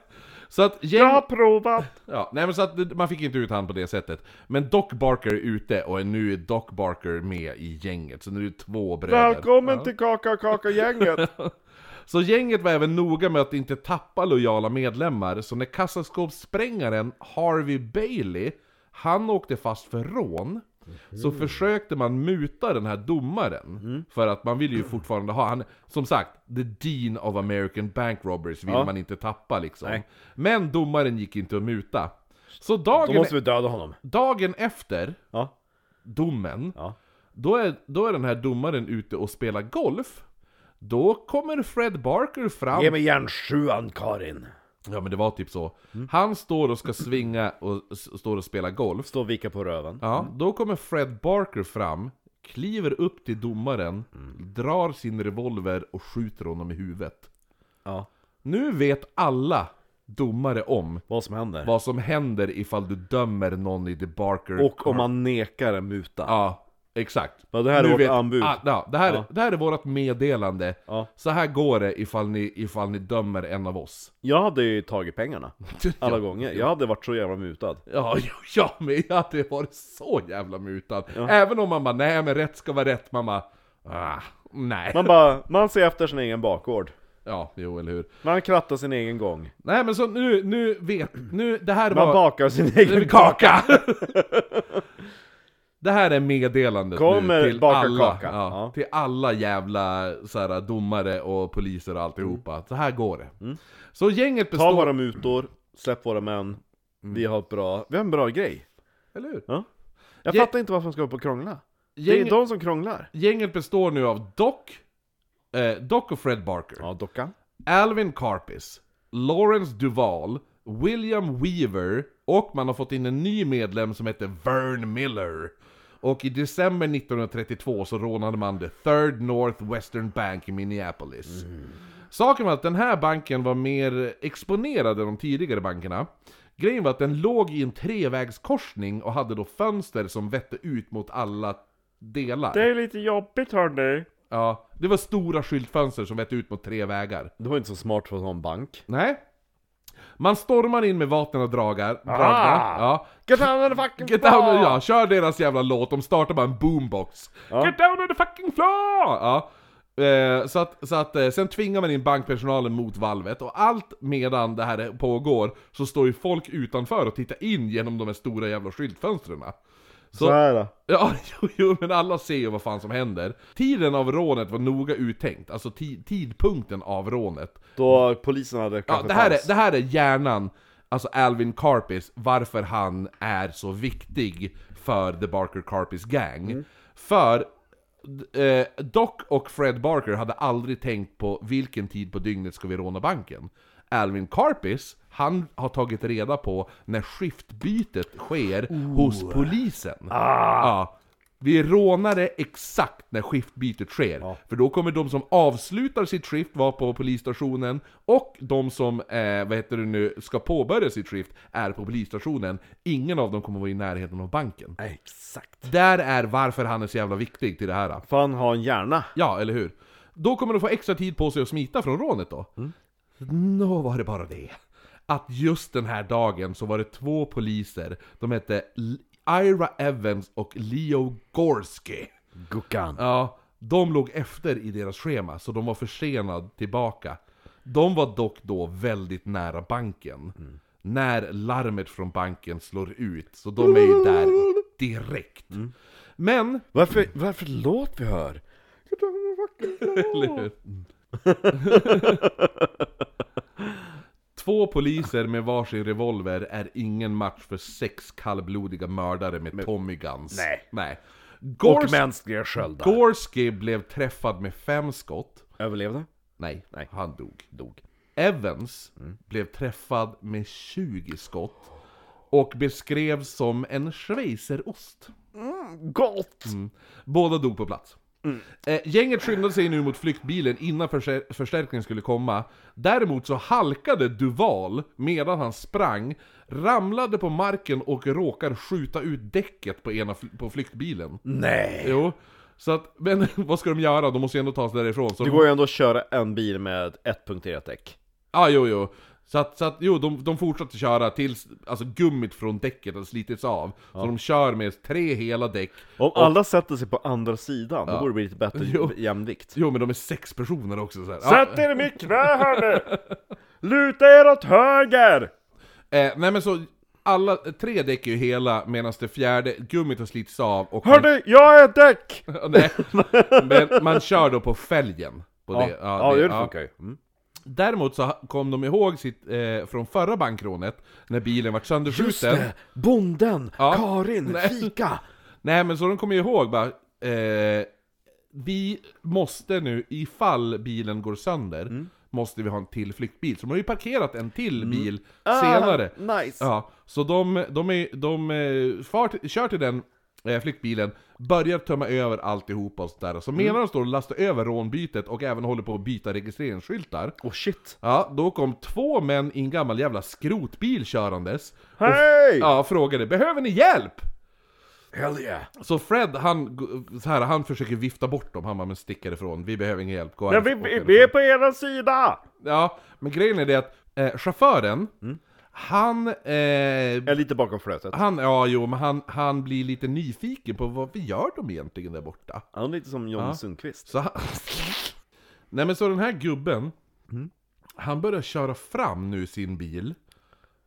E: Så att gäng...
D: Jag har provat!
E: Ja, nej men så att det- man fick inte ut han på det sättet. Men Doc Barker är ute och är nu är Doc Barker med i gänget, så nu är det två bröder.
D: Välkommen till Kaka Kaka gänget!
E: Så gänget var även noga med att inte tappa lojala medlemmar, så när kassaskåpssprängaren Harvey Bailey, han åkte fast för rån, så
D: Mhm.
E: försökte man muta den här domaren.
D: Mm.
E: För att man vill ju fortfarande ha, han, som sagt, the dean of American bank robbers vill man inte tappa liksom. Men domaren gick inte att muta. Så
D: Då
E: dagen,
D: måste vi döda honom.
E: dagen efter
D: Ja.
E: domen,
D: Ja.
E: då, är, då är den här domaren ute och spelar golf. Då kommer Fred Barker fram.
F: Ge mig järnsjuan, Karin.
E: Ja men det var typ så.
D: Mm.
E: Han står och ska svinga och s- står och spelar golf.
D: Stå och vika på röven.
E: Ja, då kommer Fred Barker fram, kliver upp till domaren,
D: Mm.
E: drar sin revolver och skjuter honom i huvudet.
D: Ja.
E: Nu vet alla domare om
D: Vad som händer.
E: vad som händer ifall du dömer någon i The Barker
D: Och om man nekar en muta.
E: Ja, exakt.
D: Ja, det här är
E: Nu
D: vårt anbud.
E: Ah, ja, det, här,
D: Ja.
E: det här är vårt meddelande.
D: Ja.
E: Så här går det ifall ni, ifall ni dömer en av oss.
D: Jag hade ju tagit pengarna. Alla
E: ja,
D: gånger. Jag hade varit så jävla mutad.
E: ja, ja, men jag hade varit så jävla mutad. Även om man bara, nej men rätt ska vara rätt, man bara, ah, nej.
D: Man bara, man ser efter sin egen bakgård.
E: Ja, jo eller hur.
D: Man krattar sin egen gång.
E: Nej men så nu, nu vet, nu, det här
D: Man
E: var...
D: bakar sin egen
E: kaka! Det här är meddelandet
D: Kommer
E: nu till alla,
D: bakarkaka.
E: ja,
D: Ja.
E: till alla jävla så här, domare och poliser och alltihopa. Så här går det. Så gänget
D: Mm. Ta
E: består...
D: våra mutor, släpp våra män. Vi har ett bra, vi har en bra grej.
E: Eller hur?
D: Ja. Jag
E: Ge-
D: fattar inte varför de ska upp och krångla. Det är
E: Gänget,
D: de som krånglar.
E: gänget består nu av Doc, eh, Doc och Fred Barker.
D: Ja, dockan.
E: Alvin Karpis, Lawrence Duval, William Weaver och man har fått in en ny medlem som heter Vern Miller. Och i december 1932 så rånade man The Third North Western Bank i Minneapolis. Saken var att den här banken var mer exponerad än de tidigare bankerna. Grejen var att den låg i en trevägskorsning och hade då fönster som vette ut mot alla delar.
G: Det är lite jobbigt hörni.
E: Ja, det var stora skyltfönster som vette ut mot tre vägar.
D: Det var inte så smart för en sån bank.
E: Nej. Man stormar in med vapen och dragar, dragna. Ja.
D: Get down on the fucking
E: Get down och ja, kör deras jävla låt, de startar bara en boombox.
D: Ja.
E: Get down on the fucking floor! Ja. Eh, så att, så att eh, sen tvingar man in bankpersonalen mot valvet och allt medan det här pågår så står ju folk utanför och tittar in genom de här stora jävla skyltfönstren.
D: Så här då.
E: Ja, jo, jo, men alla ser ju vad fan som händer. Tiden av rånet var noga uttänkt, alltså ti- tidpunkten av rånet.
D: Då polisen hade
E: Ja,
D: kanske
E: det, här är,
D: chans.
E: det här är hjärnan, alltså Alvin Karpis, varför han är så viktig för The Barker Karpis Gang. För d- eh, Doc och Fred Barker hade aldrig tänkt på vilken tid på dygnet ska vi råna banken. Alvin Karpis, han har tagit reda på när skiftbytet sker hos polisen. Ja. Vi rånar det exakt när skiftbytet sker. För då kommer de som avslutar sitt skift vara på polisstationen och de som, eh, vad heter det nu, ska påbörja sitt skift är på polisstationen. Ingen av dem kommer vara i närheten av banken.
D: Nej, Exakt.
E: Där är varför han är så jävla viktig till det här.
D: Fan ha en hjärna.
E: Ja, eller hur? Då kommer de få extra tid på sig att smita från rånet då. Nå var det bara det. Att just den här dagen så var det två poliser, de hette L- Ira Evans och Leo Gorski.
F: Guckan.
E: Ja, de låg efter i deras schema, så de var försenad tillbaka. De var dock då väldigt nära banken. När larmet från banken slår ut, så de är ju där direkt. Men
D: Varför, varför låt vi hör? Get down on the fucking
E: Eller hur? Två poliser med varsin revolver är ingen match för sex kallblodiga mördare med Tommy Guns.
F: Nej.
E: Nej.
F: Och
E: Gors-
F: mänskliga sköldar.
E: Gorski blev träffad med fem skott.
D: Överlevde?
E: Nej, Mm. han dog. dog. Evans blev träffad med 20 skott och beskrevs som en schweizerost.
D: Gott!
E: Båda dog på plats. Eh, gänget skyndade sig nu mot flyktbilen innan förse- förstärkningen skulle komma. Däremot så halkade Duval medan han sprang, ramlade på marken och råkade skjuta ut däcket på, ena fl- på flyktbilen.
F: Nej.
E: Jo, så att, men vad ska de göra? De måste ju ändå ta sig därifrån. Så
D: Det går ju ändå att köra en bil med ett punkterat däck.
E: Ja, Ah, jo, jo. Så att, så att jo, de, de fortsatte köra tills alltså, gummit från däcket hade slitits av. Så de kör med tre hela däck.
D: Om alla sätter sig på andra sidan, då borde det bli lite bättre
E: Jo.
D: jämvikt.
E: Jo, men de är sex personer också. Så här. Ja.
G: Sätt er i mitt knä hörni. Luta er åt höger.
E: Eh, nej men så, alla tre däck är ju hela medan det fjärde, gummit har slitits av och...
G: Hörni, jag är däck.
E: nej, men man kör då på fälgen. På
D: Ja,
E: det.
D: ja, det funkar ju. Mm.
E: Däremot så kom de ihåg sitt, eh, från förra bankrånet, när bilen vart
F: Just
E: sönderskjuten.
F: det! Bonden!
E: Ja.
F: Karin!
E: Nej.
F: Fika!
E: Nej men så de kommer ju ihåg bara, eh, vi måste nu, ifall bilen går sönder, måste vi ha en till flyktbil. Så de har ju parkerat en till bil senare.
D: Ah, nice!
E: Ja, så de, de, är, de eh, far, till- kör till den eh, flyktbilen, börjar tömma över alltihopa och sådär. Så medan de står och lastar över rånbytet och även håller på att byta registreringsskyltar,
D: Oh shit!
E: ja, då kom två män i en gammal jävla skrotbil körandes. Och,
D: Hej!
E: ja, frågade 'Behöver ni hjälp?'
F: Hell yeah!
E: Så Fred, han, g- så här, han försöker vifta bort dem, han bara 'Men stick ifrån, vi behöver ingen hjälp, gå
G: Ja, vi,
E: härifrån."
G: vi, vi är på er sida.
E: Ja, men grejen är det att eh, chauffören,
G: Mm.
E: han... Eh,
D: Jag är lite bakom flötet.
E: Han, ja jo, men han, han blir lite nyfiken på vad vi gör de egentligen där borta.
D: Han är lite som John Sundqvist.
E: Så han... Nej men så den här gubben,
G: Mm.
E: han börjar köra fram nu sin bil,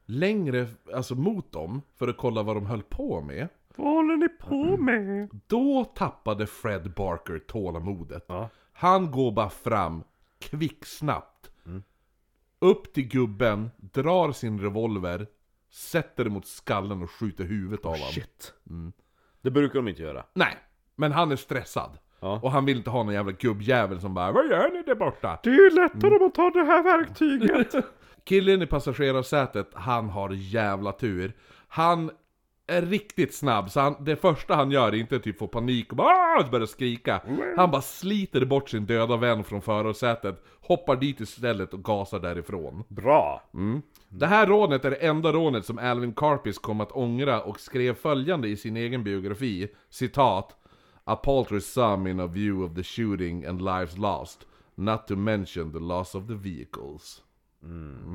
E: längre, alltså mot dem, för att kolla vad de höll på med.
G: Vad håller ni på med?
E: Då tappade Fred Barker tålamodet. Han går bara fram, kvicksnabbt. Upp till gubben, drar sin revolver, sätter den mot skallen och skjuter huvudet av honom.
D: Oh, Shit. Mm. Det brukar de inte göra.
E: Nej, men han är stressad.
D: Ja.
E: Och han vill inte ha någon jävla gubbjävel som bara 'Vad gör ni där borta?'
G: Det är ju lättare om man tar det här verktyget.
E: Killen i passagerarsätet, han har jävla tur. Han är riktigt snabb, så han, det första han gör är inte typ få panik och bara "Ah!" börja skrika. Han bara sliter bort sin döda vän från förarsätet, hoppar dit istället och gasar därifrån.
G: Bra.
E: Det här rånet är det enda rånet som Alvin Karpis kom att ångra och skrev följande i sin egen biografi, citat A paltry sum in a view of the shooting and lives lost, not to mention the loss of the vehicles. Mm.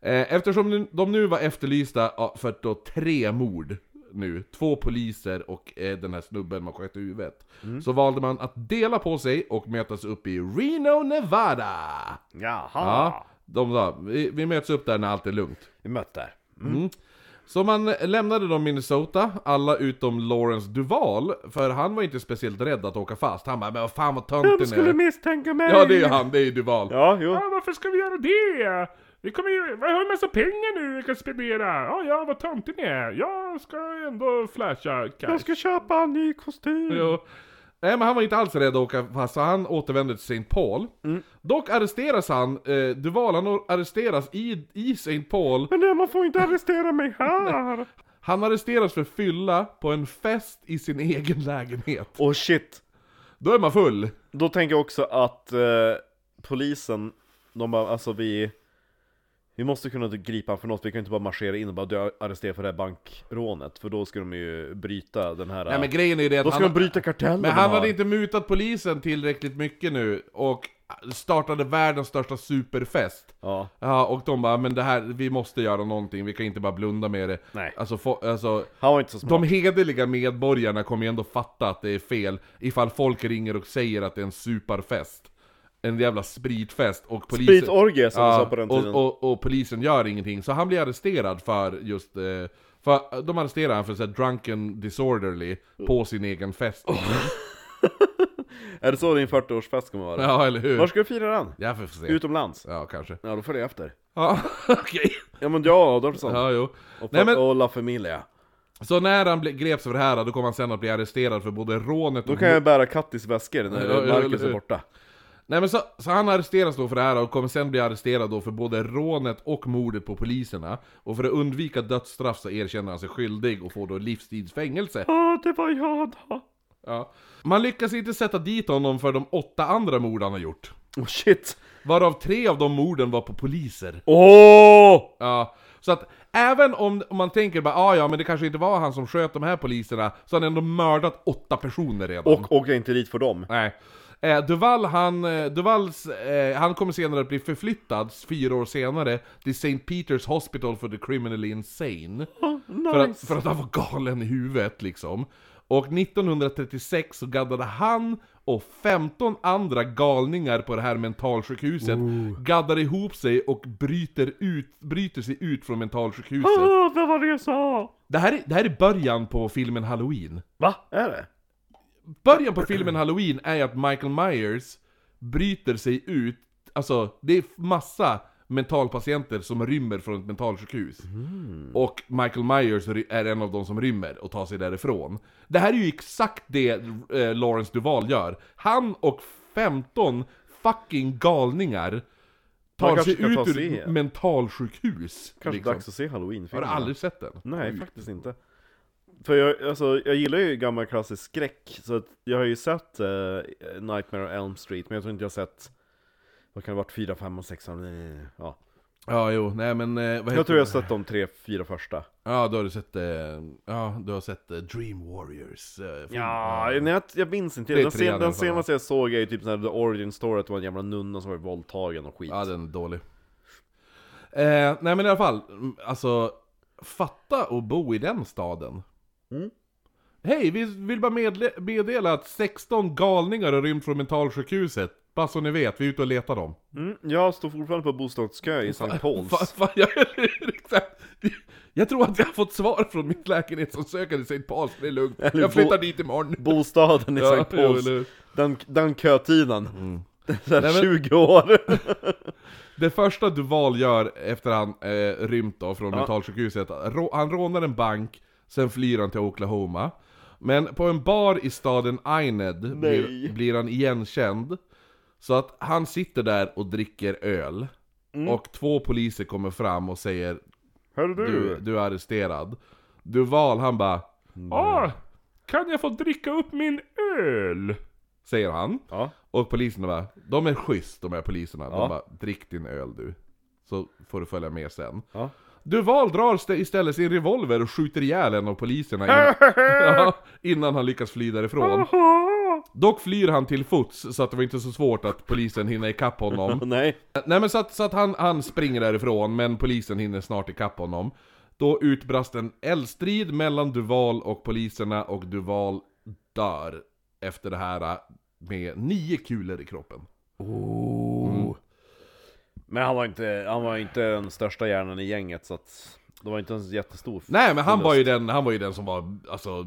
E: Eh, Eftersom nu- de nu var efterlysta ja, för då tre mord nu, två poliser och eh, den här snubben man sköt i huvudet, så valde man att dela på sig och mötas upp i Reno, Nevada!
G: Jaha.
E: Ja, de sa, vi, vi möts upp där när allt är lugnt.
F: Vi mötte där.
E: Så man lämnade då Minnesota, alla utom Lawrence Duval, för han var inte speciellt rädd att åka fast. Han bara 'Men vad fan vad
G: Vem
E: tönten
G: skulle
E: är'
G: misstänka mig?
E: Ja det är ju han, det är ju Duval.
G: Ja, jo.
B: Ja, varför ska vi göra det? Vi kommer ju, vi har en massa pengar nu vi kan spendera. Ja, ja, vad töntig ni är. Jag ska ändå flasha cash.
G: Jag ska köpa en ny kostym.
E: Jo. Nej men han var inte alls rädd att åka fast, så han återvände till St. Paul.
G: Mm.
E: Dock arresteras han, eh, Duval, han arresteras i, i St. Paul
G: Men nej, man får inte arrestera mig här.
E: Han arresteras för fylla på en fest i sin egen lägenhet.
D: Och shit,
E: Då är man full.
D: Då tänker jag också att eh, polisen, de bara, alltså vi Vi måste kunna gripa honom för något, vi kan inte bara marschera in och bara "Du, arrestera för det här bankrånet För då ska de ju bryta den här...
E: Nej men grejen är ju det att
D: då ska
E: han,
D: de bryta kartellen
E: men han
D: de har.
E: hade inte mutat polisen tillräckligt mycket nu och startade världens största superfest.
D: Ja,
E: Ja, och de bara, men det här, vi måste göra någonting, vi kan inte bara blunda med det.
D: Nej.
E: Alltså, fo- alltså
D: han var inte så smart
E: de hederliga medborgarna kommer ju ändå fatta att det är fel ifall folk ringer och säger att det är en superfest. En jävla spritfest och polisen...
D: Spritorgie som de sa på den tiden
E: Och, och, och polisen gör ingenting, så han blir arresterad för just... eh, För de arresterar han för såhär drunken disorderly på sin egen fest.
D: Är det så din 40-årsfest kommer vara?
E: Ja, eller hur?
D: Var ska du fira den?
E: Jag får se.
D: Utomlands?
E: Ja, kanske.
D: Ja, då följer jag efter
E: Ja, okej.
D: Ja men ja, Adolfsson
E: Ja, jo.
D: och,
E: Nej, men-
D: och La Familia
E: Så när han ble- greps för det här, då kom han sen att bli arresterad för både rånet och
D: Då kan jag bära Kattis väskor när
E: Ja, ja,
D: Marcus
E: eller-
D: är borta
E: Nej men så, så han arresteras då för det här och kommer sen bli arresterad då för både rånet och mordet på poliserna. Och för att undvika dödsstraff så erkänner han sig skyldig och får då livstidsfängelse.
G: Ja, det var jag då.
E: Ja. Man lyckas inte sätta dit honom för de åtta andra mord han har gjort.
D: Oh shit!
E: Varav tre av de morden var på poliser.
D: Åh!
E: Ja. Så att även om, om man tänker bara ah, ja men det kanske inte var han som sköt de här poliserna, så har han ändå mördat åtta personer redan.
D: Och åker inte dit för dem
E: Nej. Eh, Duval, han, eh, Duvals, eh, han kommer senare att bli förflyttad fyra år senare till St. Peters Hospital for the Criminally Insane. för, att, för att han var galen i huvudet liksom. Och 1936 så gaddade han och 15 andra galningar på det här mentalsjukhuset gaddar ihop sig och bryter, ut, bryter sig ut från mentalsjukhuset.
G: Ja, det var det jag sa.
E: Det här, är, det här är början på filmen Halloween.
D: Va? Är det?
E: Början på filmen Halloween är ju att Michael Myers bryter sig ut, alltså det är massa mentalpatienter som rymmer från ett mentalsjukhus.
D: Mm.
E: Och Michael Myers ry- är en av de som rymmer och tar sig därifrån. Det här är ju exakt det eh, Lawrence Duval gör. Han och 15 fucking galningar tar
D: kanske
E: sig
D: ska
E: ut
D: ta sig
E: ur
D: igen.
E: mentalsjukhus.
D: Kanske
E: liksom.
D: dags att se
E: Har
D: Halloween-filmen
E: du aldrig Mm. sett den?
D: Nej, faktiskt inte. För jag, alltså, jag gillar ju gammal klassisk skräck, så att jag har ju sett eh, Nightmare on Elm Street, men jag tror inte jag har sett, vad kan det ha varit, 4, 5 och 6? Ja.
E: Ja, jo, nej men... Eh, vad
D: Jag
E: heter
D: tror jag har
E: den?
D: sett de tre, fyra första.
E: Ja, då har du sett, eh, ja, du har sett eh, Dream Warriors. Eh, film.
D: Ja, nej, jag, jag minns inte.
E: Det är
D: Den,
E: tre
D: sen,
E: i alla
D: den
E: fall, va?
D: senaste jag såg är ju typ sån här The Origin Story, att det var en jävla nunna som var våldtagen och skit.
E: ja, den är dålig. Eh, nej men i alla fall, mm, alltså, fatta att bo i den staden.
D: Mm.
E: Hej, vi vill bara medle- meddela att 16 galningar har rymt från mentalsjukhuset. Bara så ni vet, vi är ute och letar dem.
D: Mm, jag står fortfarande på bostadskö i St. Pauls.
E: Fa- fa- ja, exakt. Jag tror att jag har fått svar från mitt lägenhetsansökan i St. Pauls, det är lugnt. Jag flyttar dit imorgon.
D: Bostaden i
E: Ja,
D: Sankt Pauls.
E: jo, eller hur.
D: Den, den kötiden. Så här
E: Nej, men-
D: 20 år.
E: Det första Duval gör efter han eh, rymt då från mentalsjukhuset, rå, han rånar en bank, sen flyr han till Oklahoma. Men på en bar i staden Eined blir, blir han igenkänd. Så att han sitter där och dricker öl.
B: Mm.
E: Och två poliser kommer fram och säger
G: Hör du,
E: du, du är arresterad. Duval han bara
B: Ah, kan jag få dricka upp min öl?
E: säger han.
D: Ja.
E: Och poliserna bara, de är schysst de här poliserna.
D: Ja.
E: De bara, drick din öl du. Så får du följa med sen.
D: Ja.
E: Duval drar st- istället sin revolver och skjuter ihjäl en av poliserna innan, ja, innan han lyckas fly därifrån. Dock flyr han till fots, så att det var inte så svårt att polisen hinner ikapp honom.
D: Nej.
E: Nej men så att, så att han, han springer därifrån, men polisen hinner snart ikapp honom. Då utbrast en eldstrid mellan Duval och poliserna och Duval dör efter det här äh, med nio kulor i kroppen.
D: Men han var, inte, han var inte den största hjärnan i gänget så att det var inte en jättestor
E: Nej men han
D: förlust.
E: var ju den, han var ju den som var alltså,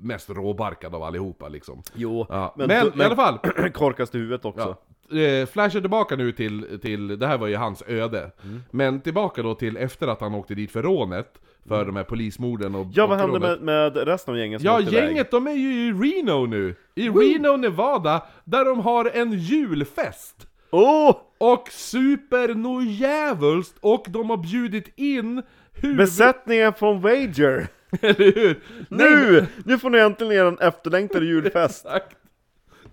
E: mest råbarkad av allihopa liksom.
D: Jo,
E: Ja. Men,
D: men,
E: i alla fall,
D: fall korkast i huvudet också.
E: Ja. Eh, flashar tillbaka nu till, till, det här var ju hans öde.
D: Mm.
E: Men tillbaka då till efter att han åkte dit för rånet, för de här polismorden och
D: Ja,
E: och
D: vad hände
E: rånet.
D: med, med resten av gänget som
E: Ja,
D: åkte iväg?
E: gänget de är ju i Reno nu! I Reno, Nevada, där de har en julfest!
D: Åh!
E: Och super nå jävulst och de har bjudit in hur...
D: Besättningen från Wager!
E: Eller hur?
D: Nu! Nu får ni äntligen en efterlängtad julfest!
E: Exakt.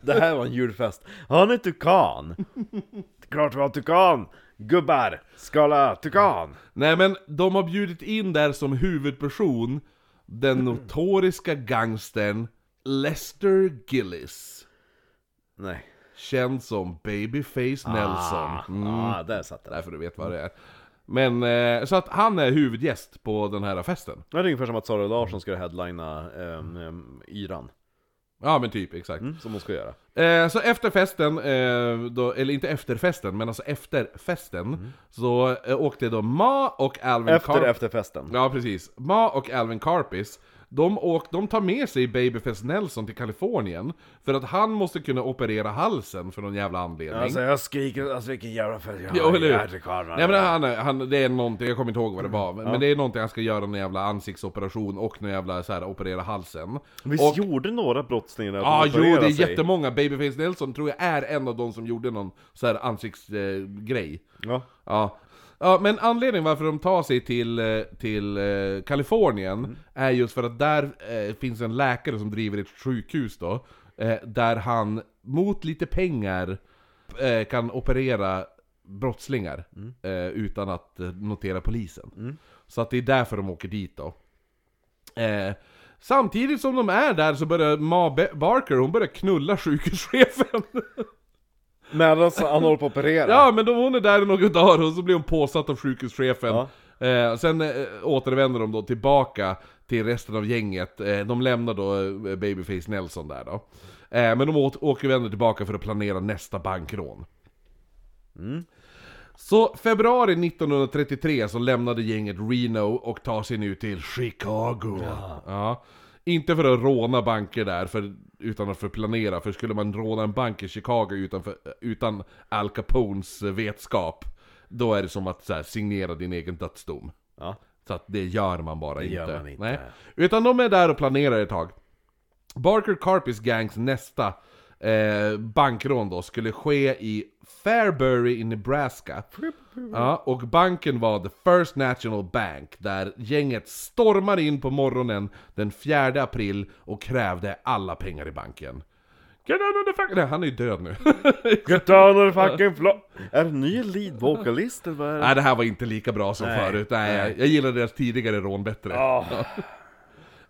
D: Det här var en julfest. Har ni tukan? Det är Klart vi har tukan! Gubbar, skala tukan!
E: Nej men, de har bjudit in där som huvudperson den notoriska gangstern Lester Gillis.
D: Nej.
E: Känd som Babyface Ah. Nelson. Mm.
D: Ah, där satt den.
E: Därför du vet vad det är. Men, eh, så att han är huvudgäst på den här festen.
D: Det är ungefär som att Sara Larsson skulle headlina um, Yran.
E: Ja men typ, exakt.
D: mm, Som hon ska göra.
E: Eh, så efter festen, eh, då, eller inte efter festen, men alltså efter festen, så eh, åkte då Ma och Alvin
D: Efter
E: Carp-
D: efterfesten.
E: Ja precis. Ma och Alvin Carpis, de, åk, de tar med sig Babyface Nelson till Kalifornien, för att han måste kunna operera halsen för någon jävla anledning.
F: Alltså jag skriker, alltså vilken jävla fest jag har
E: Jo, eller
F: i
E: hur?
F: ärtekorvarna.
E: Nej
D: alltså.
E: men han, han, det är någonting, jag kommer inte ihåg vad det var, men, men det är någonting han ska göra, någon jävla ansiktsoperation och någon jävla så här, operera halsen.
D: Visst
E: och,
D: gjorde några brottslingar att
E: Ja, ah,
D: de
E: jo det
D: opererade
E: är
D: sig?
E: jättemånga. Babyface Nelson tror jag är en av de som gjorde någon så här ansiktsgrej. Eh, grej.
D: Ja.
E: ja. Ja, men anledningen varför de tar sig till, eh, till eh, Kalifornien är just för att där eh, finns en läkare som driver ett sjukhus då, eh, där han mot lite pengar eh, kan operera brottslingar eh, utan att eh, notera polisen. Så att det är därför de åker dit då. Eh, samtidigt som de är där så börjar Ma Be- Barker, hon börjar knulla sjukhuschefen.
D: Medan han håller på att operera?
E: ja men då hon är där i några dagar och så blir hon påsatt av sjukhuschefen.
D: Ja.
E: Eh, sen eh, återvänder de då tillbaka till resten av gänget. Eh, de lämnar då eh, Babyface Nelson där då. Eh, men de åt- återvänder tillbaka för att planera nästa bankrån. Så februari 1933 så lämnade gänget Reno och tar sig nu till Chicago. Ja. Inte för att råna banker där, för, utan att för planera. För skulle man råna en bank i Chicago utanför, utan Al Capones vetskap, då är det som att så här, signera din egen dödsdom.
D: Ja.
E: Så att det gör man bara inte.
D: gör man inte.
E: Nej. Utan de är där och planerar ett tag. Barker Carpis gangs nästa eh, bankrån då skulle ske i Fairbury i Nebraska. Ja, och banken var The First National Bank, där gänget stormar in på morgonen den 4 april och krävde alla pengar i banken. Get down on the fuck... Nej, han är ju död nu.
G: Get down on the fucking floor!
D: Är det en ny lead vocalist eller vad är det?
E: Nej, det här var inte lika bra som förut. Nej, jag gillade deras tidigare rån bättre.
D: Ah,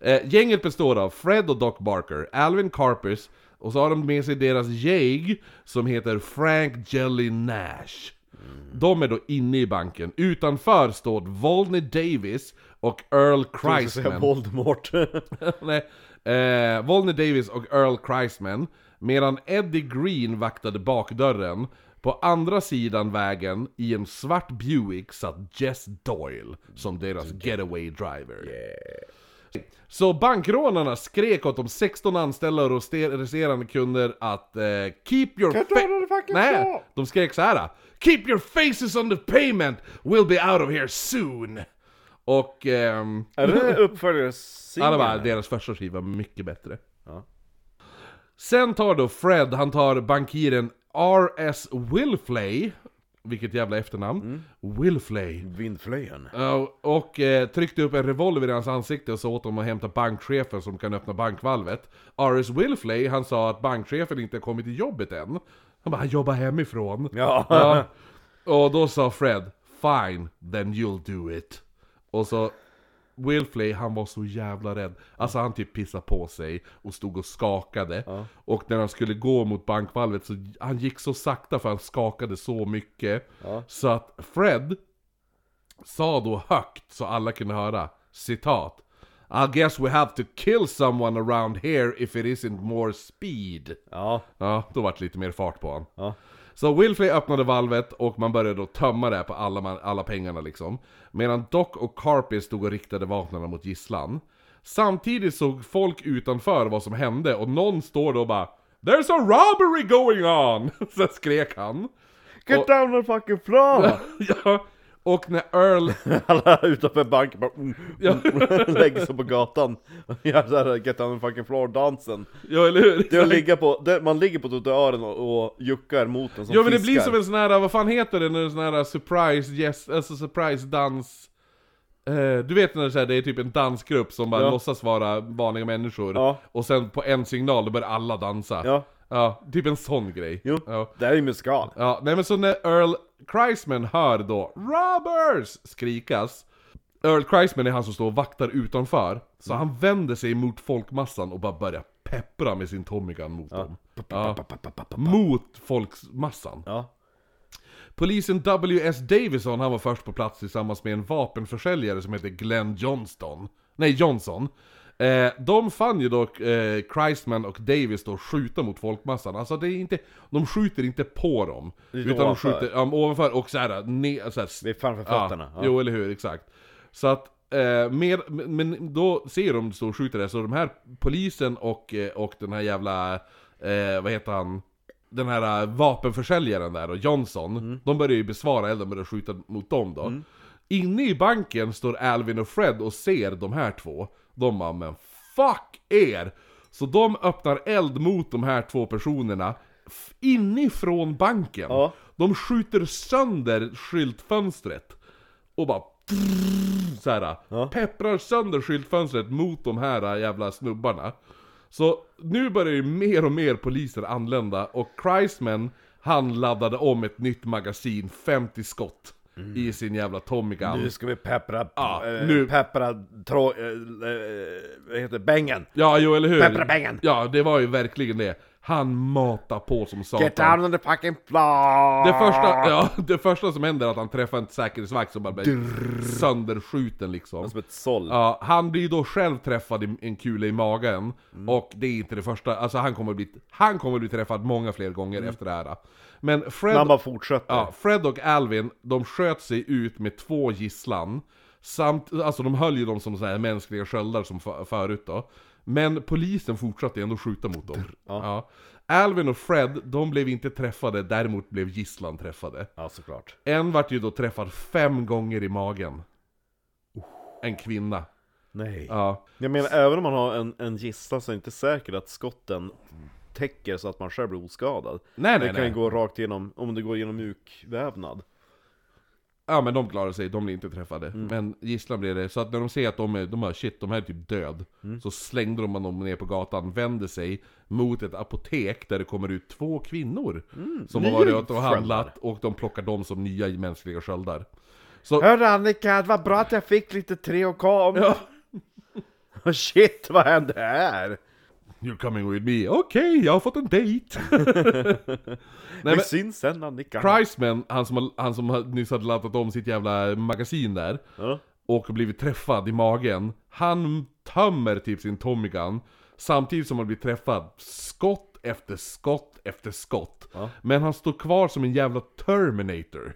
E: Eh, Gänget består av Fred och Doc Barker, Alvin Carpus, och så har de med sig deras jäg som heter Frank Jelly Nash. De är då inne i banken. Utanför står Volney Davis och Earl
D: Jag ska säga
E: Christman.
D: Voldemort.
E: Nej. Eh, Volney Davis och Earl Christman. Medan Eddie Green vaktade bakdörren. På andra sidan vägen, i en svart Buick, satt Jess Doyle som
D: Mm.
E: deras getaway driver. Så bankrånarna skrek åt de 16 anställda och ste- resterande kunder att eh, Keep your fa- Nej, de skrek så här. Keep your faces on the payment, we'll be out of here soon! Och... ehm,
D: Är det uppföljarsingeln?
E: alla bara, deras första skiva var mycket bättre. Sen tar då Fred, han tar bankiren R.S. Wilfley, vilket jävla efternamn, Wilfley.
F: Vindflöjen.
E: Ja, Och eh, tryckte upp en revolver i hans ansikte och sa åt dem att hämta bankchefen som kan öppna bankvalvet. R.S. Wilfley, han sa att bankchefen inte kommit till jobbet än. Han bara, han jobbar hemifrån.
F: Ja.
E: Ja. Och då sa Fred, fine, then you'll do it. Och så, Wilfley han var så jävla rädd. Alltså han typ pissade på sig och stod och skakade. Och när han skulle gå mot bankvalvet så, han gick så sakta för han skakade så mycket. Så att Fred sa då högt så alla kunde höra, citat. I guess we have to kill someone around here if it isn't more speed.
D: Ja.
E: Ja, då vart det lite mer fart på honom.
D: Ja.
E: Så Wilfrey öppnade valvet och man började då tömma det här på alla, man, alla pengarna liksom. Medan Doc och Carpy stod och riktade vapnen mot gisslan. Samtidigt såg folk utanför vad som hände och någon står då och bara There's a robbery going on! Så skrek han.
G: Get down and fucking floor!
E: ja, och när Earl...
D: Alla utanför banken bara mm, mm, lägger sig på gatan och gör såhär get down the fucking floor dansen.
E: Ja, eller hur?
D: Det är att ligga på, det, man ligger på trottoaren och, och juckar mot den som
E: Ja men det
D: fiskar.
E: blir som en sån här, vad fan heter det, när det är sån här surprise yes, alltså surprise dans... Eh, du vet när det är, så här, det är typ en dansgrupp som bara låtsas vara vanliga människor,
D: Ja.
E: och sen på en signal då börjar alla dansa.
D: Ja.
E: typ en sån grej.
D: Jo,
E: Ja.
D: det här är ju muskal.
E: Ja, nej men så när Earl Kreisman hör då 'Robbers!' skrikas Earl Kreisman är han som står och vaktar utanför Så
D: Mm.
E: han vänder sig mot folkmassan och bara börjar peppra med sin Tommy-gun mot dem ja. Mot folkmassan
D: Ja.
E: Polisen W.S. Davison han var först på plats tillsammans med en vapenförsäljare som heter Glenn Johnston Nej, Johnson Eh, de fann ju dock eh, Christman och Davis då skjuta mot folkmassan, alltså det är inte, de skjuter inte på dem. Utan de
D: ovanför.
E: skjuter um, ovanför och såhär, ner, såhär
D: Det är framför fötterna.
E: Ja,
D: Ja.
E: Jo, eller hur, exakt. Så att, eh, med, men- men då ser de så och skjuter det, så de här polisen och, eh, och den här jävla, eh, vad heter han? Den här eh, vapenförsäljaren där och Johnson, de börjar ju besvara elden med att skjuta mot dem då. Inne i banken står Alvin och Fred och ser de här två. De bara 'Men fuck er!' Så de öppnar eld mot de här två personerna f- inifrån banken.
D: Ja.
E: De skjuter sönder skyltfönstret och bara så här, pepprar sönder skyltfönstret mot de här jävla snubbarna. Så nu börjar ju mer och mer poliser anlända och Christman, han laddade om ett nytt magasin, 50 skott, i sin jävla Tommy Gun.
D: Nu ska vi peppra,
E: Ja,
D: eh,
E: nu-
D: peppra trå, eh, eh, vad heter det, bängen.
E: Ja, jo eller hur?
D: Peppra pengen.
E: Ja, det var ju verkligen det. Han matar på som satan.
F: Get down on the fucking floor!
E: Det första, ja, det första som händer är att han träffar en säkerhetsvakt som bara blir sönderskjuten liksom.
D: Som ett såll.
E: Ja, han blir ju då själv träffad i en kula i magen,
D: Mm.
E: och det är inte det första, alltså han kommer bli, han kommer bli träffad många fler gånger efter det här. Men Fred...
D: Mm. Men han bara fortsätter.
E: Ja, Fred och Alvin, de sköt sig ut med två gisslan. Samt, alltså de höll ju dem som så här mänskliga sköldar som för, förut då. Men polisen fortsatte ändå skjuta mot dem. Ja. Alvin och Fred, de blev inte träffade, däremot blev gisslan träffade.
D: Ja, såklart.
E: En vart ju då träffad fem gånger i magen.
D: Oh.
E: En kvinna.
D: Nej.
E: Ja.
D: Jag menar, även om man har en, en gisslan så är det inte säkert att skotten täcker så att man själv blir oskadad.
E: Nej,
D: det
E: nej,
D: kan
E: nej.
D: ju gå rakt igenom, om det går genom mjukvävnad.
E: Ja men de klarar sig, de blir inte träffade. Men gisslan blir det, så att när de ser att de är, de här, shit, de här är typ död. Så slängde de dem ner på gatan, vände sig mot ett apotek där det kommer ut två kvinnor. Som har varit ute och handlat, och de plockar dem som nya mänskliga sköldar. Så,
F: Hörru Annika, det var bra att jag fick lite 3K om...
E: ja,
D: Shit, vad hände här?
E: you're coming with me, okej, jag har fått en dejt!
D: Vi
E: Nej, men-
D: syns sen Annika.
E: Chrisman, han som, har- han som har- nyss hade laddat om sitt jävla magasin där
D: Ja.
E: Och blivit träffad i magen Han tömmer typ sin Tommy Gun Samtidigt som han blir träffad Skott efter skott efter skott.
D: Ja. Mm.
E: Men han står kvar som en jävla Terminator.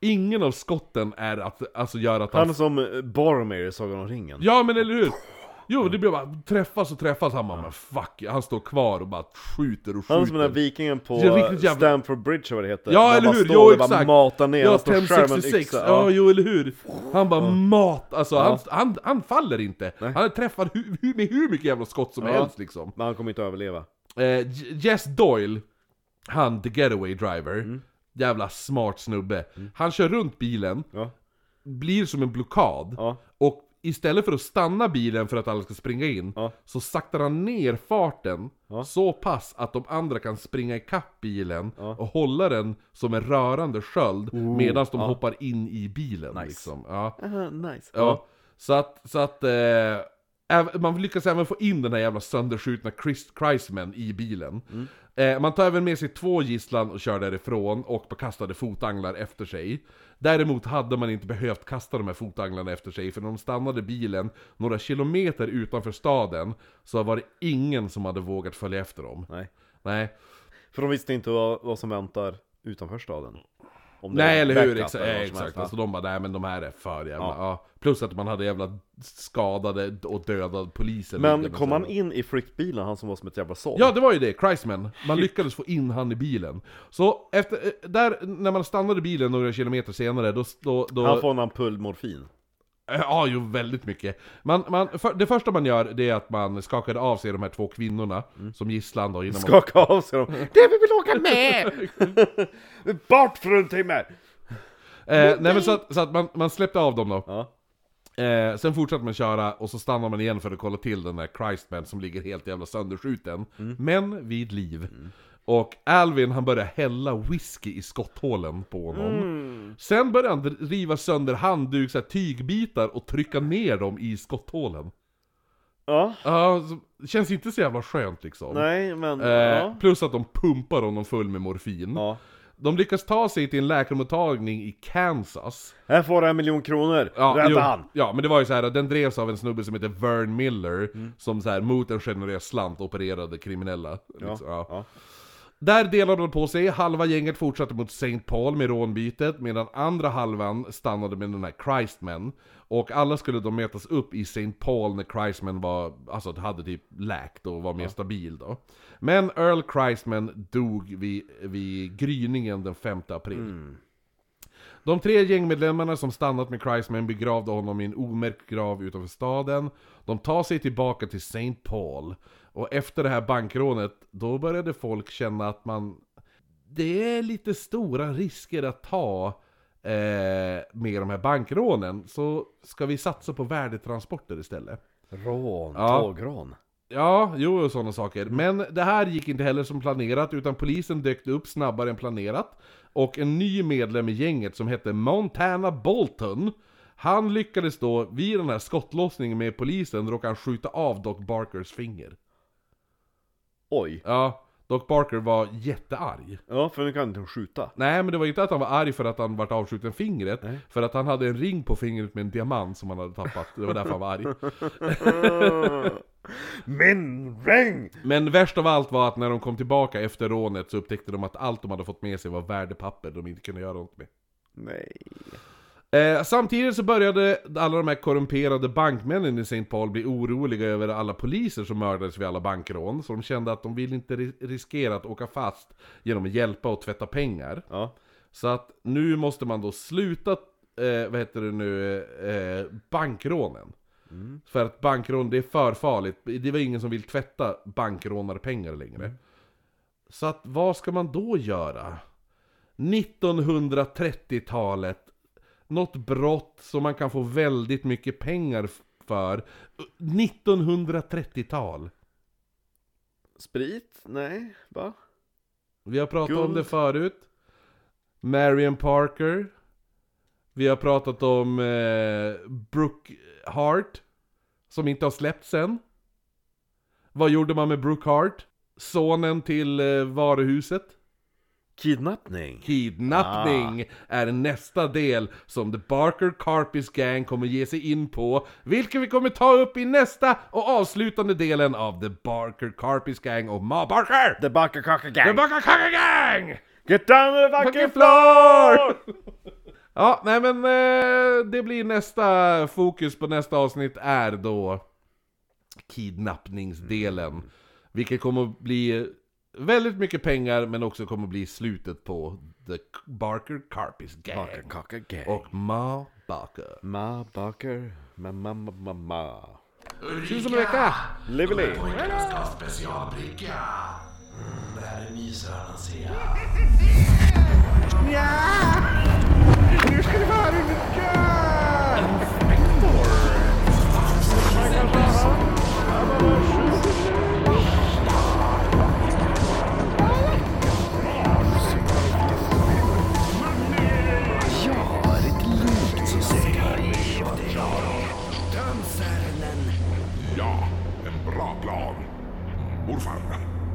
E: Ingen av skotten är att, alltså gör att han...
D: Han är som eh, Boromir i Sagan om ringen.
E: Ja men eller hur! Jo, det blir bara träffas och träffas, han bara men fuck, han står kvar och bara skjuter och skjuter.
D: Han är som den där vikingen på
E: Ja, riktigt jävla-
D: Stamford Bridge eller vad det heter.
E: Ja
D: han
E: eller
D: bara
E: hur,
D: står
E: jo
D: och bara
E: exakt!
D: matar ner,
E: ja,
D: han står och skär med en
E: 1066,
D: yxa.
E: ja jo eller hur! Han bara mat, alltså han, han, han faller inte! Han träffar hu, hu, med hur mycket jävla skott som helst liksom.
D: Men han kommer inte överleva.
E: Eh, J- Jess Doyle, han the getaway driver,
D: Mm.
E: jävla smart snubbe. Han kör runt bilen,
D: Ja.
E: blir som en blockad,
D: Ja.
E: och istället för att stanna bilen för att alla ska springa in,
D: Ja.
E: så saktar han ner farten så pass att de andra kan springa ikapp bilen och hålla den som en rörande sköld medan de hoppar in i bilen. Liksom. Ja.
D: nice.
E: Ja, så att, så att eh, äv- man lyckas även få in den här jävla sönderskjutna Chris Chrisman i bilen.
D: Mm.
E: Eh, man tar även med sig två gisslan och kör därifrån och bekastade fotanglar efter sig. Däremot hade man inte behövt kasta de här fotanglarna efter sig för när de stannade bilen några kilometer utanför staden så var det ingen som hade vågat följa efter dem.
D: Nej.
E: Nej.
D: För de visste inte vad, vad som väntar utanför staden. Om det
E: Nej
D: är
E: eller hur,
D: backup
E: exa
D: eller vad som
E: exakt.
D: helst.
E: Alltså de bara, nej men de här är för jävla... Ja. Plus att man hade jävla skadade och dödad poliser.
D: Men
E: liggande
D: kom
E: så.
D: han in i frickbilen, han som var som ett jävla såll?
E: Ja det var ju det, Christman. Man lyckades få in han i bilen. Så efter, eh, där, när man stannade bilen några kilometer senare, då... då, då
D: Han får en ampull morfin.
E: Eh, Ja, jo väldigt mycket. Man, man, för, det första man gör, det är att man skakade av sig de här två kvinnorna
D: Mm.
E: som gisslan då innan man...
D: Skaka av sig dem. Det vi vill åka med! Bort för en timme!
E: Eh, nej men så att, så att man, man släppte av dem då.
D: Ja.
E: Eh, sen fortsätter man köra och så stannar man igen för att kolla till den där Christman som ligger helt jävla sönderskjuten. Men vid liv. Och Alvin han börjar hälla whisky i skotthålen på honom.
D: Mm.
E: Sen börjar han dr- riva sönder handduk, så här, tygbitar och trycka ner dem i skotthålen.
D: Ja,
E: Ja, så- det känns inte så jävla skönt liksom.
D: nej men...
E: Eh,
D: Ja.
E: Plus att de pumpar honom full med morfin.
D: ja.
E: De lyckas ta sig till en läkarmottagning i Kansas.
D: Här får du en miljon kronor.
E: Ja,
D: Rädda
E: jo,
D: han.
E: Ja, men det var ju så här att den drevs av en snubbe som heter Vern Miller, som så här, mot en generös slant opererade kriminella. liksom, ja.
D: ja.
E: Där delade de på sig, halva gänget fortsatte mot St. Paul med rånbytet, medan andra halvan stannade med den här Christman. Och alla skulle då mötas upp i St. Paul när Christman var, alltså hade typ läkt och var mer stabil då. Men Earl Christman dog vid, vid gryningen den 5 april. De tre gängmedlemmarna som stannat med Christman begravde honom i en omärkt grav utanför staden. De tar sig tillbaka till St. Paul. Och efter det här bankrånet, då började folk känna att man... Det är lite stora risker att ta eh, med de här bankrånen. Så ska vi satsa på värdetransporter istället.
D: Rån,
E: Ja.
D: tågrån.
E: Ja, jo och sådana saker. Men det här gick inte heller som planerat, utan polisen dök upp snabbare än planerat. Och en ny medlem i gänget som hette Montana Bolton, han lyckades då vid den här skottlossningen med polisen råka han skjuta av Doc Barkers finger.
D: Oj.
E: Ja, Doc Barker var jättearg.
D: Ja, för nu kan inte skjuta.
E: Nej, men det var inte att han var arg för att han vart avskjuten fingret, för att han hade en ring på fingret med en diamant som han hade tappat. Det var därför han var arg.
G: Min ring!
E: Men värst av allt var att när de kom tillbaka efter rånet så upptäckte de att allt de hade fått med sig var värdepapper de inte kunde göra något med.
D: Nej.
E: Eh, samtidigt så började alla de här korrumperade bankmännen i St. Paul bli oroliga över alla poliser som mördades vid alla bankrån, så de kände att de ville inte ri- riskera att åka fast genom att hjälpa och tvätta pengar.
D: Ja.
E: Så att nu måste man då sluta, eh, vad heter det nu, eh, bankrånen.
D: Mm.
E: För att bankrån, det är för farligt. Det var ingen som vill tvätta bankrånarpengar längre. Så att vad ska man då göra? 1930-talet, något brott som man kan få väldigt mycket pengar f- för. 1930-tal.
D: Sprit? Nej, va?
E: Vi har pratat om
D: Guld.
E: det förut. Marion Parker. Vi har pratat om eh, Brooke Hart. Som inte har släppts än. Vad gjorde man med Brooke Hart? Sonen till eh, varuhuset.
F: Kidnappning.
E: Kidnappning är nästa del som The Barker Carpis Gang kommer ge sig in på, vilket vi kommer ta upp i nästa och avslutande delen av The Barker Carpis Gang och Ma Barker!
F: The Baka Kaka
E: The
F: Gang.
E: Barker Carpis Gang!
G: Get down to the fucking
E: Fucking
G: floor!
E: floor! ja, nej men eh, det blir nästa fokus på nästa avsnitt är då kidnappningsdelen. Vilket kommer att bli väldigt mycket pengar men också kommer att bli slutet på The Barker Carpis Gang.
F: Baka Kaka Gang.
E: Och Ma Barker.
F: Ma Baker. Ma ma ma ma ma.
E: Syns om en vecka!
F: Lively.
A: Pojkarna ska ha specialbricka. Mm, det här är myshörnan ser jag.
C: Ja, en bra plan. Morfar.